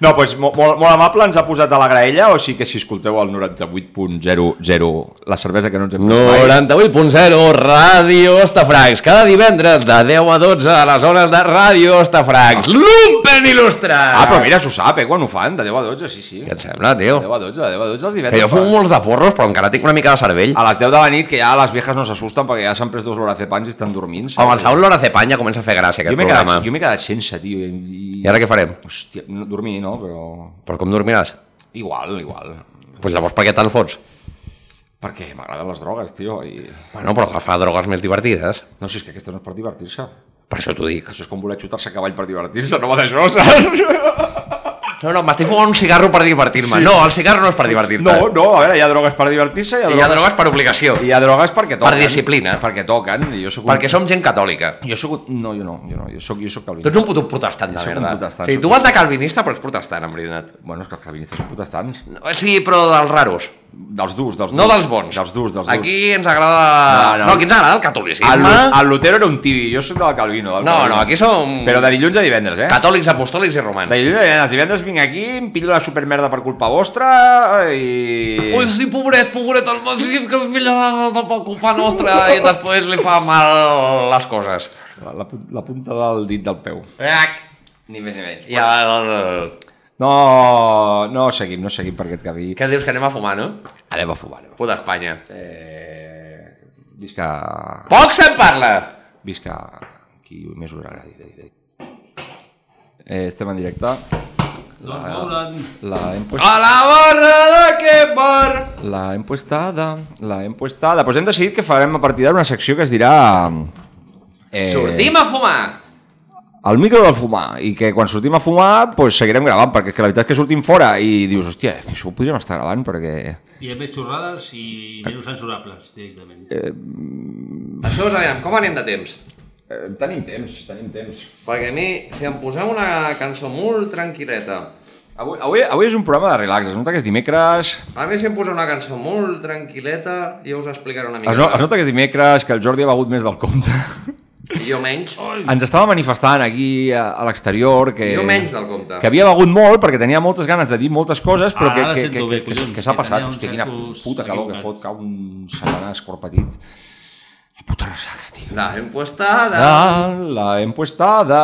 [SPEAKER 5] No, doncs mo- molt, molt amable ens ha posat a la graella, o sí que si escolteu el 98.00, la cervesa que no ens hem fet mai.
[SPEAKER 4] 98.0 Ràdio Estafrancs. Cada divendres de 10 a 12 a les hores de Ràdio Estafrancs. Lumpen il·lustrat!
[SPEAKER 5] Ah, però mira, s'ho sap, eh, quan ho fan, de 10 a 12, sí, sí.
[SPEAKER 4] Què et sembla, tio?
[SPEAKER 5] De 10 a 12, de 10 a 12 els divendres.
[SPEAKER 4] Que jo fumo
[SPEAKER 5] fan.
[SPEAKER 4] molts de porros, però encara tinc una mica de cervell.
[SPEAKER 5] A les 10 de la nit, que ja les viejas no s'assusten perquè ja s'han pres dos lorazepans i estan dormint. saps?
[SPEAKER 4] Home, el Saúl Lorazepam ja comença a fer gràcia,
[SPEAKER 5] Jo
[SPEAKER 4] aquest
[SPEAKER 5] m'he quedat,
[SPEAKER 4] programa.
[SPEAKER 5] jo m'he quedat sense, tio. I,
[SPEAKER 4] I ara què farem?
[SPEAKER 5] Hòstia, no, dormir no, però...
[SPEAKER 4] Però com dormiràs?
[SPEAKER 5] Igual, igual.
[SPEAKER 4] Doncs pues llavors per què te'l fots?
[SPEAKER 5] Perquè m'agraden les drogues, tio. I...
[SPEAKER 4] Bueno, però agafar drogues més divertides.
[SPEAKER 5] No, si és que aquesta no és per divertir-se.
[SPEAKER 4] Per això t'ho dic.
[SPEAKER 5] Això és com voler xutar-se a cavall per divertir-se, no va d'això, saps?
[SPEAKER 4] No, no, m'estic fumant un cigarro per divertir-me.
[SPEAKER 5] Sí.
[SPEAKER 4] No, el cigarro no és per divertir-te.
[SPEAKER 5] No, no, a veure, hi ha drogues per divertir-se, hi ha
[SPEAKER 4] Hi ha drogues per obligació.
[SPEAKER 5] Hi ha drogues perquè
[SPEAKER 4] Per
[SPEAKER 5] toquen.
[SPEAKER 4] disciplina.
[SPEAKER 5] Perquè toquen. I jo soc un...
[SPEAKER 4] Perquè som gent catòlica.
[SPEAKER 5] Jo soc un... No, jo no, jo no, jo soc, jo soc calvinista.
[SPEAKER 4] Tu ets un puto protestant, de
[SPEAKER 5] Soc un
[SPEAKER 4] merda.
[SPEAKER 5] protestant,
[SPEAKER 4] o sigui,
[SPEAKER 5] soc
[SPEAKER 4] tu
[SPEAKER 5] un
[SPEAKER 4] vas de calvinista, però ets protestant, en veritat.
[SPEAKER 5] Bueno, és que els calvinistes són protestants.
[SPEAKER 4] No, Sí, però dels raros.
[SPEAKER 5] Dels durs, dels durs.
[SPEAKER 4] No dels bons.
[SPEAKER 5] Dels durs, dels durs.
[SPEAKER 4] Aquí ens agrada... No,
[SPEAKER 5] No, no.
[SPEAKER 4] no. aquí ens agrada el
[SPEAKER 5] El,
[SPEAKER 4] catolicisme.
[SPEAKER 5] Lu- el Lutero era un tibi, jo soc del Calvino. Del
[SPEAKER 4] No,
[SPEAKER 5] Calvino.
[SPEAKER 4] no, aquí som...
[SPEAKER 5] Però de dilluns a divendres, eh?
[SPEAKER 4] Catòlics, apostòlics i romans.
[SPEAKER 5] De dilluns a divendres. eh, Divendres vinc aquí, em pillo la supermerda per culpa vostra eh, i...
[SPEAKER 4] Ui, sí, pobret, pobret, el Masip, que es milla de, de per culpa nostra i després li fa mal les coses.
[SPEAKER 5] La, la, pun- la punta del dit del peu.
[SPEAKER 4] Ac.
[SPEAKER 5] Ni més ni menys.
[SPEAKER 4] I el...
[SPEAKER 5] No, no seguim, no seguim per aquest camí.
[SPEAKER 4] Què dius, que anem a fumar, no?
[SPEAKER 5] Anem a fumar. anem a fumar.
[SPEAKER 4] Puta Espanya.
[SPEAKER 5] Eh... Visca...
[SPEAKER 4] Poc se'n parla!
[SPEAKER 5] Visca... Qui més us agradi. Eh, estem en directe. La, la, hem puest,
[SPEAKER 4] A la barra de que bar!
[SPEAKER 5] la hem puestada, la hem puestada. Doncs hem decidit que farem a partir d'ara una secció que es dirà... Eh,
[SPEAKER 4] Sortim a fumar!
[SPEAKER 5] al micro del fumar i que quan sortim a fumar pues, seguirem gravant perquè és que la veritat és que sortim fora i dius, hòstia, que això ho podríem estar gravant perquè...
[SPEAKER 6] Hi ha més xorrades i menys censurables, directament.
[SPEAKER 4] Això us aviam, com anem de temps?
[SPEAKER 5] Eh, tenim temps, tenim temps.
[SPEAKER 4] Perquè a mi, si em poseu una cançó molt tranquil·leta,
[SPEAKER 5] Avui, avui, avui és un programa de relax, es nota que és dimecres,
[SPEAKER 4] a mi si em poseu una cançó molt tranquil·leta, jo us explicaré una mica.
[SPEAKER 5] es, Ah, no, es nota que és dimecres, que el Jordi ha begut més del compte.
[SPEAKER 4] Jo menys.
[SPEAKER 5] Ens estava manifestant aquí a, a l'exterior que...
[SPEAKER 4] Jo menys del compte.
[SPEAKER 5] Eh, Que havia begut molt perquè tenia moltes ganes de dir moltes coses, però
[SPEAKER 6] Ah, Ara
[SPEAKER 5] que,
[SPEAKER 6] la
[SPEAKER 5] que,
[SPEAKER 6] sento
[SPEAKER 5] que,
[SPEAKER 6] bé,
[SPEAKER 5] que, que,
[SPEAKER 6] collons,
[SPEAKER 5] que s'ha
[SPEAKER 6] que
[SPEAKER 5] passat.
[SPEAKER 6] tenia uns
[SPEAKER 5] Hòstia, quina
[SPEAKER 6] cercos
[SPEAKER 5] puta calor que fot,
[SPEAKER 6] equivocats.
[SPEAKER 5] cau un satanàs corpetit. La puta ressaca, tio.
[SPEAKER 4] La empuestada.
[SPEAKER 5] Ah, la empuestada.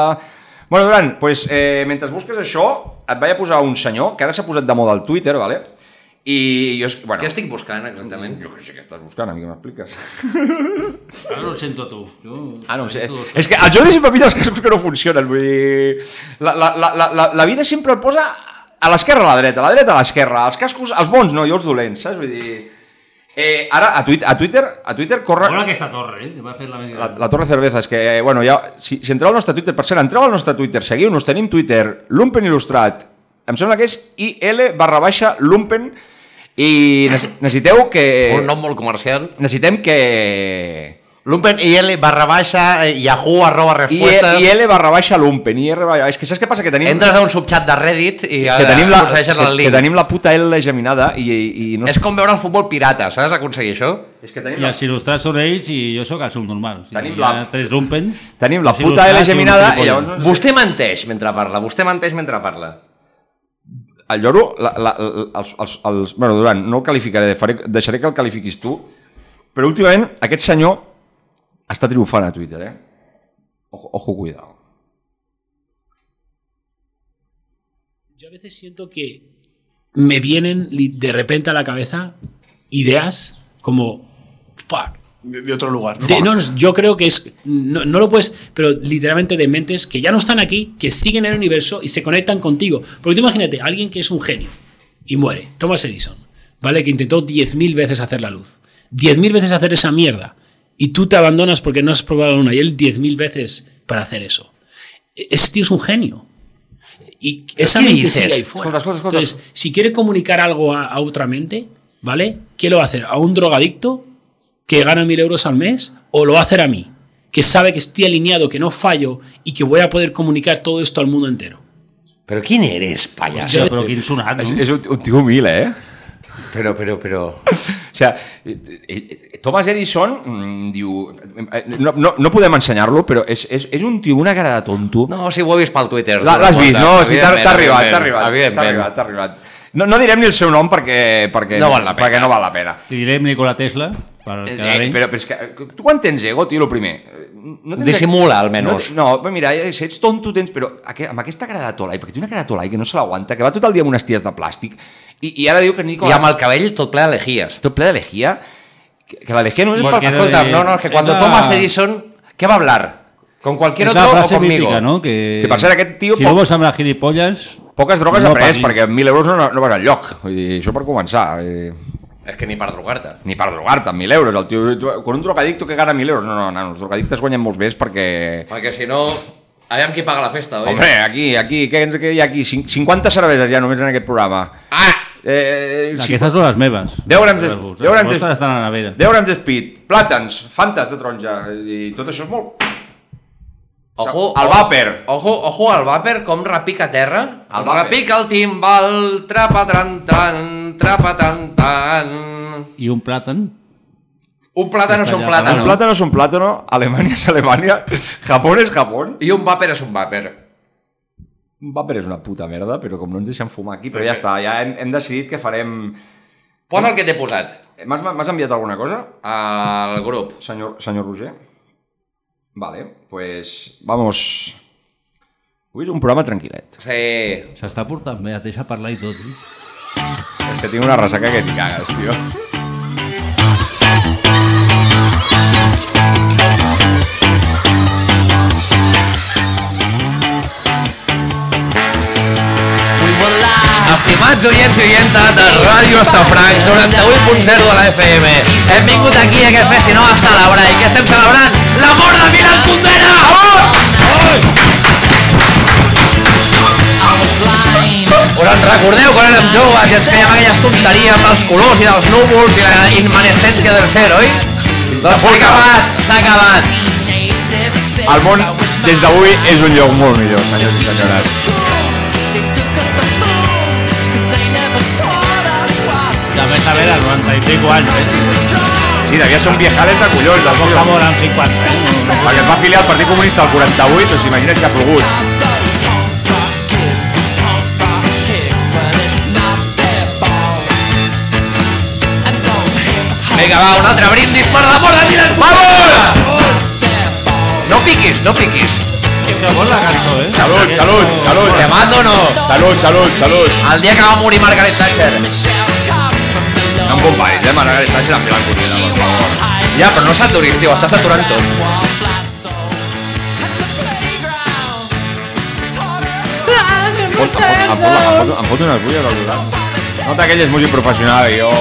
[SPEAKER 5] Bueno, Duran, pues, eh, mentre busques això, et vaig a posar un senyor que ara s'ha posat de moda al Twitter, vale? I jo... és- Bueno,
[SPEAKER 4] Què estic buscant, exactament?
[SPEAKER 5] Jo que sé què estàs buscant, a mi que m'expliques.
[SPEAKER 6] Ara no ho sento a tu. Jo
[SPEAKER 5] Ah, no ho sé.
[SPEAKER 6] sento dos
[SPEAKER 5] És que el Jordi sempre pilla els casos que no funcionen. Vull dir... La, la, la, la- la, la vida sempre el posa a l'esquerra a la dreta, a la dreta a l'esquerra. Els cascos, els bons no, jo els dolents, saps? Vull dir... Eh, ara, a, tuit, a Twitter, a Twitter corre...
[SPEAKER 6] Mola aquesta torre, eh? Que va fer la venida.
[SPEAKER 5] La, la Torre Cerveza, és que, eh, bueno, ja, si, si entreu al nostre Twitter, per cert, entreu al nostre Twitter, seguiu-nos, tenim Twitter, Lumpen Il·lustrat, em sembla que és IL barra baixa Lumpen, i nece- necessiteu que...
[SPEAKER 4] Un nom molt comercial.
[SPEAKER 5] Necessitem que...
[SPEAKER 4] Lumpen IL barra baixa eh, yahoo arroba
[SPEAKER 5] I, E-
[SPEAKER 4] respuestas.
[SPEAKER 5] IL barra baixa Lumpen, IR barra... És que saps què passa? Que tenim...
[SPEAKER 4] Entres a un subchat de Reddit i
[SPEAKER 5] que tenim, la, que,
[SPEAKER 4] aconsegueixes el
[SPEAKER 5] que
[SPEAKER 4] link.
[SPEAKER 5] tenim la puta L geminada i, i, i no...
[SPEAKER 4] És com veure el futbol pirata, saps? Aconseguir això.
[SPEAKER 5] és que tenim
[SPEAKER 6] I els il·lustrats són ells i jo sóc el subnormal. O sigui,
[SPEAKER 5] Tenim
[SPEAKER 6] hi ha
[SPEAKER 5] la-
[SPEAKER 6] tres lumpens.
[SPEAKER 5] Tenim la
[SPEAKER 6] els
[SPEAKER 5] puta L
[SPEAKER 6] il·lustrats i un
[SPEAKER 5] geminada i
[SPEAKER 6] gilipolles.
[SPEAKER 5] llavors... no sé-
[SPEAKER 4] Vostè menteix mentre parla, vostè menteix mentre parla.
[SPEAKER 5] El lloro, la, la, la, els, els, els, bueno, Duran, no el qualificaré, faré, deixaré que el qualifiquis tu, però últimament aquest senyor està triomfant a Twitter, eh? Ojo, ojo cuidado.
[SPEAKER 8] Yo a veces siento que me vienen li- de repente a la cabeza ideas como fuck.
[SPEAKER 13] De, de otro lugar.
[SPEAKER 8] De- no, no, yo creo que es no, no lo puedes, pero literalmente de mentes que ya no están aquí, que siguen en el universo y se conectan contigo. Porque tú imagínate, alguien que es un genio y muere, Thomas Edison, ¿vale? Que intentó 10.000 veces hacer la luz, 10.000 veces hacer esa mierda y tú te abandonas porque no has probado una y él 10.000 veces para hacer eso. E- Ese tío es un genio. Y esa
[SPEAKER 4] qué
[SPEAKER 8] mente
[SPEAKER 4] dices?
[SPEAKER 8] sigue ahí fuera.
[SPEAKER 5] Escolta, escolta, escolta.
[SPEAKER 8] Entonces, si quiere comunicar algo a, a otra mente, ¿vale? ¿Qué lo va a hacer? ¿A un drogadicto que gana mil euros al mes? ¿O lo va a hacer a mí? Que sabe que estoy alineado, que no fallo y que voy a poder comunicar todo esto al mundo entero.
[SPEAKER 4] Però quin eres,
[SPEAKER 6] Hòstia,
[SPEAKER 4] pallasso?
[SPEAKER 6] però quin sonat,
[SPEAKER 5] És,
[SPEAKER 6] no?
[SPEAKER 5] és un, un tio humil, eh? Però, però, però... O sea, eh, eh, Thomas Edison mm, diu... eh, No, no, no podem ensenyar-lo, però és, és, és un tio, una cara de tonto.
[SPEAKER 4] No, si ho he vist pel Twitter.
[SPEAKER 5] L'ha- L'has vist, no? Sí, T'ha
[SPEAKER 4] Evidentment,
[SPEAKER 5] t'ha arribat,
[SPEAKER 4] evidentment,
[SPEAKER 5] t'ha arribat. T'ha
[SPEAKER 4] Evidentment.
[SPEAKER 5] arribat, t'ha arribat. No, no direm ni el seu nom perquè, perquè,
[SPEAKER 6] No val la
[SPEAKER 5] perquè
[SPEAKER 6] pena.
[SPEAKER 5] no val la pena.
[SPEAKER 6] Li direm Nikola Tesla per
[SPEAKER 5] Eh,
[SPEAKER 6] quedar
[SPEAKER 5] eh,
[SPEAKER 6] bé.
[SPEAKER 5] però, però és que, eh, tu quan tens ego, tio, el primer... eh, No
[SPEAKER 6] Dissimula, almenys.
[SPEAKER 5] No, no, mira, eh, si ets tonto, tens... Però aqu amb aquesta cara de tolai, perquè té una cara de tolai que no se l'aguanta, que va tot el dia amb unes ties de plàstic, i, i ara diu que Nico...
[SPEAKER 4] I amb el cabell tot ple de legies.
[SPEAKER 5] Tot ple de lejía. Que, que la lejía no és...
[SPEAKER 4] Porque
[SPEAKER 5] per-
[SPEAKER 4] escolta, no, Eh, no, es que
[SPEAKER 6] Eh,
[SPEAKER 4] cuando Thomas Edison, ¿qué va a hablar? ¿Con cualquier
[SPEAKER 6] És
[SPEAKER 4] otro
[SPEAKER 6] la
[SPEAKER 4] o
[SPEAKER 6] frase
[SPEAKER 4] conmigo?
[SPEAKER 6] mítica, no? Que,
[SPEAKER 5] Que este per cert, aquest tio
[SPEAKER 6] Si
[SPEAKER 5] poc-
[SPEAKER 6] no vols amb les gilipolles...
[SPEAKER 5] Poques drogues
[SPEAKER 6] no
[SPEAKER 5] no ha pres,
[SPEAKER 6] parlis.
[SPEAKER 5] perquè amb 1.000 euros no, no vas enlloc. Vull dir, això per començar. Eh,
[SPEAKER 4] És que ni per drogar-te.
[SPEAKER 5] ni per drogar-te amb 1.000 euros. El tio, tu- con un drogadicto que gana 1.000 euros. No, no, no, els drogadictes guanyen molts més perquè...
[SPEAKER 4] Perquè si no, aviam qui paga la festa, oi?
[SPEAKER 5] Hombre, aquí, aquí, què, ens- què hi ha aquí? Cin- 50 cerveses ja només en aquest programa. Ah! Eh,
[SPEAKER 6] Aquestes són les meves.
[SPEAKER 5] 10 grams de,
[SPEAKER 6] Les vostres.
[SPEAKER 5] 10 grams
[SPEAKER 6] Les
[SPEAKER 5] de,
[SPEAKER 6] vostres estan a la nevera.
[SPEAKER 5] 10 grams de speed, plàtans, fantes de taronja, i tot això és molt...
[SPEAKER 4] Ojo,
[SPEAKER 5] El
[SPEAKER 4] ojo-
[SPEAKER 5] vàper.
[SPEAKER 4] Ojo, ojo al vàper, com repica a terra. El,
[SPEAKER 5] El vàper.
[SPEAKER 4] repica el timbal, trapa tran tran, trapa tan tan.
[SPEAKER 6] I un plàtan.
[SPEAKER 4] Un plàtan és
[SPEAKER 6] Està
[SPEAKER 4] un
[SPEAKER 6] allà,
[SPEAKER 5] El
[SPEAKER 4] plàtan.
[SPEAKER 5] plàtano és un plàtano, Alemanya és Alemanya, Japó és Japó.
[SPEAKER 4] I un vàper és un vàper.
[SPEAKER 5] Vapor és una puta merda, però com no ens deixen fumar aquí, però ja està, ja hem, hem decidit que farem...
[SPEAKER 4] Posa el que t'he posat.
[SPEAKER 5] M'has m'has enviat alguna cosa?
[SPEAKER 4] Al grup.
[SPEAKER 5] Senyor, senyor Roger. Vale, pues vamos. Avui és un programa tranquil·let.
[SPEAKER 4] Sí.
[SPEAKER 6] S'està portant bé, et deixa parlar i tot. Eh?
[SPEAKER 5] És que tinc una ressaca que t'hi cagues, tio.
[SPEAKER 4] Estimats oients i oientes de Ràdio Estafrancs, 98.0 de la FM, hem vingut aquí a aquest fest, si no, a celebrar. I què estem celebrant? La mort de Oh! Milan Kundera! Vamos! Us en recordeu quan érem joves i ens fèiem aquelles tonteries dels colors i dels núvols i la inmanescència del ser, oi? Doncs s'ha acabat, s'ha acabat.
[SPEAKER 5] El món, des d'avui, és un lloc molt millor, senyors i senyores.
[SPEAKER 6] També s'ha de 95 anys.
[SPEAKER 5] Sí, devia ser un viejales de collons, el Fox Amor.
[SPEAKER 6] amb 50 anys.
[SPEAKER 5] Perquè es va afiliar al Partit Comunista al 48, doncs imagina't que ha plogut.
[SPEAKER 4] Vinga, va, un altre brindis per la mort de Milan Vamos! No piquis, no piquis.
[SPEAKER 6] Que vol la cançó, eh?
[SPEAKER 5] Salut, salut, salut.
[SPEAKER 4] Te mando o no?
[SPEAKER 5] Salut, salut, salut.
[SPEAKER 4] El dia que va morir Margaret Thatcher.
[SPEAKER 5] No em comparis, eh, Margaret Thatcher amb Pilar Cunera, per favor.
[SPEAKER 4] Ja, però no saturis, tio, estàs saturant tot.
[SPEAKER 5] Fot- Em fot, em fot, em fot unes bulles al voltant. Nota que ell és músic professional i jo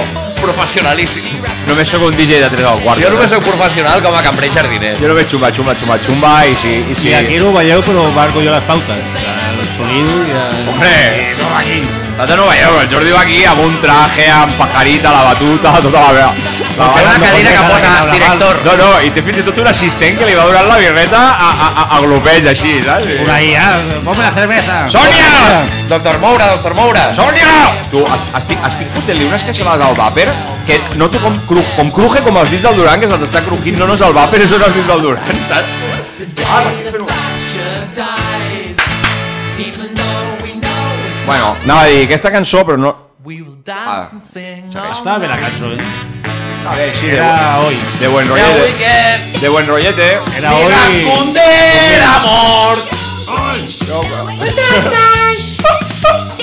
[SPEAKER 4] Professionalíssim.
[SPEAKER 5] només sóc un DJ de 3 al quart.
[SPEAKER 4] Jo només soc professional com a cambrer i jardiner.
[SPEAKER 5] eh? Jo només xumba, xumba, xumba, xumba i si... I si...
[SPEAKER 6] I aquí no ho veieu, però marco jo les pautes. El sonido i el...
[SPEAKER 5] Hombre, som aquí. Nosaltres no ho veieu, però el Jordi va aquí amb un traje, amb pajarita, la batuta, tota la meva... La
[SPEAKER 4] Té una cadira que posa director.
[SPEAKER 5] No, no, i té fins i tot un assistent que li va durant la birreta a, a, a, a glopells, així, saps?
[SPEAKER 6] Por ahí, ah, ponme la cerveza.
[SPEAKER 5] Sònia!
[SPEAKER 4] Doctor Moura, doctor Moura.
[SPEAKER 5] Sònia! Tu, es- estic, estic fotent-li unes queixalades al vàper que noto com, cru, com cruje com els dits del Duran, que se'ls està cruquint, no no és el vàper, són els dits del Duran, saps? Ah, m'estic fent un- Bueno, anava a dir, aquesta cançó, però no... Ah,
[SPEAKER 6] Està bé la cançó, eh?
[SPEAKER 5] a veure, així,
[SPEAKER 6] Era
[SPEAKER 5] de,
[SPEAKER 6] hoy.
[SPEAKER 5] de buen
[SPEAKER 4] Avui
[SPEAKER 5] rollete.
[SPEAKER 4] que...
[SPEAKER 5] De buen rollete. eh?
[SPEAKER 6] Era
[SPEAKER 4] Milan
[SPEAKER 6] hoy.
[SPEAKER 4] Kundera mort.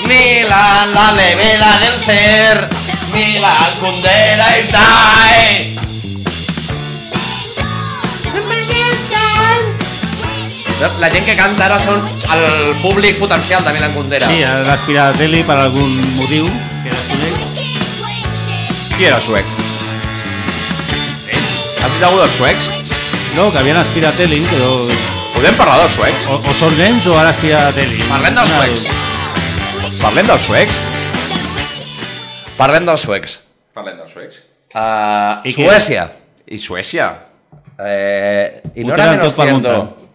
[SPEAKER 4] Milan, la leveda del ser. Milan Kundera i die. La gent que canta ara són el públic potencial de Milan Kundera.
[SPEAKER 6] Sí, ha d'aspirar a la tele per algun motiu. Que era suec.
[SPEAKER 5] Qui era suec? Has dit alguna dels suecs?
[SPEAKER 6] no, que havien aspirat a tele, però...
[SPEAKER 5] Podem parlar dels suecs?
[SPEAKER 6] O, o són nens o ara aspirat a tele.
[SPEAKER 4] Parlem dels
[SPEAKER 6] Una,
[SPEAKER 4] suecs.
[SPEAKER 5] Parlem dels suecs?
[SPEAKER 4] Parlem dels suecs.
[SPEAKER 5] Parlem dels suecs.
[SPEAKER 4] Uh,
[SPEAKER 6] I què?
[SPEAKER 4] Suècia.
[SPEAKER 5] I Suècia?
[SPEAKER 4] Eh, I
[SPEAKER 6] Ho
[SPEAKER 4] no
[SPEAKER 6] tenen
[SPEAKER 4] era
[SPEAKER 6] tot per
[SPEAKER 4] menos
[SPEAKER 6] muntar.
[SPEAKER 4] cierto.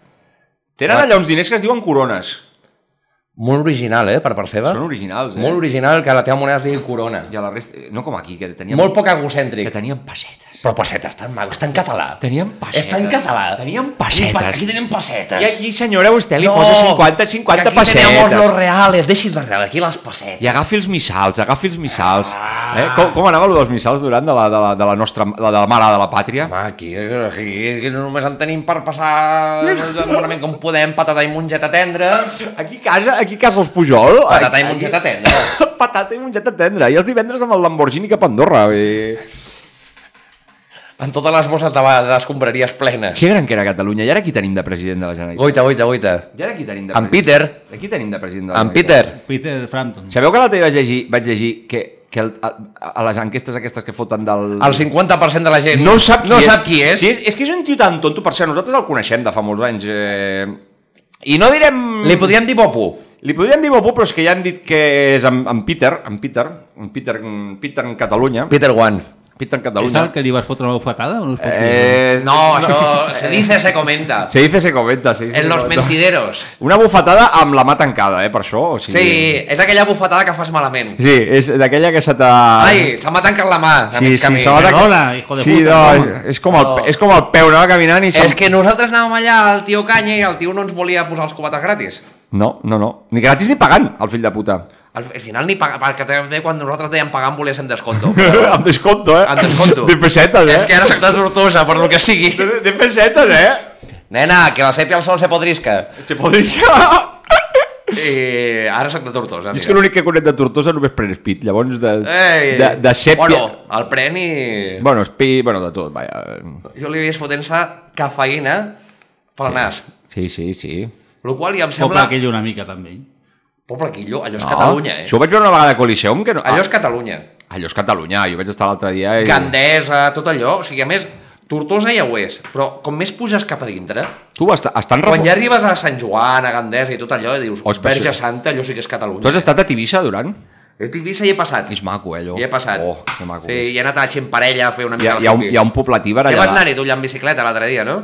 [SPEAKER 5] Tenen allà uns diners que es diuen corones.
[SPEAKER 4] Molt original, eh, per part seva.
[SPEAKER 5] Són originals, eh?
[SPEAKER 4] Molt original que la teva moneda es digui corona.
[SPEAKER 5] I a la resta... No com aquí, que teníem...
[SPEAKER 4] Molt poc egocèntric.
[SPEAKER 5] Que teníem pessetes.
[SPEAKER 4] Però pessetes, tan maco, està en català.
[SPEAKER 5] Teníem pessetes.
[SPEAKER 4] Està en català.
[SPEAKER 5] Teníem pessetes.
[SPEAKER 4] I Aquí tenim pessetes.
[SPEAKER 5] I aquí, senyora, vostè li posa 50, 50
[SPEAKER 4] que aquí teníamos
[SPEAKER 5] pessetes.
[SPEAKER 4] los reales, deixi's les reales, aquí les pessetes.
[SPEAKER 5] I agafi els missals, agafi els missals. Eh? Com, com anava el dels missals durant de la, de la, de la nostra la, de la mare de la pàtria?
[SPEAKER 4] Home, aquí, aquí, aquí només en tenim per passar bonament com podem, patata i mongeta tendra.
[SPEAKER 5] Aquí casa, aquí casa els Pujol.
[SPEAKER 4] Patata i
[SPEAKER 5] Aquí-
[SPEAKER 4] mongeta tendra.
[SPEAKER 5] patata i mongeta tendra. I els divendres amb el Lamborghini cap a Andorra. I...
[SPEAKER 4] En totes les bosses de, d'escombraries plenes.
[SPEAKER 5] Que gran que era Catalunya. I ara qui tenim de president de la Generalitat?
[SPEAKER 4] Goita, goita, goita.
[SPEAKER 5] I ara qui tenim de
[SPEAKER 4] En
[SPEAKER 5] president?
[SPEAKER 4] Peter.
[SPEAKER 5] Aquí tenim de president de la
[SPEAKER 4] En Peter.
[SPEAKER 5] Generalitat?
[SPEAKER 6] Peter Frampton.
[SPEAKER 5] Sabeu que l'altre dia vaig llegir, vaig llegir que, que el, a, a les enquestes aquestes que foten del...
[SPEAKER 4] El 50% de la gent
[SPEAKER 5] No sap qui
[SPEAKER 4] no
[SPEAKER 5] és.
[SPEAKER 4] Sap qui és.
[SPEAKER 5] Sí, és, és que és un tio tan tonto, per cert, nosaltres el coneixem de fa molts anys. Eh... I no direm...
[SPEAKER 4] Li podríem dir Bopo.
[SPEAKER 5] Li podríem dir Bobo, però és que ja hem dit que és en, en Peter, en Peter, en Peter, en Peter en Catalunya.
[SPEAKER 4] Peter One.
[SPEAKER 5] Peter en
[SPEAKER 6] És
[SPEAKER 5] Catalunya.
[SPEAKER 6] el que li vas fotre una bufetada o no es pot dir?
[SPEAKER 5] Eh,
[SPEAKER 4] No, això se dice, se comenta.
[SPEAKER 5] Se dice, se comenta, sí.
[SPEAKER 4] En los mentideros.
[SPEAKER 5] Una bufetada amb la mà tancada, eh, per això. O sigui...
[SPEAKER 4] Sí, és aquella bufetada que fas malament.
[SPEAKER 5] Sí, és d'aquella que se t'ha...
[SPEAKER 4] Ai, se m'ha tancat la mà. a
[SPEAKER 5] Sí,
[SPEAKER 4] mig
[SPEAKER 5] sí,
[SPEAKER 4] camí.
[SPEAKER 5] se va de...
[SPEAKER 6] Hola, hijo de
[SPEAKER 5] sí,
[SPEAKER 6] puta,
[SPEAKER 5] no, eh,
[SPEAKER 6] no.
[SPEAKER 5] és, com el,
[SPEAKER 4] No.
[SPEAKER 5] és com el peu, anava caminant i... se'm-
[SPEAKER 4] És que nosaltres anàvem allà al tio Canya i el tio no ens volia posar els cubates gratis.
[SPEAKER 5] No, no, no. Ni gratis ni pagant, el fill de puta.
[SPEAKER 4] Al al final ni pagar, perquè també quan nosaltres dèiem pagant volies en descompte.
[SPEAKER 5] amb descompte, eh?
[SPEAKER 4] Amb descompte.
[SPEAKER 5] De pessetes, eh?
[SPEAKER 4] És que ara s'està tortosa, per lo que sigui.
[SPEAKER 5] De, de pessetes, eh?
[SPEAKER 4] Nena, que la sèpia al sol se podrisca.
[SPEAKER 5] Se podria...
[SPEAKER 4] I ara soc de Tortosa.
[SPEAKER 5] Jo és
[SPEAKER 4] mira.
[SPEAKER 5] que l'únic que conec de Tortosa només pren Speed, llavors de,
[SPEAKER 4] Ei,
[SPEAKER 5] de, de sèpia...
[SPEAKER 4] Bueno, el pren i...
[SPEAKER 5] bueno, Speed, bueno, de tot, vaja.
[SPEAKER 4] Jo li he vist fotent-se cafeïna pel nas.
[SPEAKER 5] Sí, sí, sí.
[SPEAKER 4] Lo qual ja em sembla...
[SPEAKER 6] Sembla... aquell una mica, també.
[SPEAKER 4] Poble Quillo, allò és Catalunya, eh?
[SPEAKER 5] Això Ah, ho vaig veure una vegada a Coliseum, que no... Ah,
[SPEAKER 4] Allò és Catalunya.
[SPEAKER 5] allò és Catalunya, jo vaig estar l'altre dia... I...
[SPEAKER 4] Gandesa, tot allò. O sigui, a més, Tortosa ja ho és, però com més puges cap a dintre,
[SPEAKER 5] Tu est estan
[SPEAKER 4] quan
[SPEAKER 5] reform-
[SPEAKER 4] ja arribes a Sant Joan, a Gandesa i tot allò, dius,
[SPEAKER 5] Oh, és per
[SPEAKER 4] Verge
[SPEAKER 5] això.
[SPEAKER 4] Santa, allò sí que és
[SPEAKER 5] Tu
[SPEAKER 4] Catalunya. Eh,
[SPEAKER 5] has estat a Tivissa, Durant?
[SPEAKER 4] Jo t'hi vist i he passat.
[SPEAKER 5] És maco, eh, allò.
[SPEAKER 4] Hi he passat.
[SPEAKER 5] Oh, que maco.
[SPEAKER 4] sí, i he anat així en parella a fer una
[SPEAKER 5] Hi ha,
[SPEAKER 4] mica
[SPEAKER 5] hi, ha un, hi ha un poblatí
[SPEAKER 4] Ja vas
[SPEAKER 5] barallat.
[SPEAKER 4] anar-hi tu allà en bicicleta l'altre dia, no?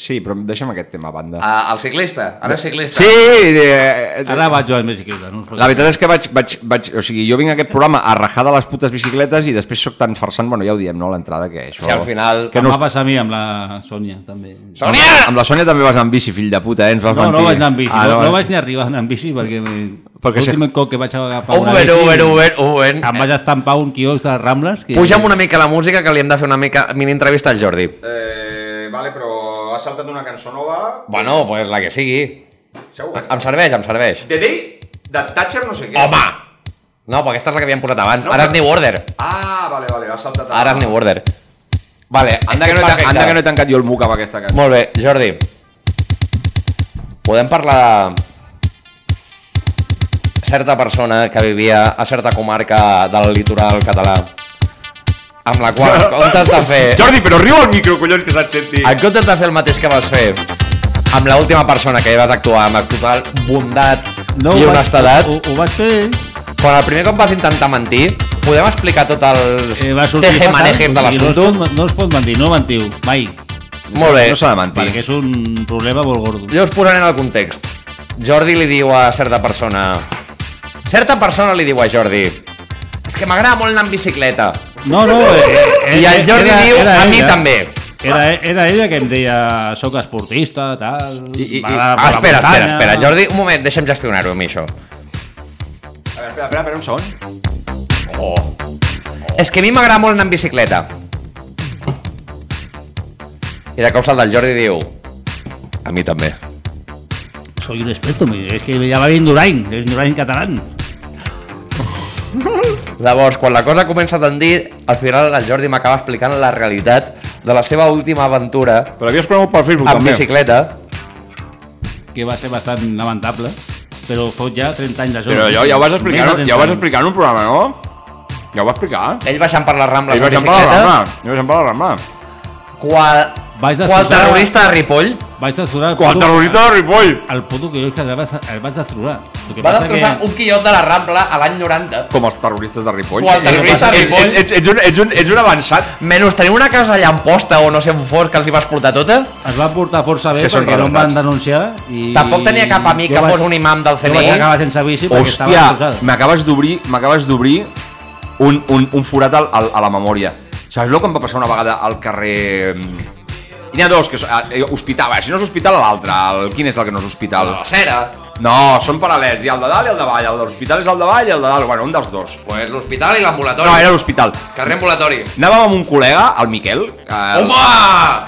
[SPEAKER 5] Sí, però deixa'm aquest tema a banda.
[SPEAKER 4] A, al ciclista, ara és ciclista.
[SPEAKER 5] Sí, eh, eh,
[SPEAKER 6] Ara vaig jo al bicicleta. No us
[SPEAKER 5] la veritat és que vaig, vaig, vaig, o sigui, jo vinc a aquest programa a rajar de les putes bicicletes i després sóc tan farsant, bueno, ja ho diem, no, a l'entrada, que això...
[SPEAKER 4] Si al final...
[SPEAKER 5] Oh.
[SPEAKER 6] que
[SPEAKER 5] que
[SPEAKER 6] no...
[SPEAKER 5] no-
[SPEAKER 6] Em va passar a mi amb la Sònia, també.
[SPEAKER 4] Sònia!
[SPEAKER 5] Amb la Sònia també vas anar amb bici, fill de puta, eh? Ens vas
[SPEAKER 6] No,
[SPEAKER 5] mentir.
[SPEAKER 6] no vaig anar amb bici,
[SPEAKER 5] Ah,
[SPEAKER 6] no, no, vaig ni arribar a anar amb bici perquè, me...
[SPEAKER 5] Perquè
[SPEAKER 6] perquè
[SPEAKER 5] se-
[SPEAKER 6] l'últim cop que vaig agafar una
[SPEAKER 4] Uber,
[SPEAKER 6] bici
[SPEAKER 4] Uber, Uber, Uber.
[SPEAKER 6] em vaig estampar a un quiosc de les Rambles que...
[SPEAKER 4] Puja'm una mica la música que li hem de fer una mica mini entrevista al Jordi.
[SPEAKER 5] Eh, vale, però ha saltat una cançó nova...
[SPEAKER 4] Bueno, doncs pues la que sigui.
[SPEAKER 5] Segur,
[SPEAKER 4] Em serveix, em serveix.
[SPEAKER 5] The Day de Thatcher no sé què.
[SPEAKER 4] Home! No, però aquesta és la que havíem posat abans. Ara és New Order.
[SPEAKER 5] Ah, vale, vale, ha saltat...
[SPEAKER 4] Ara és New Order. Vale,
[SPEAKER 5] Anda que, no he, tan- anda que no he tancat jo el muc amb aquesta cançó.
[SPEAKER 4] Molt bé, Jordi. Podem parlar de certa persona que vivia a certa comarca del litoral català amb la qual en comptes de fer
[SPEAKER 5] Jordi, però riu al micro, collons, que se't senti.
[SPEAKER 4] en comptes de fer el mateix que vas fer amb l'última persona que hi vas actuar amb total bondat
[SPEAKER 6] No,
[SPEAKER 4] i
[SPEAKER 6] ho vaig-
[SPEAKER 4] honestedat
[SPEAKER 6] Ho, ho vaig fer...
[SPEAKER 4] quan el primer cop vas intentar mentir podem explicar tot els
[SPEAKER 6] Eh, va sortir
[SPEAKER 4] tejemanejes de
[SPEAKER 6] fatal, i no es
[SPEAKER 4] l'assumpte?
[SPEAKER 6] pot- No es pot mentir, no mentiu, mai.
[SPEAKER 4] Molt bé,
[SPEAKER 5] No s'ha de mentir.
[SPEAKER 6] Perquè és un problema molt gordo.
[SPEAKER 4] Jo us posaré en el context. Jordi li diu a certa persona... Certa persona li diu a Jordi... És que m'agrada molt anar en bicicleta.
[SPEAKER 6] No, no, eh, eh,
[SPEAKER 4] I el
[SPEAKER 6] eh,
[SPEAKER 4] Jordi
[SPEAKER 6] era-
[SPEAKER 4] diu,
[SPEAKER 6] era
[SPEAKER 4] a mi
[SPEAKER 6] ella.
[SPEAKER 4] també.
[SPEAKER 6] Era, era ella que em deia, soc esportista, tal...
[SPEAKER 5] I- i- i-
[SPEAKER 6] m'agrada
[SPEAKER 4] Ah,
[SPEAKER 6] la
[SPEAKER 4] espera, espera,
[SPEAKER 6] muntanya".
[SPEAKER 4] espera, Jordi, un moment, deixa'm gestionar-ho a mi, això.
[SPEAKER 5] A veure, espera, espera, espera un segon.
[SPEAKER 4] És que a mi m'agrada molt anar en bicicleta. I de cop salta el Jordi i diu... A mi també.
[SPEAKER 6] Soy un experto, me- és que ja va dir Indurain, és Indurain catalán.
[SPEAKER 4] Llavors, quan la cosa comença a tendir, al final el Jordi m'acaba explicant la realitat de la seva última aventura
[SPEAKER 5] Però l'havies conegut per Facebook,
[SPEAKER 4] en
[SPEAKER 5] també.
[SPEAKER 4] bicicleta.
[SPEAKER 6] que va ser bastant lamentable, però fot ja 30 anys d'això.
[SPEAKER 5] Però ja, ja ho vas explicar,
[SPEAKER 6] Més de
[SPEAKER 5] ja ho
[SPEAKER 6] 30
[SPEAKER 5] vas
[SPEAKER 6] anys.
[SPEAKER 5] explicar en un programa, no? Ja ho va explicar.
[SPEAKER 4] Ell baixant per les Rambles
[SPEAKER 5] Ell
[SPEAKER 4] en
[SPEAKER 5] va semblar la
[SPEAKER 4] bicicleta.
[SPEAKER 5] rama. Ell va semblar la rama.
[SPEAKER 4] Qual,
[SPEAKER 6] Vaig
[SPEAKER 4] Qual terrorista de Ripoll?
[SPEAKER 6] Vaig destrossar... el
[SPEAKER 4] Qual
[SPEAKER 6] puto-
[SPEAKER 4] terrorista de Ripoll?
[SPEAKER 6] El puto que jo que el vaig, el vaig destrossar. El que
[SPEAKER 4] Va
[SPEAKER 6] passa
[SPEAKER 4] destrossar
[SPEAKER 6] que...
[SPEAKER 4] un quillot de la Rambla a l'any 90.
[SPEAKER 5] Com els terroristes de Ripoll.
[SPEAKER 4] O el terrorista de
[SPEAKER 5] ets,
[SPEAKER 4] Ripoll.
[SPEAKER 5] ets, ets, ets, un, ets, un, ets un avançat.
[SPEAKER 4] Menys tenir una casa allà en posta o no sé on fos que els hi vas portar tota.
[SPEAKER 6] Es va portar força bé
[SPEAKER 4] És que són
[SPEAKER 6] perquè no em van
[SPEAKER 4] realitats.
[SPEAKER 6] denunciar i...
[SPEAKER 4] Tampoc tenia cap amic
[SPEAKER 6] Jo
[SPEAKER 4] que
[SPEAKER 6] vaig-
[SPEAKER 4] fos un imam del
[SPEAKER 6] Jo vaig
[SPEAKER 4] CNI.
[SPEAKER 6] acabar sense bici perquè estava
[SPEAKER 5] Hòstia,
[SPEAKER 6] destrossada.
[SPEAKER 5] m'acabes d'obrir m'acabes d'obrir un, un, un forat al, al, a la memòria. Saps el que em va passar una vegada al carrer... Hi n'hi ha dos, que és, eh, hospital, va, si no és hospital, l'altre. El- Quin és el que no és hospital?
[SPEAKER 4] La Cera.
[SPEAKER 5] No, són paral·lels, hi ha el de dalt i el de avall, el de l'hospital és el de avall i el de dalt, bueno, un dels dos.
[SPEAKER 4] Pues l'hospital i l'ambulatori.
[SPEAKER 6] eh.
[SPEAKER 5] No, era l'hospital.
[SPEAKER 4] Carrer ambulatori.
[SPEAKER 5] Anàvem amb un col·lega, el Miquel. Eh,
[SPEAKER 4] Home!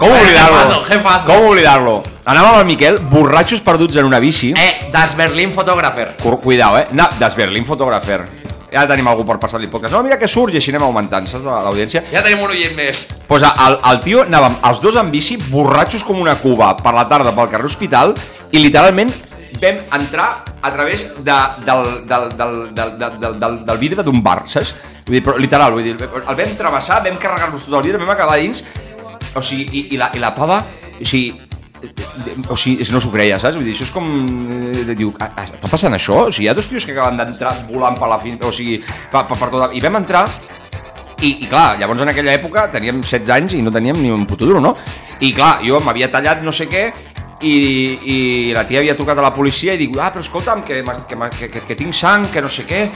[SPEAKER 5] Com
[SPEAKER 4] Jefazo,
[SPEAKER 5] oblidar-lo?
[SPEAKER 4] jefazo.
[SPEAKER 5] Com oblidar-lo? Anàvem amb el Miquel, borratxos perduts en una bici.
[SPEAKER 4] Eh, Das Berlin Photographer.
[SPEAKER 5] Cu- Cuidao, eh? No, des Berlín Photographer. Ja tenim algú per passar-li podcast. No, mira que surt i així anem augmentant, saps, de l'audiència.
[SPEAKER 4] Ja tenim un oient més.
[SPEAKER 5] Pues el, el tio anàvem els dos en bici, borratxos com una cuba, per la tarda pel carrer Hospital, i literalment vam entrar a través de, del, del, del, del, del, del, del, del vidre d'un bar, saps? Vull dir, però literal, vull dir, el vam travessar, vam carregar-nos tot el vidre, vam acabar dins, o sigui, i, i, la, i la pava, o sigui, de- o sigui, és- no s'ho creia, saps? Vull dir, això és com... eh, Diu, "Ah, ah, està passant això? O sigui, hi ha dos tios que acaben d'entrar volant per la fin... O sigui, per, per, per tot... I vam entrar i, I clar, llavors en aquella època teníem 16 anys i no teníem ni un puto duro, no? I clar, jo m'havia tallat no sé què i, i la tia havia trucat a la policia i dic, ah, però escolta'm, que, m'has- que, m'ha- que, que, que tinc sang, que no sé què.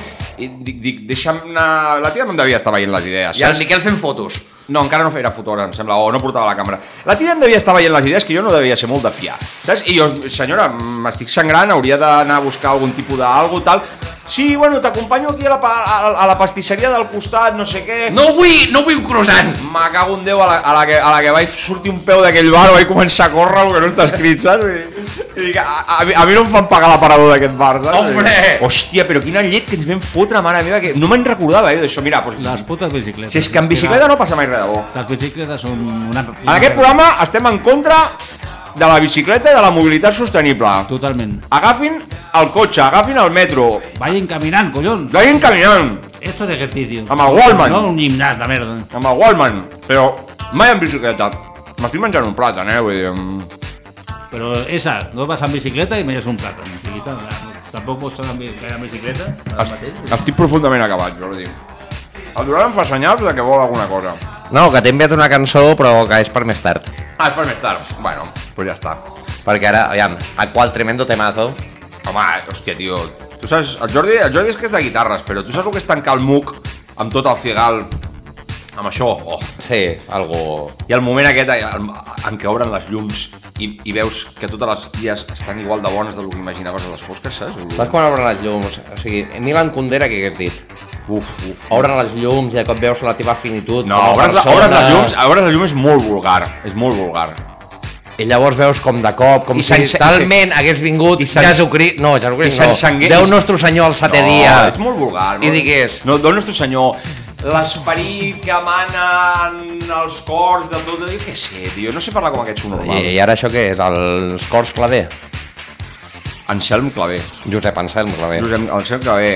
[SPEAKER 5] I dic, dic deixa'm anar... La tia no em devia estar veient les idees.
[SPEAKER 4] I el
[SPEAKER 5] saps?
[SPEAKER 4] Miquel fent fotos.
[SPEAKER 5] No, encara no era fotora, em sembla, o no portava la càmera. La tia em devia estar veient les idees que jo no devia ser molt de fiar, saps? I jo, senyora, m'estic sangrant, hauria d'anar a buscar algun tipus d'algo, tal... Sí, bueno, t'acompanyo aquí a la, pa- a, a la pastisseria del costat, no sé què...
[SPEAKER 4] No vull, no vull un croissant!
[SPEAKER 5] Me cago en Déu, a la, a la, que, a la que vaig sortir un peu d'aquell bar, vaig començar a córrer el que no està escrit, saps? I, dic, a, a, mi- a mi no em fan pagar l'aparador d'aquest bar, saps?
[SPEAKER 4] Hombre!
[SPEAKER 5] Hòstia, però quina llet que ens vam fotre, mare meva, que no me'n recordava, eh, d'això. Mira, doncs,
[SPEAKER 6] Les putes bicicletes.
[SPEAKER 5] si és que en bicicleta no passa mai res de bo.
[SPEAKER 6] Les bicicletes són una...
[SPEAKER 5] En aquest programa estem en contra de la bicicleta i de la mobilitat sostenible.
[SPEAKER 6] Totalment.
[SPEAKER 5] Agafin el cotxe, agafin el metro,
[SPEAKER 6] Vagin caminant, collons.
[SPEAKER 5] vagin caminant
[SPEAKER 6] Esto es ejercicio.
[SPEAKER 5] amb el Wallman,
[SPEAKER 6] No un gimnàs de merda.
[SPEAKER 5] amb el Wallman, però mai en bicicleta. M'estic menjant un plàtan, eh? Vull dir, mm,
[SPEAKER 6] Pero esa, no vas en bicicleta y me llevas un plátano. Y está- Tampoco están en bi- en bicicleta. ara mateix.
[SPEAKER 5] estic profundament acabat, jo ho dic. El Durant em fa senyals de que vol alguna cosa.
[SPEAKER 4] No, que t'he enviat una cançó, però que és per més tard.
[SPEAKER 5] Ah, és per més tard. Bueno, pues ja està.
[SPEAKER 4] Perquè ara, aviam, a qual tremendo temazo.
[SPEAKER 5] Home, hòstia, tio. Tu saps, el Jordi, el Jordi és que és de guitarres, però tu saps el que és tancar el muc amb tot el cigal, amb això? Oh,
[SPEAKER 4] Sí, algo...
[SPEAKER 5] I el moment aquest en, en què obren les llums i, i veus que totes les ties estan igual de bones del que imaginaves a les fosques,
[SPEAKER 4] Saps
[SPEAKER 5] saps?
[SPEAKER 4] quan obren les llums? O sigui, Milan Kundera, què hagués dit?
[SPEAKER 5] Uf, uf.
[SPEAKER 4] Obren les llums i de cop veus la teva finitud. com
[SPEAKER 5] No,
[SPEAKER 4] a
[SPEAKER 5] obres, la,
[SPEAKER 4] persona.
[SPEAKER 5] obres, les llums, obres les llums és molt vulgar, és molt vulgar.
[SPEAKER 4] I llavors veus com de cop, com
[SPEAKER 5] I
[SPEAKER 4] si
[SPEAKER 5] sense-
[SPEAKER 4] talment hagués vingut
[SPEAKER 5] I sense-
[SPEAKER 4] Jesucrist... No, Jesucrist
[SPEAKER 5] I
[SPEAKER 4] no.
[SPEAKER 5] sense-
[SPEAKER 4] Déu nostre senyor el setè dia.
[SPEAKER 5] ets molt vulgar.
[SPEAKER 4] I digués...
[SPEAKER 5] No, Déu nostre senyor, l'esperit que emana en els cors de tot... Jo què sé, tio, no sé parlar com aquest subnormal.
[SPEAKER 4] I, I ara això què és? Els cors claver?
[SPEAKER 5] Anselm Clavé.
[SPEAKER 4] Josep Anselm claver.
[SPEAKER 5] Josep Anselm Clavé.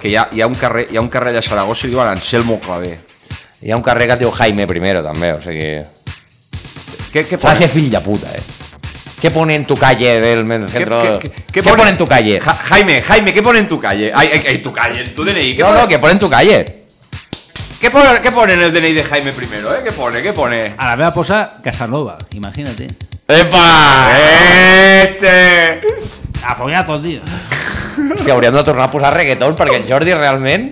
[SPEAKER 5] Que hi ha, hi ha, un carrer, hi ha un carrer allà a Saragossa i diuen Anselmo Clavé.
[SPEAKER 4] Hi ha un carrer que es diu Jaime primero, també, o sigui...
[SPEAKER 5] Què, què
[SPEAKER 4] S'ha de
[SPEAKER 5] pone?
[SPEAKER 4] ser fill de puta, eh. ¿Qué pone en tu calle del men- centro? ¿Qué,
[SPEAKER 5] qué- qué- qué
[SPEAKER 4] pone?
[SPEAKER 5] pone-
[SPEAKER 4] en tu calle?
[SPEAKER 5] Ja- Jaime, Jaime, ¿qué pone en tu calle? Ay, ay, ay, tu calle, en tu DNI. ¿Qué,
[SPEAKER 4] no,
[SPEAKER 5] pone,
[SPEAKER 4] no, ¿qué pone en tu calle?
[SPEAKER 5] ¿qué, pone, qué pone en el DNI de Jaime primero? Eh? ¿Qué pone? ¿Qué pone?
[SPEAKER 6] A la vez posa Casanova, eh? imagínate.
[SPEAKER 4] ¡Epa!
[SPEAKER 5] ¡Este!
[SPEAKER 6] A follar todo el día.
[SPEAKER 4] Que hauríem de tornar a posar reggaeton perquè el Jordi realment...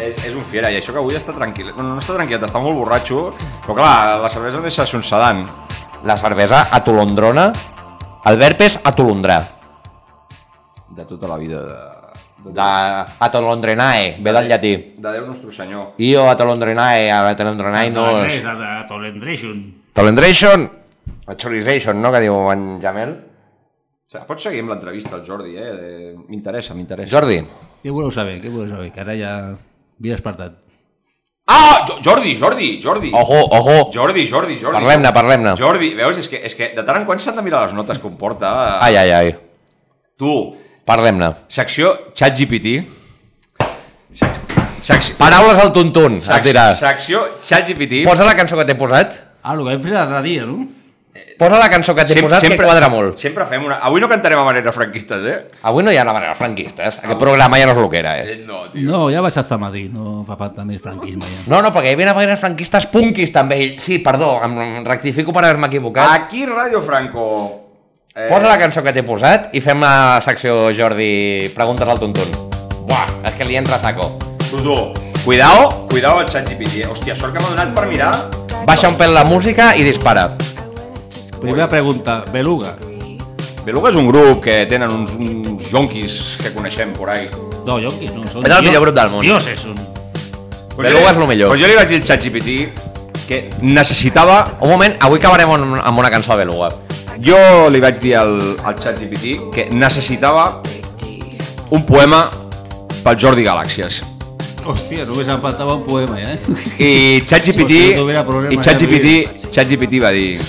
[SPEAKER 5] És, és un fiera, i això que avui està tranquil. No, no està tranquil, està molt borratxo. Però clar, la cervesa em deixa sonsedant.
[SPEAKER 4] La cervesa atolondrona, el verb és atolondrar.
[SPEAKER 5] De tota la vida de...
[SPEAKER 4] De atolondrenae, ve del llatí.
[SPEAKER 5] De Déu nostre senyor.
[SPEAKER 4] Io atolondrenae, atolondrenae no és...
[SPEAKER 6] Tolendration.
[SPEAKER 4] Atolondration, achorization, no?, que diu en Jamel.
[SPEAKER 5] O sigui, pots seguir amb l'entrevista al Jordi, eh? eh? M'interessa, m'interessa.
[SPEAKER 4] Jordi,
[SPEAKER 6] Què voleu saber? Què voleu saber? Que ara ja m'hi he despertat.
[SPEAKER 5] Ah! Jo- Jordi, Jordi, Jordi!
[SPEAKER 4] ojo, ojo,
[SPEAKER 5] Jordi, Jordi, Jordi.
[SPEAKER 4] parlem-ne, parlem-ne.
[SPEAKER 5] Jordi, veus? És que, és que de tant en quant s'han de mirar les notes que em porta.
[SPEAKER 4] Ai, ai, ai,
[SPEAKER 5] Tu,
[SPEAKER 4] parlem-ne.
[SPEAKER 5] Secció ChatGPT. Sec- Secció,
[SPEAKER 4] Paraules al tuntun, es
[SPEAKER 5] sec-
[SPEAKER 4] dirà.
[SPEAKER 5] secció ChatGPT.
[SPEAKER 4] Posa la cançó que t'he posat.
[SPEAKER 6] Ah, el que vam fer l'altre dia, no?
[SPEAKER 4] Posa la cançó que t'he
[SPEAKER 5] Sempre-
[SPEAKER 4] posat
[SPEAKER 5] sempre-
[SPEAKER 4] que quadra molt.
[SPEAKER 5] Sempre fem una... Avui no cantarem a manera franquistes, eh?
[SPEAKER 4] Avui no hi ha la manera franquistes. Aquest programa ja no és el que era, eh?
[SPEAKER 5] No,
[SPEAKER 6] No, ja vas estar a Madrid, no fa falta més franquisme ja.
[SPEAKER 4] No, no, perquè hi havia maneres franquistes punkis també. I- Sí, perdó, em em rectifico per haver-me equivocat.
[SPEAKER 5] Aquí, Radio Franco. Eh,
[SPEAKER 4] Posa la cançó Ah, que t'he posat i fem la secció Jordi Preguntes al Tuntun. Buah, és que li entra a saco.
[SPEAKER 5] Tudó. Cuidao, cuidao el ChatGPT. eh? Hòstia, sort que m'ha donat per mirar.
[SPEAKER 4] Baixa un pèl la música i dispara.
[SPEAKER 6] Primera pregunta, Beluga.
[SPEAKER 5] Beluga és un grup que tenen uns, uns jonquis que coneixem por ahí.
[SPEAKER 6] No, jo que no, són...
[SPEAKER 5] És el millor grup del món.
[SPEAKER 6] Dios, és un...
[SPEAKER 4] Beluga és lo millor.
[SPEAKER 5] Pues jo li vaig dir al ChatGPT que necessitava...
[SPEAKER 4] Un moment, avui acabarem amb amb una cançó de Beluga.
[SPEAKER 5] Jo li vaig dir al, al ChatGPT que necessitava un poema pel Jordi Galàxies.
[SPEAKER 6] Hòstia, només em faltava un poema, ja, eh?
[SPEAKER 5] I ChatGPT
[SPEAKER 6] Sí, no tuviera problema
[SPEAKER 5] i ChatGPT ChatGPT va dir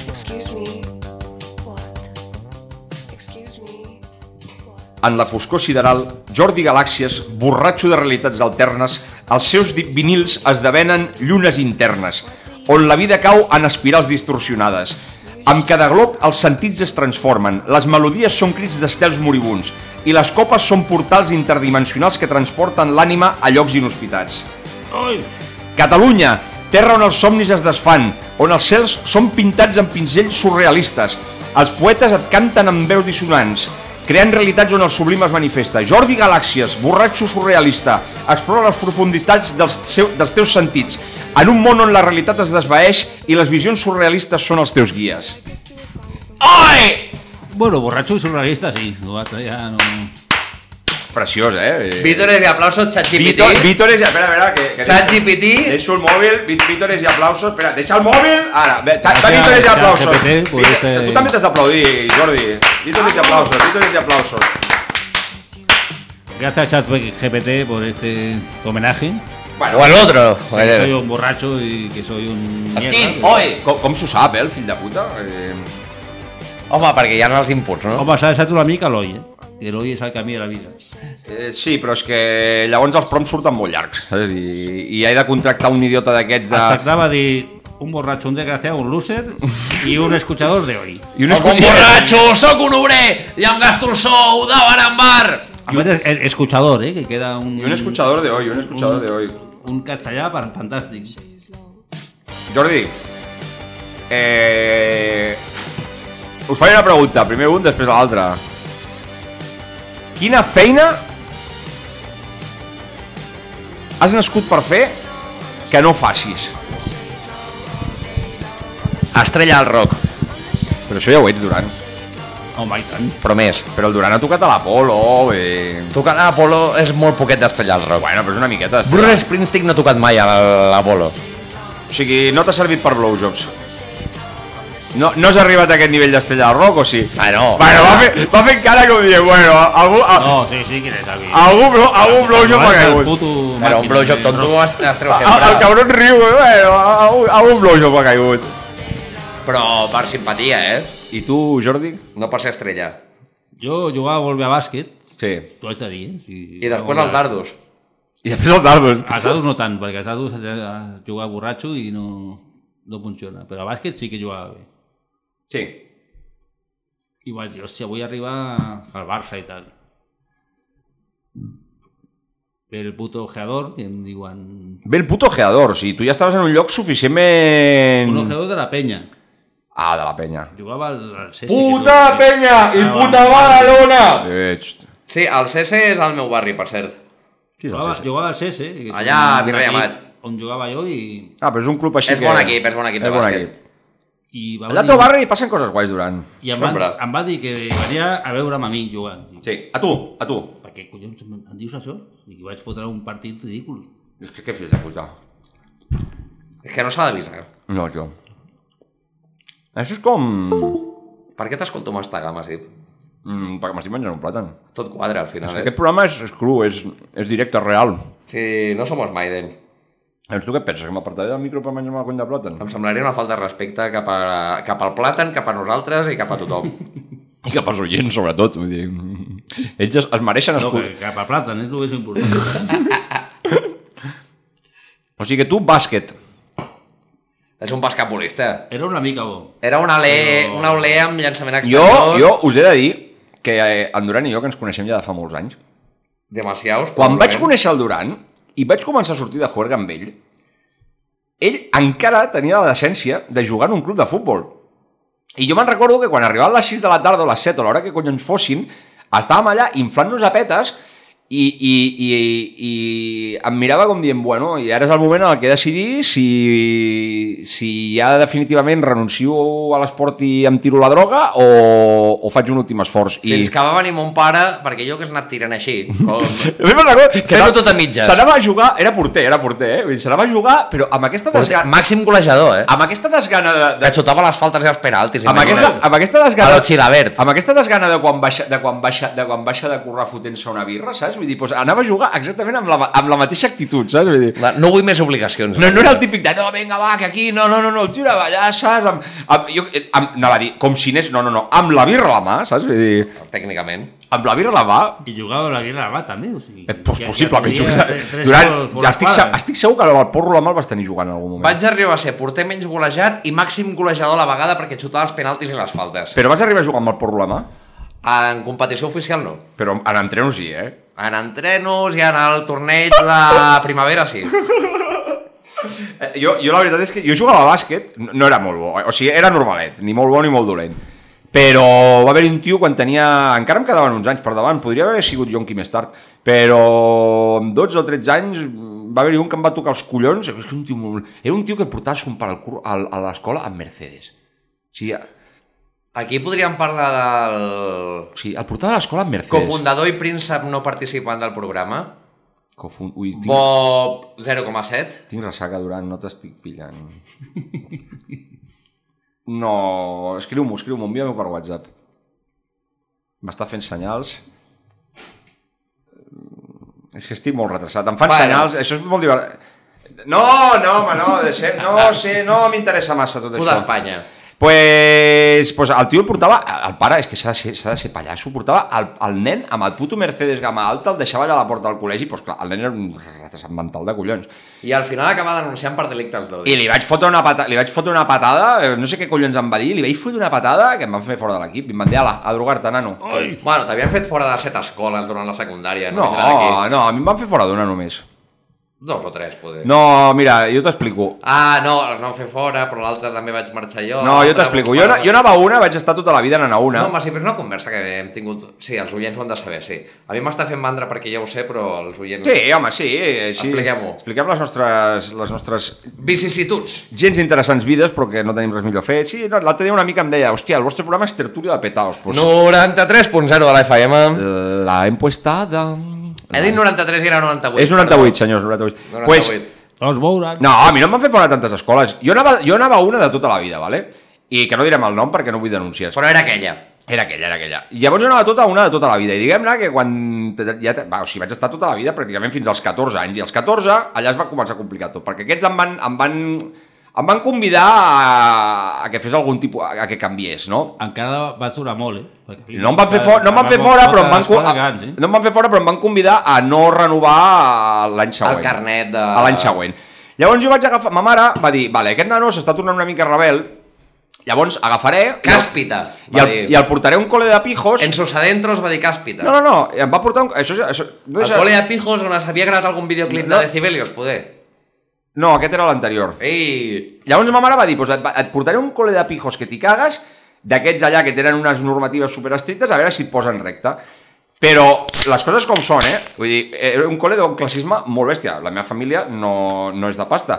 [SPEAKER 5] En la foscor sideral, Jordi Galàxies, borratxo de realitats alternes, els seus di- vinils esdevenen llunes internes, on la vida cau en espirals distorsionades. Amb cada glob els sentits es transformen, les melodies són crits d'estels moribuns i les copes són portals interdimensionals que transporten l'ànima a llocs inhospitats.
[SPEAKER 6] Oi!
[SPEAKER 5] Catalunya, terra on els somnis es desfan, on els cels són pintats amb pinzells surrealistes. Els poetes et canten amb veus dissonants, creant realitats on el sublim es manifesta. Jordi Galàxies, borratxo surrealista, explora les profunditats dels, seu, dels teus sentits, en un món on la realitat es desvaeix i les visions surrealistes són els teus guies.
[SPEAKER 4] Oi!
[SPEAKER 6] Bueno, borratxo i surrealista, sí. No, ja no...
[SPEAKER 5] Preciós, eh?
[SPEAKER 4] Vítores de aplausos, ChatGPT.
[SPEAKER 5] Vítores, Vítores, espera, espera, que... que
[SPEAKER 4] ChatGPT.
[SPEAKER 5] Deixo el mòbil, Ví- Vítores i aplausos, espera, deixa el mòbil, ara, ve- ta- va, Vítores i aplausos.
[SPEAKER 6] ChatGPT, pues,
[SPEAKER 5] Vítores, Tu també t'has d'aplaudir, Jordi. Vítores i aplausos, Vítores i aplausos.
[SPEAKER 6] Gracias a ChatGPT por este homenaje.
[SPEAKER 5] Bueno,
[SPEAKER 4] O al otro.
[SPEAKER 5] Eh.
[SPEAKER 6] Sí, que soy un borracho y que soy un...
[SPEAKER 4] Estic,
[SPEAKER 6] mierda.
[SPEAKER 4] oi!
[SPEAKER 5] Com, com s'ho sap, eh, el fill de puta? Eh...
[SPEAKER 4] Home, perquè hi ha els inputs, no?
[SPEAKER 6] Home, s'ha deixat una mica l'oi, eh? Que l'oi és el camí de la vida.
[SPEAKER 5] Eh, sí, però és que llavors els proms surten molt llargs, saps? I, i he de contractar un idiota d'aquests de...
[SPEAKER 6] Es tractava de un borracho, un desgraciado, un loser y un escuchador de hoy.
[SPEAKER 5] I un
[SPEAKER 4] Sóc un borratxo, sóc un obrer i em gasto el sou de bar en bar.
[SPEAKER 6] A ver, es- es- escuchador, ¿eh? Que queda un...
[SPEAKER 5] I un escuchador de hoy, un escuchador de hoy.
[SPEAKER 6] Un castellà per- fantàstic.
[SPEAKER 5] Jordi, eh... us faré una pregunta, primer un, després l'altre. Quina feina has nascut per fer que no facis?
[SPEAKER 4] Estrella al rock,
[SPEAKER 5] Però això ja ho ets, Duran.
[SPEAKER 6] Home, i tant.
[SPEAKER 4] però més.
[SPEAKER 5] Però el Duran ha tocat a l'Apolo, eh...
[SPEAKER 4] Tocar a l'Apolo és molt poquet d'estrella al rock.
[SPEAKER 5] Bueno, però és una miqueta...
[SPEAKER 4] Bruce Springsteen no ha tocat mai a l'Apolo.
[SPEAKER 5] O sigui, no t'ha servit per blowjobs. No, no has arribat a aquest nivell d'estrella del rock, o sí?
[SPEAKER 4] Bueno,
[SPEAKER 5] Bueno, va, fer, va fent cara com dient, bueno, algú, a,
[SPEAKER 6] No, Oh, sí, sí, que és aquí.
[SPEAKER 5] algú, blo- algú blowjob ha
[SPEAKER 6] Abans el
[SPEAKER 5] caigut.
[SPEAKER 6] puto
[SPEAKER 4] Però un
[SPEAKER 6] màquina,
[SPEAKER 4] blowjob
[SPEAKER 6] eh?
[SPEAKER 4] tonto es, es treu
[SPEAKER 5] El, Ah, el
[SPEAKER 4] sempre.
[SPEAKER 5] cabron riu, eh? bueno, algú, algú blowjob ha caigut.
[SPEAKER 4] Però per simpatia, eh?
[SPEAKER 5] I tu, Jordi?
[SPEAKER 4] No per ser estrella.
[SPEAKER 6] Jo jugava molt bé a bàsquet,
[SPEAKER 5] Sí.
[SPEAKER 6] t'ho haig de dir. eh? Sí,
[SPEAKER 4] I després els dardos.
[SPEAKER 5] I després els dardos.
[SPEAKER 6] Els dados no tant, perquè els dados has de jugar borratxo i no, no funciona. Però a bàsquet sí que jugava bé.
[SPEAKER 5] Sí.
[SPEAKER 6] I vaig dir, hòstia, vull arribar al Barça i tal. Ve el puto ojeador, que em diuen...
[SPEAKER 5] Ve el puto ojeador, o sigui, tu ja estaves en un lloc suficientment...
[SPEAKER 6] Un ojeador de la penya.
[SPEAKER 5] Ah, de la penya.
[SPEAKER 6] Jugava al, al Cesi, que
[SPEAKER 4] Puta
[SPEAKER 6] és un-
[SPEAKER 4] penya i
[SPEAKER 6] Ah,
[SPEAKER 4] puta
[SPEAKER 6] va.
[SPEAKER 4] Badalona!
[SPEAKER 5] Eh, txt.
[SPEAKER 4] Sí, el CC és al meu barri, per cert.
[SPEAKER 5] Qui és el
[SPEAKER 6] Jugava,
[SPEAKER 5] Cesc?
[SPEAKER 6] jugava al Cesi. que és
[SPEAKER 4] Allà,
[SPEAKER 6] un-
[SPEAKER 4] a Virrei
[SPEAKER 6] un
[SPEAKER 4] Amat.
[SPEAKER 6] equip On jugava jo i...
[SPEAKER 5] Ah, però és un club així
[SPEAKER 4] És
[SPEAKER 5] que...
[SPEAKER 4] bon equip, és bon equip de
[SPEAKER 5] És bon
[SPEAKER 4] bàsquet.
[SPEAKER 5] equip.
[SPEAKER 6] i va
[SPEAKER 5] Allà al
[SPEAKER 6] venir-
[SPEAKER 5] teu barri passen coses guais, Duran.
[SPEAKER 6] I em va,
[SPEAKER 4] Sempre.
[SPEAKER 6] em va dir que venia a veure'm a mi jugant. Sí.
[SPEAKER 5] Sí, a tu, a tu.
[SPEAKER 6] Per què collons em, em dius això? I vaig fotre un partit ridícul.
[SPEAKER 5] És que què fills de puta?
[SPEAKER 4] És que no s'ha d'avisar.
[SPEAKER 5] No, jo. Això és com...
[SPEAKER 4] Per què t'escolto massa gama, sí?
[SPEAKER 5] Mm, perquè m'estic menjant un plàtan.
[SPEAKER 4] Tot quadra, al
[SPEAKER 5] És
[SPEAKER 4] final,
[SPEAKER 5] que
[SPEAKER 4] eh?
[SPEAKER 5] aquest programa és, és cru, és, és directe, real.
[SPEAKER 4] Sí, no somos Maiden.
[SPEAKER 5] Doncs tu què et penses, que m'apartaré del micro per menjar-me la cony de plàtan?
[SPEAKER 4] Em semblaria una falta de respecte cap, a, cap al plàtan, cap a nosaltres i cap a tothom.
[SPEAKER 5] I cap als oients, sobretot. Vull dir, ells es, es mereixen
[SPEAKER 6] No,
[SPEAKER 5] escut.
[SPEAKER 6] que, cap a plata, és el més important.
[SPEAKER 5] O sigui que tu, bàsquet.
[SPEAKER 4] És un basquetbolista.
[SPEAKER 6] Era una mica bo.
[SPEAKER 4] Era una olé, una olé amb llançament
[SPEAKER 5] Jo,
[SPEAKER 4] exterior.
[SPEAKER 5] jo us he de dir que eh, en Duran i jo, que ens coneixem ja de fa molts anys,
[SPEAKER 4] Demasiaus.
[SPEAKER 5] quan vaig
[SPEAKER 4] probablement.
[SPEAKER 5] conèixer el Duran i vaig començar a sortir de juerga amb ell, ell encara tenia la decència de jugar en un club de futbol. I jo me'n recordo que quan arribaven les 6 de la tarda o les 7 o l'hora que collons fossin, estàvem allà inflant-nos a petes i, i, i, i em mirava com dient, bueno, i ara és el moment en el que he de decidir si, si ja definitivament renuncio a l'esport i em tiro la droga o, o faig un últim esforç. I...
[SPEAKER 4] Fins que va venir mon pare, perquè jo que has anat tirant així, com...
[SPEAKER 5] A mi me'n recordo que
[SPEAKER 4] Fent-ho
[SPEAKER 5] anava-
[SPEAKER 4] tot a mitges.
[SPEAKER 5] S'anava a jugar, era porter, era porter, eh? Vull dir, S'anava a jugar, però amb aquesta
[SPEAKER 4] Porter,
[SPEAKER 5] desgana...
[SPEAKER 4] Màxim golejador, eh?
[SPEAKER 5] Amb aquesta desgana de... de...
[SPEAKER 4] Que xutava les faltes i els penaltis.
[SPEAKER 5] Amb aquesta, amb aquesta
[SPEAKER 4] A
[SPEAKER 5] desgana...
[SPEAKER 4] lo Chilabert.
[SPEAKER 5] Amb aquesta desgana de quan baixa de, quan baixa, de, quan baixa de currar fotent-se una birra, saps? Vull dir, doncs anava a jugar exactament amb la, ma- amb la mateixa actitud, saps? Vull dir...
[SPEAKER 4] No vull més obligacions. eh?
[SPEAKER 5] No, no era el típic de, no, vinga, va, que aquí, no, no, no, no el tio anava allà, saps? Amb, amb, jo, eh, amb, anava a dir, com si anés, no, no, no, amb la birra a la mà, saps? Vull dir...
[SPEAKER 4] Tècnicament.
[SPEAKER 5] Amb la birra a la mà,
[SPEAKER 6] I jugava la guerra va també, o sigui...
[SPEAKER 5] Eh, pues,
[SPEAKER 6] que- que
[SPEAKER 5] possiblement.
[SPEAKER 6] tenia
[SPEAKER 5] Jo, que
[SPEAKER 6] tres-
[SPEAKER 5] sé,
[SPEAKER 6] tres
[SPEAKER 5] Durant,
[SPEAKER 6] gols per
[SPEAKER 5] ja estic, se,
[SPEAKER 6] esquadra.
[SPEAKER 5] estic segur que el porro la mal vas tenir jugant en algun moment.
[SPEAKER 4] Vaig arribar a ser porter menys golejat i màxim golejador a la vegada perquè xutava els penaltis i les faltes.
[SPEAKER 5] Però vas arribar a jugar amb el porro la mà?
[SPEAKER 4] En competició oficial no.
[SPEAKER 5] Però en entrenos sí, eh?
[SPEAKER 4] En entrenos i en el torneig de primavera sí.
[SPEAKER 5] Eh, Jo, jo la veritat és que jo jugava a bàsquet, no, no era molt bo, o sigui, era normalet, ni molt bo ni molt dolent. Però va haver un tio quan tenia... Encara em quedaven uns anys per davant, podria haver sigut Yonki més tard, però amb 12 o 13 anys va haver-hi un que em va tocar els collons, és que un tio molt... era un tio que portava son pare al cur- al- a l'escola amb Mercedes. O sigui,
[SPEAKER 4] Aquí podríem parlar del
[SPEAKER 5] o sigui el portava a l'escola amb Mercedes.
[SPEAKER 4] cofundador i príncep no participant del programa,
[SPEAKER 5] Cofund... Ui, tinc,
[SPEAKER 4] Bob 0,7.
[SPEAKER 5] tinc ressaca durant, no t'estic pillant. No, escriu-m'ho, escriu-m'ho, envia-m'ho per WhatsApp. M'està fent senyals. Mm, És que estic molt retrasat. Em fan
[SPEAKER 4] Bueno.
[SPEAKER 5] senyals, això és molt divertit. No, no, home, no, deixem, no sé, no m'interessa massa tot
[SPEAKER 4] Puta
[SPEAKER 5] això.
[SPEAKER 4] Espanya.
[SPEAKER 5] Pues, pues el tio el portava, el pare, és que s'ha de, ser- s'ha de ser pallasso, portava el, el nen amb el puto Mercedes gamma alta, el deixava allà a la porta del col·legi, pues clar, el nen era un retrasat mental de collons.
[SPEAKER 4] I al final acaba denunciant per delictes d'odi.
[SPEAKER 5] I li vaig fotre una patada, li vaig fotre una patada, eh, no sé què collons em va dir, li vaig fotre una patada que em van fer fora de l'equip, i em van dir, ala, a drogar-te, nano.
[SPEAKER 4] Bueno, t'havien fet fora de set escoles durant la secundària.
[SPEAKER 5] No,
[SPEAKER 4] Oh, No, no,
[SPEAKER 5] no, a mi em van fer fora d'una només.
[SPEAKER 4] Dos o tres, poder.
[SPEAKER 5] No, mira, jo t'explico.
[SPEAKER 4] Ah, no, no em fer fora, però l'altre també vaig marxar jo.
[SPEAKER 5] No, jo
[SPEAKER 4] l'altre
[SPEAKER 5] t'explico.
[SPEAKER 4] vaig
[SPEAKER 5] Jo,
[SPEAKER 4] parar-
[SPEAKER 5] jo anava a una, vaig estar tota la vida anant a una.
[SPEAKER 4] No, home, sí, però és una conversa que hem tingut... Sí, els oients ho han de saber, sí. A mi m'està fent mandra perquè ja ho sé, però els oients...
[SPEAKER 5] Sí, home, sí. sí.
[SPEAKER 4] Expliquem-ho.
[SPEAKER 5] Expliquem les nostres, les nostres
[SPEAKER 4] Vicissituds.
[SPEAKER 5] gens interessants vides, però que no tenim res millor a fer. Sí, no, l'altre dia una mica em deia, hòstia, el vostre programa és tertúlia de petaos. Pues, eh,
[SPEAKER 4] 93.0 de la FM.
[SPEAKER 5] La empuestada...
[SPEAKER 4] He dit 93 i era 98.
[SPEAKER 5] És 98, senyors, 98.
[SPEAKER 4] 98.
[SPEAKER 5] Pues,
[SPEAKER 6] Tots veuran.
[SPEAKER 5] no, a mi no em van fer fora tantes escoles. Jo anava, jo anava a una de tota la vida, ¿vale? I que no direm el nom perquè no vull denunciar.
[SPEAKER 4] Però era aquella.
[SPEAKER 5] Era aquella, era aquella. I llavors jo anava tota una de tota la vida. I diguem-ne que quan... te- Ja, te- va, o sigui, vaig estar tota la vida pràcticament fins als 14 anys. I als 14 allà es va començar a complicar tot. Perquè aquests em van... Em van, em van convidar a, a que fes algun tipus... A, a que canviés, no?
[SPEAKER 6] Encara va durar molt, eh? Perquè-
[SPEAKER 5] No em van fer, for, no em van fer fora, però em van, co-
[SPEAKER 6] tota Escola que abans, eh?
[SPEAKER 5] no em van fer fora, però em van convidar a no renovar l'any següent.
[SPEAKER 4] El carnet de...
[SPEAKER 5] A l'any següent. Llavors jo vaig agafar... Ma mare va dir, vale, aquest nano s'està tornant una mica rebel, llavors agafaré...
[SPEAKER 4] Càspita.
[SPEAKER 5] I el, I el portaré a un col·le de pijos...
[SPEAKER 4] En sus adentros va dir càspita.
[SPEAKER 5] No, no, no, em va portar un... Això, això, no,
[SPEAKER 4] El
[SPEAKER 5] deixa...
[SPEAKER 4] col·le de pijos on s'havia gravat algun videoclip
[SPEAKER 5] No.
[SPEAKER 4] de Decibelios, poder.
[SPEAKER 5] no aquest era l'anterior.
[SPEAKER 4] Ei!
[SPEAKER 5] Llavors ma mare va dir, pues et, et portaré un col·le de pijos que t'hi cagues, d'aquests allà que tenen unes normatives superestrictes, a veure si et posen recte. Però les coses com són, eh? Vull dir, era un col·le d'un classisme molt bèstia. La meva família no, no és de pasta.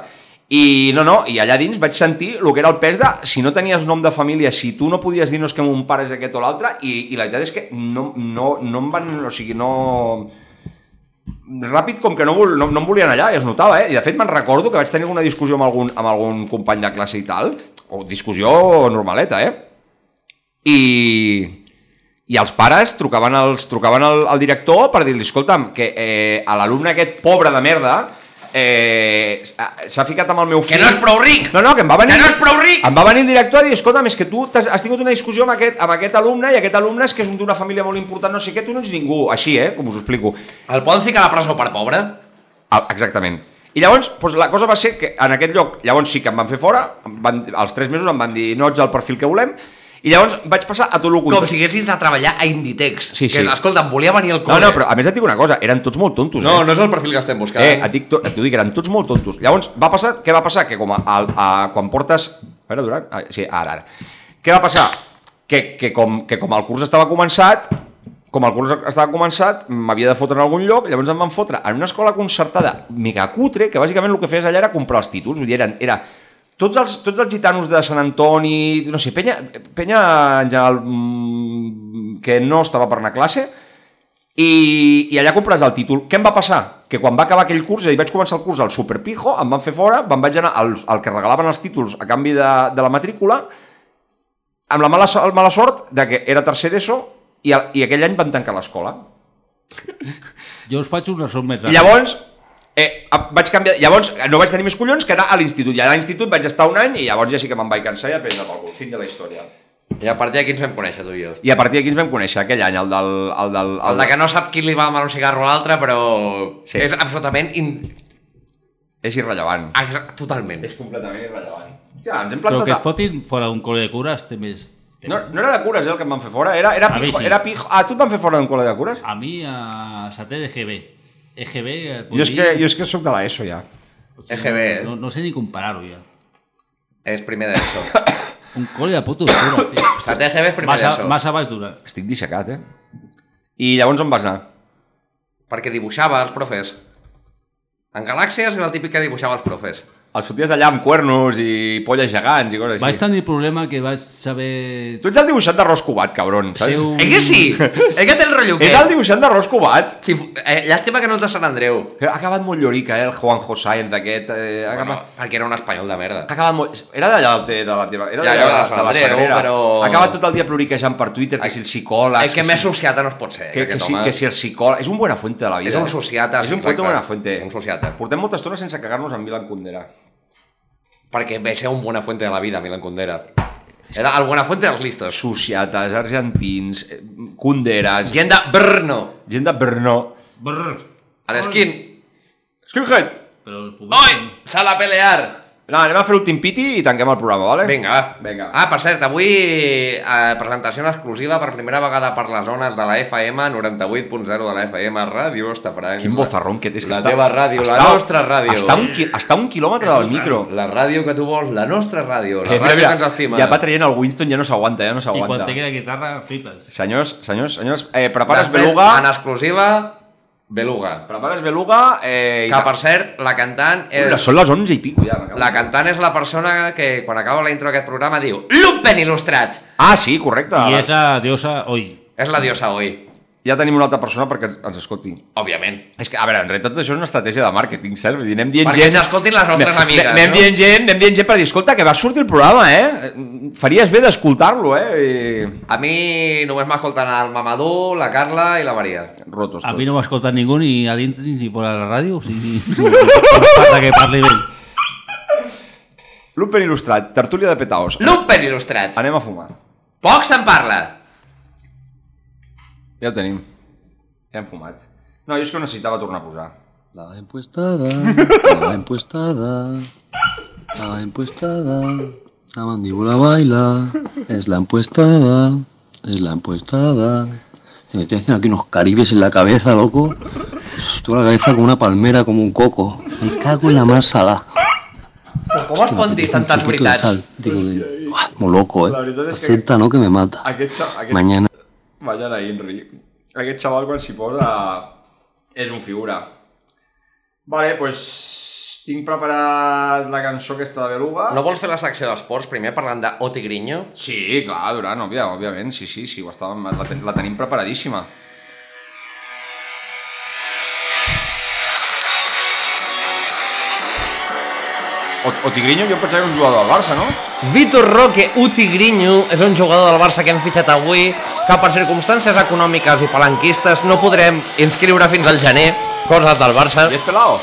[SPEAKER 5] I no, no, i allà dins vaig sentir el que era el pes de si no tenies nom de família, si tu no podies dir-nos que mon pare és aquest o l'altre, i, i la veritat és que no, no, no em van... O sigui, no ràpid com que no, vol, no, no em volien allà, i es notava, eh? I de fet me'n recordo que vaig tenir una discussió amb algun, amb algun company de classe i tal, o discussió normaleta, eh? I, i els pares trucaven, els, trucaven al, al director per dir-li, escolta'm, que eh, a l'alumne aquest pobre de merda eh, s'ha s'ha ficat amb el meu
[SPEAKER 4] Que
[SPEAKER 5] fill...
[SPEAKER 4] no és prou ric!
[SPEAKER 5] No, no, que em va venir...
[SPEAKER 4] Que no és prou ric!
[SPEAKER 5] Em va venir el director a dir, escolta'm, és que tu t'has- has tingut una discussió amb aquest, amb aquest alumne i aquest alumne és que és un d'una família molt important, no sé què, tu no ets ningú, així, eh, com us ho explico.
[SPEAKER 4] El poden ficar a la presó per pobre?
[SPEAKER 5] Ah, Exactament. I llavors, doncs, la cosa va ser que en aquest lloc, llavors sí que em van fer fora, em van, als tres mesos em van dir no ets el perfil que volem, i llavors vaig passar a tot el
[SPEAKER 4] Com
[SPEAKER 5] contrari.
[SPEAKER 4] si haguessis de treballar a Inditex.
[SPEAKER 5] Sí,
[SPEAKER 4] Que,
[SPEAKER 5] sí.
[SPEAKER 4] escolta, em volia venir al
[SPEAKER 5] No,
[SPEAKER 4] col·le.
[SPEAKER 5] no, però a més et dic una cosa, eren tots molt tontos.
[SPEAKER 4] No,
[SPEAKER 5] eh?
[SPEAKER 4] no és el perfil que estem buscant.
[SPEAKER 5] Eh, et, dic, to- et ho dic, eren tots molt tontos. Llavors, va passar, què va passar? Que com a, a, a quan portes... A veure, Durant? Ah, sí, ara, ara. Què va passar? Que, que, com, que com el curs estava començat, com el curs estava començat, m'havia de fotre en algun lloc, llavors em van fotre en una escola concertada megacutre, que bàsicament el que feies allà era comprar els títols, vull dir, eren, era tots els, tots els gitanos de Sant Antoni, no sé, penya, penya en general mm, que no estava per anar a classe, i, i allà compres el títol. Què em va passar? Que quan va acabar aquell curs, és a dir, vaig començar el curs al Superpijo, em van fer fora, em vaig anar al, al que regalaven els títols a canvi de, de la matrícula, amb la mala, so- el mala sort de que era tercer d'ESO i, el, i aquell any van tancar l'escola.
[SPEAKER 6] Jo us faig un resum més
[SPEAKER 5] I llavors, eh, a- vaig canviar, llavors no vaig tenir més collons que anar a l'institut. I a l'institut vaig estar un any i llavors ja sí que me'n vaig cansar i a prendre pel cul. Fin de la història.
[SPEAKER 4] I a partir d'aquí ens vam conèixer, tu i jo.
[SPEAKER 5] I a partir d'aquí ens vam conèixer aquell any, el del... El, del,
[SPEAKER 4] El de que no sap qui li va amb un cigarro a l'altre, però sí.
[SPEAKER 5] Sí.
[SPEAKER 4] és absolutament... In...
[SPEAKER 5] És irrellevant.
[SPEAKER 4] Exa- Totalment. És
[SPEAKER 5] completament irrellevant. Ja, ens hem
[SPEAKER 6] Però
[SPEAKER 5] plantat...
[SPEAKER 6] que
[SPEAKER 5] a-
[SPEAKER 6] et fotin fora d'un col·le de cures té més...
[SPEAKER 5] No, no era de cures, eh, el que em van fer fora. Era, era,
[SPEAKER 6] A mi
[SPEAKER 5] pijo,
[SPEAKER 6] sí. Ah,
[SPEAKER 5] era pijo. Ah, tu et van fer fora d'un col·le de cures?
[SPEAKER 6] A mi, a setè d'EGB. EGB... et vull
[SPEAKER 5] Jo és,
[SPEAKER 6] dir-
[SPEAKER 5] que, E jo és que soc de l'ESO, ja.
[SPEAKER 4] EGB.
[SPEAKER 6] pues No, no sé ni comparar-ho, ja.
[SPEAKER 4] És primer d'ESO.
[SPEAKER 6] Un col·le de putos dures, tio.
[SPEAKER 4] Estàs d'EGB és primer
[SPEAKER 6] Massa-
[SPEAKER 4] d'ESO.
[SPEAKER 6] Massa baix dura.
[SPEAKER 5] Estic dissecat, eh? I llavors on vas anar?
[SPEAKER 4] Perquè dibuixava els profes. En Galàxies era el típic que dibuixava els profes.
[SPEAKER 5] Els foties d'allà amb cuernos i polles gegants i coses així.
[SPEAKER 6] Vaig tenir problema que vaig saber...
[SPEAKER 5] Tu ets el dibuixant d'arròs cubat, cabron, saps?
[SPEAKER 6] Ser un-
[SPEAKER 4] Eh que sí? Eh que té el rotllo
[SPEAKER 5] És el dibuixant d'arròs cubat.
[SPEAKER 4] Sí, eh, llàstima que no és de Sant Andreu.
[SPEAKER 5] Però ha acabat molt llorica, eh, el Juanjo Sáenz d'aquest. Eh, ha
[SPEAKER 4] Bueno,
[SPEAKER 5] acabat...
[SPEAKER 4] perquè era un espanyol de merda.
[SPEAKER 5] Ha acabat molt... Era d'allà el te- de la teva... Era
[SPEAKER 4] Ja,
[SPEAKER 5] d'allà
[SPEAKER 4] jo de
[SPEAKER 5] de,
[SPEAKER 4] Sant
[SPEAKER 5] la
[SPEAKER 4] Andreu,
[SPEAKER 5] Sagrera.
[SPEAKER 4] però-
[SPEAKER 5] Ha acabat tot el dia ploriquejant per Twitter, que si el psicòleg...
[SPEAKER 4] El que més sociata no es pot ser,
[SPEAKER 5] Que, que,
[SPEAKER 4] aquest
[SPEAKER 5] si,
[SPEAKER 4] home.
[SPEAKER 5] que si el psicòleg... És un buena fuente de la vida.
[SPEAKER 4] És un
[SPEAKER 5] eh?
[SPEAKER 4] sociata,
[SPEAKER 5] És un
[SPEAKER 4] sí,
[SPEAKER 5] puto
[SPEAKER 4] exacte.
[SPEAKER 5] buena fuente.
[SPEAKER 4] Un sociata.
[SPEAKER 5] Portem molta estona sense cagar-nos en Milan Kundera.
[SPEAKER 4] Perquè ve ser un bona fuente de la vida, Milan Kundera. Era el bona fuente dels listos.
[SPEAKER 5] Sociates, argentins, eh, Kunderas...
[SPEAKER 4] Gent de Brno.
[SPEAKER 5] Gent de Brno.
[SPEAKER 6] Brrr.
[SPEAKER 4] A l'esquin.
[SPEAKER 5] Skinhead!
[SPEAKER 6] Però el pubert...
[SPEAKER 4] Oi! Sal a pelear!
[SPEAKER 5] No, anem a fer l'últim piti i tanquem el programa, vale?
[SPEAKER 4] Vinga, va.
[SPEAKER 5] Vinga.
[SPEAKER 4] Ah, per cert, avui eh, presentació en exclusiva per primera vegada per les zones de la FM, 98.0 de la FM, Ràdio Estafranc.
[SPEAKER 5] Quin bozarrón que tens. que
[SPEAKER 4] La
[SPEAKER 5] està-
[SPEAKER 4] teva ràdio, la
[SPEAKER 5] està-
[SPEAKER 4] nostra ràdio.
[SPEAKER 5] Està un, qui- està un quilòmetre del micro.
[SPEAKER 4] La ràdio que tu vols, la nostra ràdio, la
[SPEAKER 5] Eh,
[SPEAKER 4] ràdio que ens estima.
[SPEAKER 5] ja va traient el Winston, ja no s'aguanta, ja no
[SPEAKER 6] I quan
[SPEAKER 5] s'aguanta.
[SPEAKER 6] té la guitarra, flipes.
[SPEAKER 5] Senyors, senyors, senyors, eh, prepares
[SPEAKER 4] Després,
[SPEAKER 5] beluga,
[SPEAKER 4] En exclusiva, Beluga.
[SPEAKER 5] prepares beluga... Eh, i
[SPEAKER 4] Que, per cert, la cantant és...
[SPEAKER 5] Ui, Són les 11 i pico, ja. m'acabo.
[SPEAKER 4] La cantant és la persona que, quan acaba la intro d'aquest programa, diu Lupen il·lustrat!
[SPEAKER 5] Ah, sí, correcte.
[SPEAKER 6] I és la diosa Oi.
[SPEAKER 4] És la diosa Oi,
[SPEAKER 5] Ja tenim una altra persona perquè ens- ens escolti.
[SPEAKER 4] òbviament.
[SPEAKER 5] És que, a veure, en realitat tot això és una estratègia de màrqueting, saps? Vull dir, anem dient
[SPEAKER 4] Perquè
[SPEAKER 5] gent...
[SPEAKER 4] ens escoltin les nostres
[SPEAKER 5] anem-
[SPEAKER 4] amigues,
[SPEAKER 5] Anem
[SPEAKER 4] no?
[SPEAKER 5] dient gent, anem dient gent per dir, escolta, que va sortir el programa, eh? Faries bé d'escoltar-lo, eh?
[SPEAKER 4] A mi només m'escolten el Mamadou, la Carla i la Maria.
[SPEAKER 5] I... Rotos tots.
[SPEAKER 6] A mi no m'escolta ningú ni a dintre ni fora de la ràdio. O sigui, no falta que parli bé.
[SPEAKER 5] Lupen il·lustrat, tertúlia de petaos.
[SPEAKER 4] Lupen il·lustrat!
[SPEAKER 5] Anem a fumar.
[SPEAKER 4] Poc se'n parla!
[SPEAKER 5] Ja ho tenim. Ja hem fumat. No, jo és que ho necessitava tornar a posar.
[SPEAKER 10] La empuestada, la empuestada, la empuestada, la mandíbula baila, es la empuestada, es la empuestada. Se me estoy haciendo aquí unos caribes en la cabeza, loco. Tengo la cabeza como una palmera, como un coco. Me cago en la mar salada.
[SPEAKER 4] Però com es pot dir tantes
[SPEAKER 10] Poquito de
[SPEAKER 4] veritats?
[SPEAKER 10] sal. Digo, de- Uah, muy loco,
[SPEAKER 5] La
[SPEAKER 10] eh.
[SPEAKER 5] verdad es que-
[SPEAKER 10] Acepta, ¿no? Que me mata.
[SPEAKER 5] Aquest, xa- aquest...
[SPEAKER 10] Mañana.
[SPEAKER 5] Vayan a Inri. Aquest xaval quan s'hi posa és ah, un figura. Vale, pues tinc preparat la cançó aquesta de Beluga.
[SPEAKER 4] No vols fer la secció d'esports primer parlant d'Oti Grinyo?
[SPEAKER 5] Sí, clar, Duran, òbvia, òbviament, sí, sí, sí, ho estàvem, la, ten la tenim preparadíssima. O, o Tigrinho, jo em pensava que era un jugador del Barça, no?
[SPEAKER 4] Eh. Vitor Roque Utigrinyo és un jugador del Barça que hem fitxat avui que per circumstàncies econòmiques i palanquistes no podrem inscriure fins al gener coses del Barça.
[SPEAKER 5] I és pelao.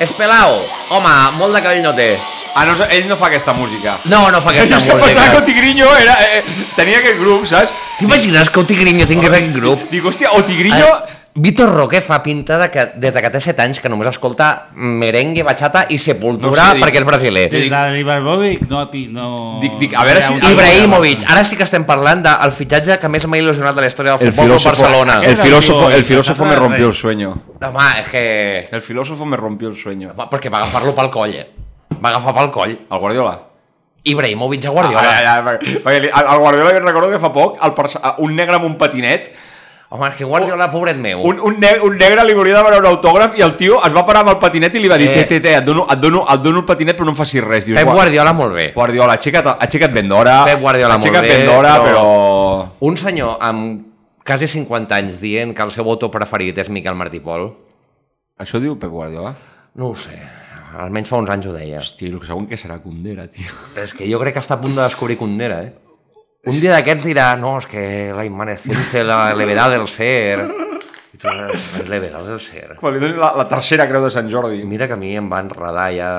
[SPEAKER 4] És pelao. Home, molt de cabell no té.
[SPEAKER 5] Ah, no, ell no fa aquesta música.
[SPEAKER 4] No, no fa aquesta
[SPEAKER 5] Jo em pensava que
[SPEAKER 4] música.
[SPEAKER 5] Tigrinho era, eh, tenia aquest grup, saps?
[SPEAKER 4] T'imagines que Utigrinyo tingués aquest grup?
[SPEAKER 5] Dic, hòstia, o Tigrillo
[SPEAKER 4] Ah. Víctor Roque fa pinta de que des de que té 7 anys que només escolta merengue, bachata i
[SPEAKER 6] No
[SPEAKER 4] sepultura
[SPEAKER 6] sé,
[SPEAKER 4] no
[SPEAKER 6] dic-
[SPEAKER 4] perquè és brasiler.
[SPEAKER 6] Des de l'Ibrahimovic no... ha pi- no...
[SPEAKER 4] Dic, dic, a veure si... Ibrahimovic, ara sí que estem parlant del fitxatge que més m'ha il·lusionat de la història del
[SPEAKER 5] El
[SPEAKER 4] futbol club
[SPEAKER 5] filósofo,
[SPEAKER 4] Barcelona.
[SPEAKER 5] el filósofo, el filósofo me rompió el sueño.
[SPEAKER 4] Home, és que...
[SPEAKER 5] El filósofo me rompió el sueño.
[SPEAKER 4] Home, perquè va agafar-lo pel coll, eh? Va agafar pel coll.
[SPEAKER 5] El Guardiola.
[SPEAKER 4] Ibrahimovic a Guardiola.
[SPEAKER 5] Ah, ja, ja, perquè- perquè li- al al Guardiola jo recordo que fa poc el perse- un negre amb un patinet
[SPEAKER 4] Home, és que Guardiola, pobret meu.
[SPEAKER 5] un, un, ne un negre li volia demanar un autògraf i el tio es va parar amb el patinet i li va dir
[SPEAKER 4] Eh.
[SPEAKER 5] té, té, té, et dono, et dono, et dono el patinet però no em facis res. Dius,
[SPEAKER 4] Pep
[SPEAKER 5] "Gua-
[SPEAKER 4] Guardiola molt bé.
[SPEAKER 5] Guardiola, aixeca't, aixeca't ben d'hora.
[SPEAKER 4] Pep Guardiola molt
[SPEAKER 5] aixeca't
[SPEAKER 4] bé,
[SPEAKER 5] ben d'hora, però...
[SPEAKER 4] Un senyor amb quasi 50 anys dient que el seu autor preferit és Miquel Martí Pol,
[SPEAKER 5] Això diu Pep Guardiola?
[SPEAKER 4] no ho sé. Almenys fa uns anys ho deia.
[SPEAKER 5] Hosti, el segon que serà Cundera, tio.
[SPEAKER 4] Però és que jo crec que està a punt de descobrir Condera, eh? Un dia d'aquests dirà, no, és que la inmanescencia, la levedad del ser... I tu, "La levedad del ser...
[SPEAKER 5] Quan li doni la, la tercera creu de Sant Jordi.
[SPEAKER 4] Mira que a mi em va enredar ja...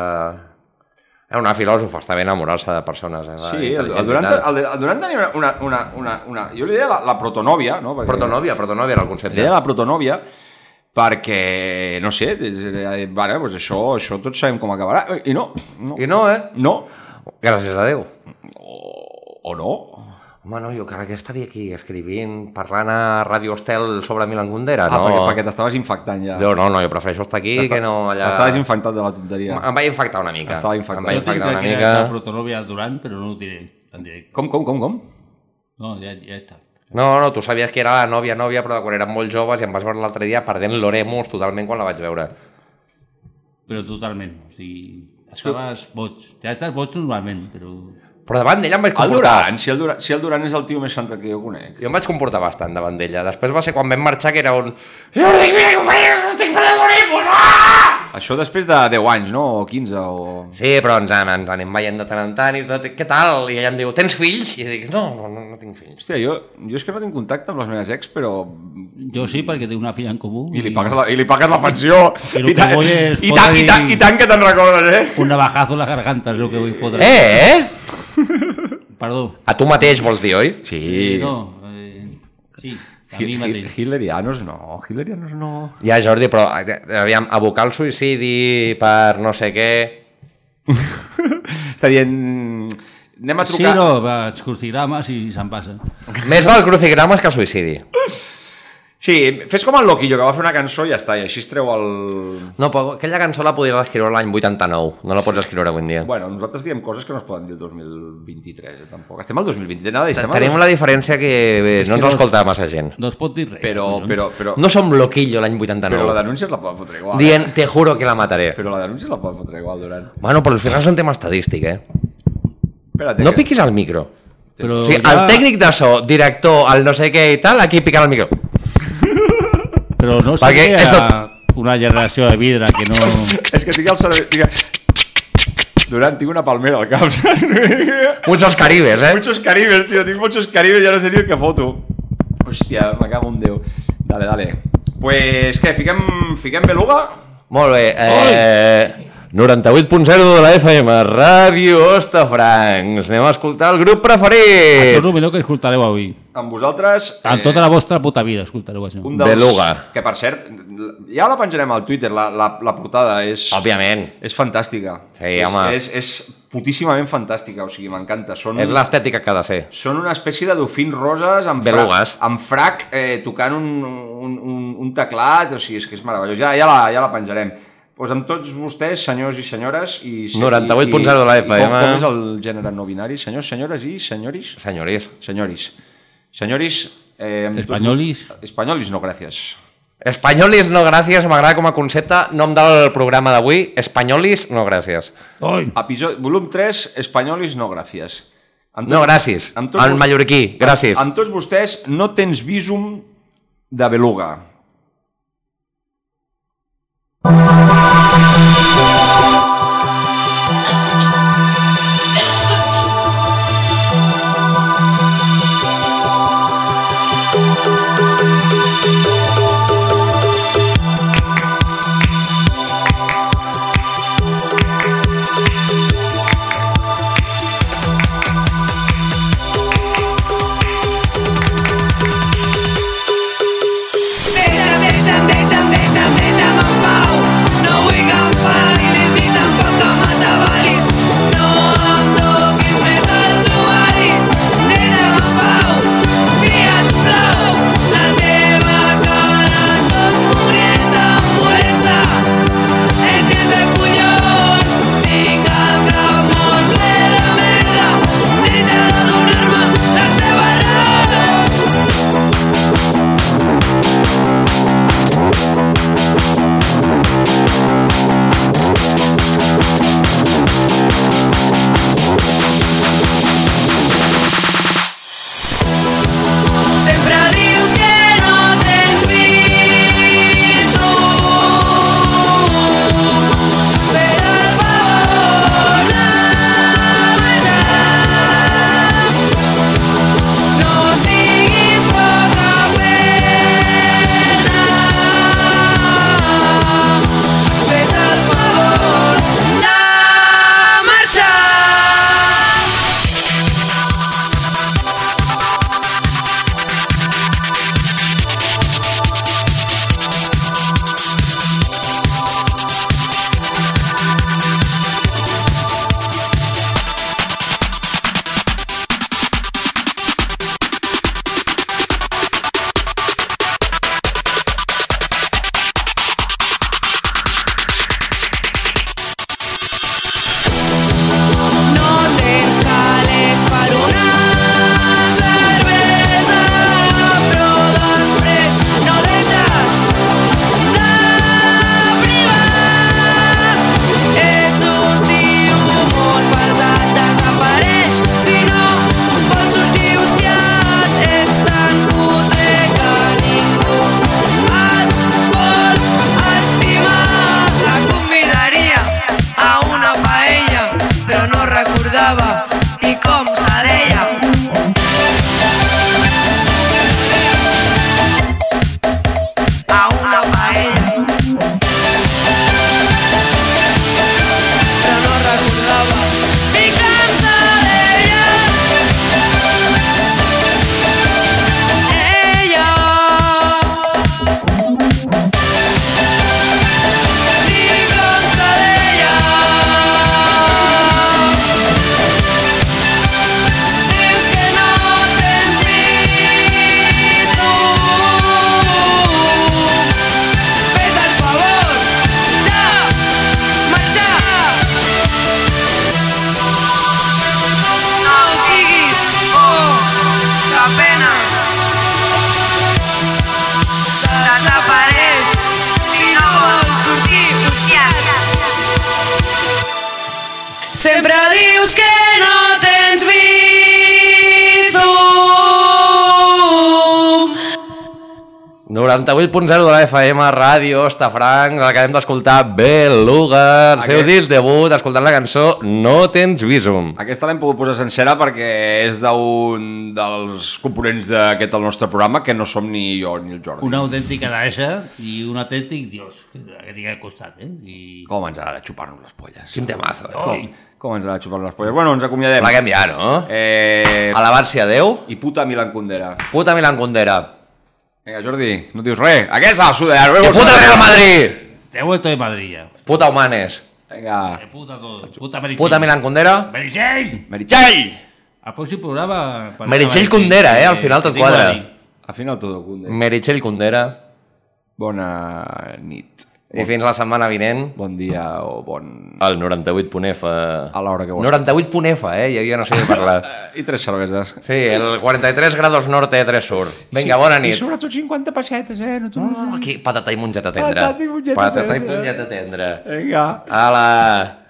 [SPEAKER 4] Era una filòsofa, està bé enamorar-se de persones. Eh?
[SPEAKER 5] Sí, el, el, Durant, el, el Durant tenia una, una, una, una, jo li deia la, la protonòvia, no? Perquè
[SPEAKER 4] Protonòvia, protonòvia era el concepte.
[SPEAKER 5] Li deia la protonòvia perquè, no sé, eh, vale, doncs això, això tots sabem com acabarà. I no, no.
[SPEAKER 4] I no, eh?
[SPEAKER 5] No.
[SPEAKER 4] Gràcies a Déu.
[SPEAKER 5] O no.
[SPEAKER 4] Home, no, jo crec que estaria aquí escrivint, parlant a Radio Hostel sobre Milan Kundera,
[SPEAKER 5] Ah,
[SPEAKER 4] no?
[SPEAKER 5] perquè, perquè t'estaves infectant ja.
[SPEAKER 4] Jo no, no, jo prefereixo estar aquí
[SPEAKER 5] T'està-
[SPEAKER 4] que no allà...
[SPEAKER 5] T'estaves infectat de la tonteria.
[SPEAKER 4] Em vaig infectar una mica.
[SPEAKER 5] Estava infectat.
[SPEAKER 4] Em vaig
[SPEAKER 5] Jo tinc
[SPEAKER 4] infectar una
[SPEAKER 5] que
[SPEAKER 4] mica.
[SPEAKER 6] La protonòvia al Durant, però no ho diré en directe.
[SPEAKER 5] Com, com, com, com?
[SPEAKER 6] No, ja, ja està.
[SPEAKER 4] No, no, tu sabies que era la nòvia, nòvia, però de quan érem molt joves i em vas veure l'altre dia perdent l'Oremus totalment quan la vaig veure.
[SPEAKER 6] Però totalment. O sigui, estaves boig. Ja estàs boig normalment, però...
[SPEAKER 4] Però davant d'ella em vaig
[SPEAKER 5] El
[SPEAKER 4] comportar...
[SPEAKER 5] Durant, si el Durant, si el Durant és el tio més centrat que jo conec.
[SPEAKER 4] Jo em vaig comportar bastant davant d'ella. Després va ser quan vam marxar que era un... Jordi, mira, companya, estic perdent l'Oremus! Ah!
[SPEAKER 5] Això després de 10 anys, no? O 15, o...
[SPEAKER 4] Sí, però ens, an- ens anem veient de tant en tant i tot, què tal? I ella em diu, tens fills? I dic, no, no, no, no tinc fills.
[SPEAKER 5] Hòstia, jo, jo és que no tinc contacte amb les meves ex, però...
[SPEAKER 6] Jo sí, perquè tinc una filla en comú.
[SPEAKER 5] I li pagues la, i li pagues la pensió.
[SPEAKER 6] I lo que
[SPEAKER 5] tant-
[SPEAKER 6] voy es
[SPEAKER 5] i, tant, i,
[SPEAKER 6] poder-
[SPEAKER 5] tant, I tant que te'n recordes, eh?
[SPEAKER 6] Un navajazo a la garganta és el que vull fotre.
[SPEAKER 4] Eh, eh?
[SPEAKER 6] Perdó.
[SPEAKER 4] A tu mateix vols dir, oi?
[SPEAKER 5] Sí.
[SPEAKER 6] No, eh, sí, a mi
[SPEAKER 5] Hi-
[SPEAKER 6] mateix.
[SPEAKER 5] hi- Hitlerianos no, Hitlerianos no...
[SPEAKER 4] Ja, Jordi, però eh, aviam, abocar el suïcidi per no sé què...
[SPEAKER 5] Està dient... Anem a
[SPEAKER 6] Sí,
[SPEAKER 5] trucar...
[SPEAKER 6] no, vaig crucigrames i se'n passa.
[SPEAKER 4] Més val crucigrames que suïcidi.
[SPEAKER 5] Sí, fes com el Loquillo, que va fer una cançó i ja està, i així es treu el...
[SPEAKER 4] No, però aquella cançó la podries escriure l'any 89, no la pots escriure avui en dia.
[SPEAKER 5] Bueno, nosaltres diem coses que no es poden dir el 2023, eh, tampoc. Estem al 2023, nada, estem al
[SPEAKER 4] Tenim la diferència que eh, no ens escolta massa gent.
[SPEAKER 6] No es pot dir res.
[SPEAKER 5] Però, però, però,
[SPEAKER 4] No som loquillo l'any
[SPEAKER 5] però la
[SPEAKER 4] 89,
[SPEAKER 5] denúncia es la poden fotre igual. eh?
[SPEAKER 4] dient, te juro que la mataré.
[SPEAKER 5] Però la denúncia es la poden fotre igual, Durant.
[SPEAKER 4] Bueno, però al final és un tema estadístic, eh?
[SPEAKER 5] Espérate,
[SPEAKER 4] No
[SPEAKER 5] que-
[SPEAKER 4] piquis al micro.
[SPEAKER 6] Però
[SPEAKER 4] O sigui,
[SPEAKER 6] Doncs ja-
[SPEAKER 4] el tècnic de so, director, el no sé què i tal, aquí piquen al micro.
[SPEAKER 6] Però no
[SPEAKER 4] Perquè
[SPEAKER 6] seria
[SPEAKER 4] és
[SPEAKER 6] una generació de vidre que no...
[SPEAKER 5] És que tinc el cervell... Tinc... Durant, tinc una palmera al cap, saps?
[SPEAKER 4] Muchos caribes, eh?
[SPEAKER 5] Muchos caribes, tío. Tinc muchos caribes, ja no sé ni el que foto. Hòstia, me cago en Déu. Dale, dale. Pues què, fiquem, fiquem beluga?
[SPEAKER 4] Molt bé. Eh, 98.0 de la FM, Ràdio Ostafrancs. Anem a escoltar el grup
[SPEAKER 6] Això
[SPEAKER 4] preferit.
[SPEAKER 6] és el millor que escoltareu avui.
[SPEAKER 5] Amb vosaltres... eh,
[SPEAKER 4] eh,
[SPEAKER 6] En tota la vostra puta vida escoltareu això.
[SPEAKER 5] un
[SPEAKER 4] Ah, Beluga.
[SPEAKER 5] Que, per cert, ja la penjarem al Twitter, la, la, la portada és...
[SPEAKER 4] Òbviament.
[SPEAKER 5] És fantàstica.
[SPEAKER 4] Sí,
[SPEAKER 5] és,
[SPEAKER 4] home.
[SPEAKER 5] És, és putíssimament fantàstica, o sigui, m'encanta. Són...
[SPEAKER 4] És l'estètica que ha de ser.
[SPEAKER 5] Són una espècie de dofins roses amb
[SPEAKER 4] Belugues.
[SPEAKER 5] frac, amb frac eh, tocant un, un, un, un teclat, o sigui, és que és meravellós. Ja, ja, la, ja la penjarem. Pues amb tots vostès, senyors i senyores... I,
[SPEAKER 4] 98.0 de la
[SPEAKER 5] i- i Com,
[SPEAKER 4] FM.
[SPEAKER 5] com és el gènere no binari? Senyors, senyores i senyoris?
[SPEAKER 4] Senyoris.
[SPEAKER 5] Senyoris. Senyoris... Eh, amb tots
[SPEAKER 6] Espanyolis?
[SPEAKER 5] vos- Espanyolis, no, gràcies.
[SPEAKER 4] Espanyolis no gràcies, m'agrada com a concepte. Nom del programa d'avui, Espanyolis no gràcies.
[SPEAKER 6] Oi,
[SPEAKER 5] Episodi, volum 3, Espanyolis, no, gràcies. Amb
[SPEAKER 4] No gràcies.
[SPEAKER 5] amb tots
[SPEAKER 4] El
[SPEAKER 5] vos-
[SPEAKER 4] mallorquí, gràcies.
[SPEAKER 5] Amb tots vostès, no tens visum de beluga.
[SPEAKER 2] Sing paella. Però no regulava. Estic cansada d'ella. Ella. Fes el favor de marxar. No siguis por Oh, la pena. Desapareix i no vols sortir buscat. Sempre dius que no tens bizum.
[SPEAKER 4] 98.0 de la FM Ràdio, està Frank, l'acabem d'escoltar Beluga, el seu
[SPEAKER 5] Aquest-
[SPEAKER 4] disc debut, escoltant la cançó No tens visum.
[SPEAKER 5] Aquesta l'hem pogut posar sencera perquè és d'un dels components d'aquest el nostre programa que no som ni jo ni el Jordi.
[SPEAKER 6] Una autèntica daixa i un autèntic dios, que que tinc al costat, eh? I...
[SPEAKER 5] Com ens agrada xupar-nos les polles.
[SPEAKER 4] Quin temazo, eh?
[SPEAKER 5] Com, com ens agrada xupar-nos les polles. Bueno, ens acomiadem.
[SPEAKER 4] Pleguem ja, no?
[SPEAKER 5] Eh...
[SPEAKER 4] Alabar-se a Déu.
[SPEAKER 5] I puta Milan Kundera.
[SPEAKER 4] Puta Milan Kundera.
[SPEAKER 5] Vinga, Jordi, no dius res. Aquesta, Sudar.
[SPEAKER 4] ¡Que puta Real Madrid!
[SPEAKER 6] Te he vuelto de Madrid ya.
[SPEAKER 4] Puta Humanes.
[SPEAKER 5] Vinga.
[SPEAKER 6] Puta todo. Puta Meritxell.
[SPEAKER 4] Puta Milan Kundera.
[SPEAKER 6] Meritxell!
[SPEAKER 5] Meritxell!
[SPEAKER 6] El pròxim programa... parlem
[SPEAKER 4] Meritxell
[SPEAKER 6] amb
[SPEAKER 4] Kundera, eh? Al
[SPEAKER 6] que-
[SPEAKER 4] final
[SPEAKER 6] que
[SPEAKER 4] tot
[SPEAKER 6] tinc
[SPEAKER 4] quadra.
[SPEAKER 6] a dir.
[SPEAKER 5] Al final tot Kundera.
[SPEAKER 4] Meritxell Kundera.
[SPEAKER 5] Bona nit.
[SPEAKER 4] I fins la setmana vinent.
[SPEAKER 5] Bon dia o bon...
[SPEAKER 4] El 98.f.
[SPEAKER 5] A l'hora que vols.
[SPEAKER 4] 98.f, eh? Ja jo no sé de parlar.
[SPEAKER 5] I tres cerveses.
[SPEAKER 4] Sí, el 43 grados norte, 3 sur. Vinga,
[SPEAKER 5] Sí,
[SPEAKER 4] bona
[SPEAKER 5] I
[SPEAKER 4] nit. Oh,
[SPEAKER 5] sobretot 50 pessetes, eh? No t'ho-
[SPEAKER 4] Aquí, patata i mongeta tendra.
[SPEAKER 5] Patata i mongeta
[SPEAKER 4] Patata i
[SPEAKER 5] tendra.
[SPEAKER 4] mongeta tendra.
[SPEAKER 5] Vinga.
[SPEAKER 4] Ala.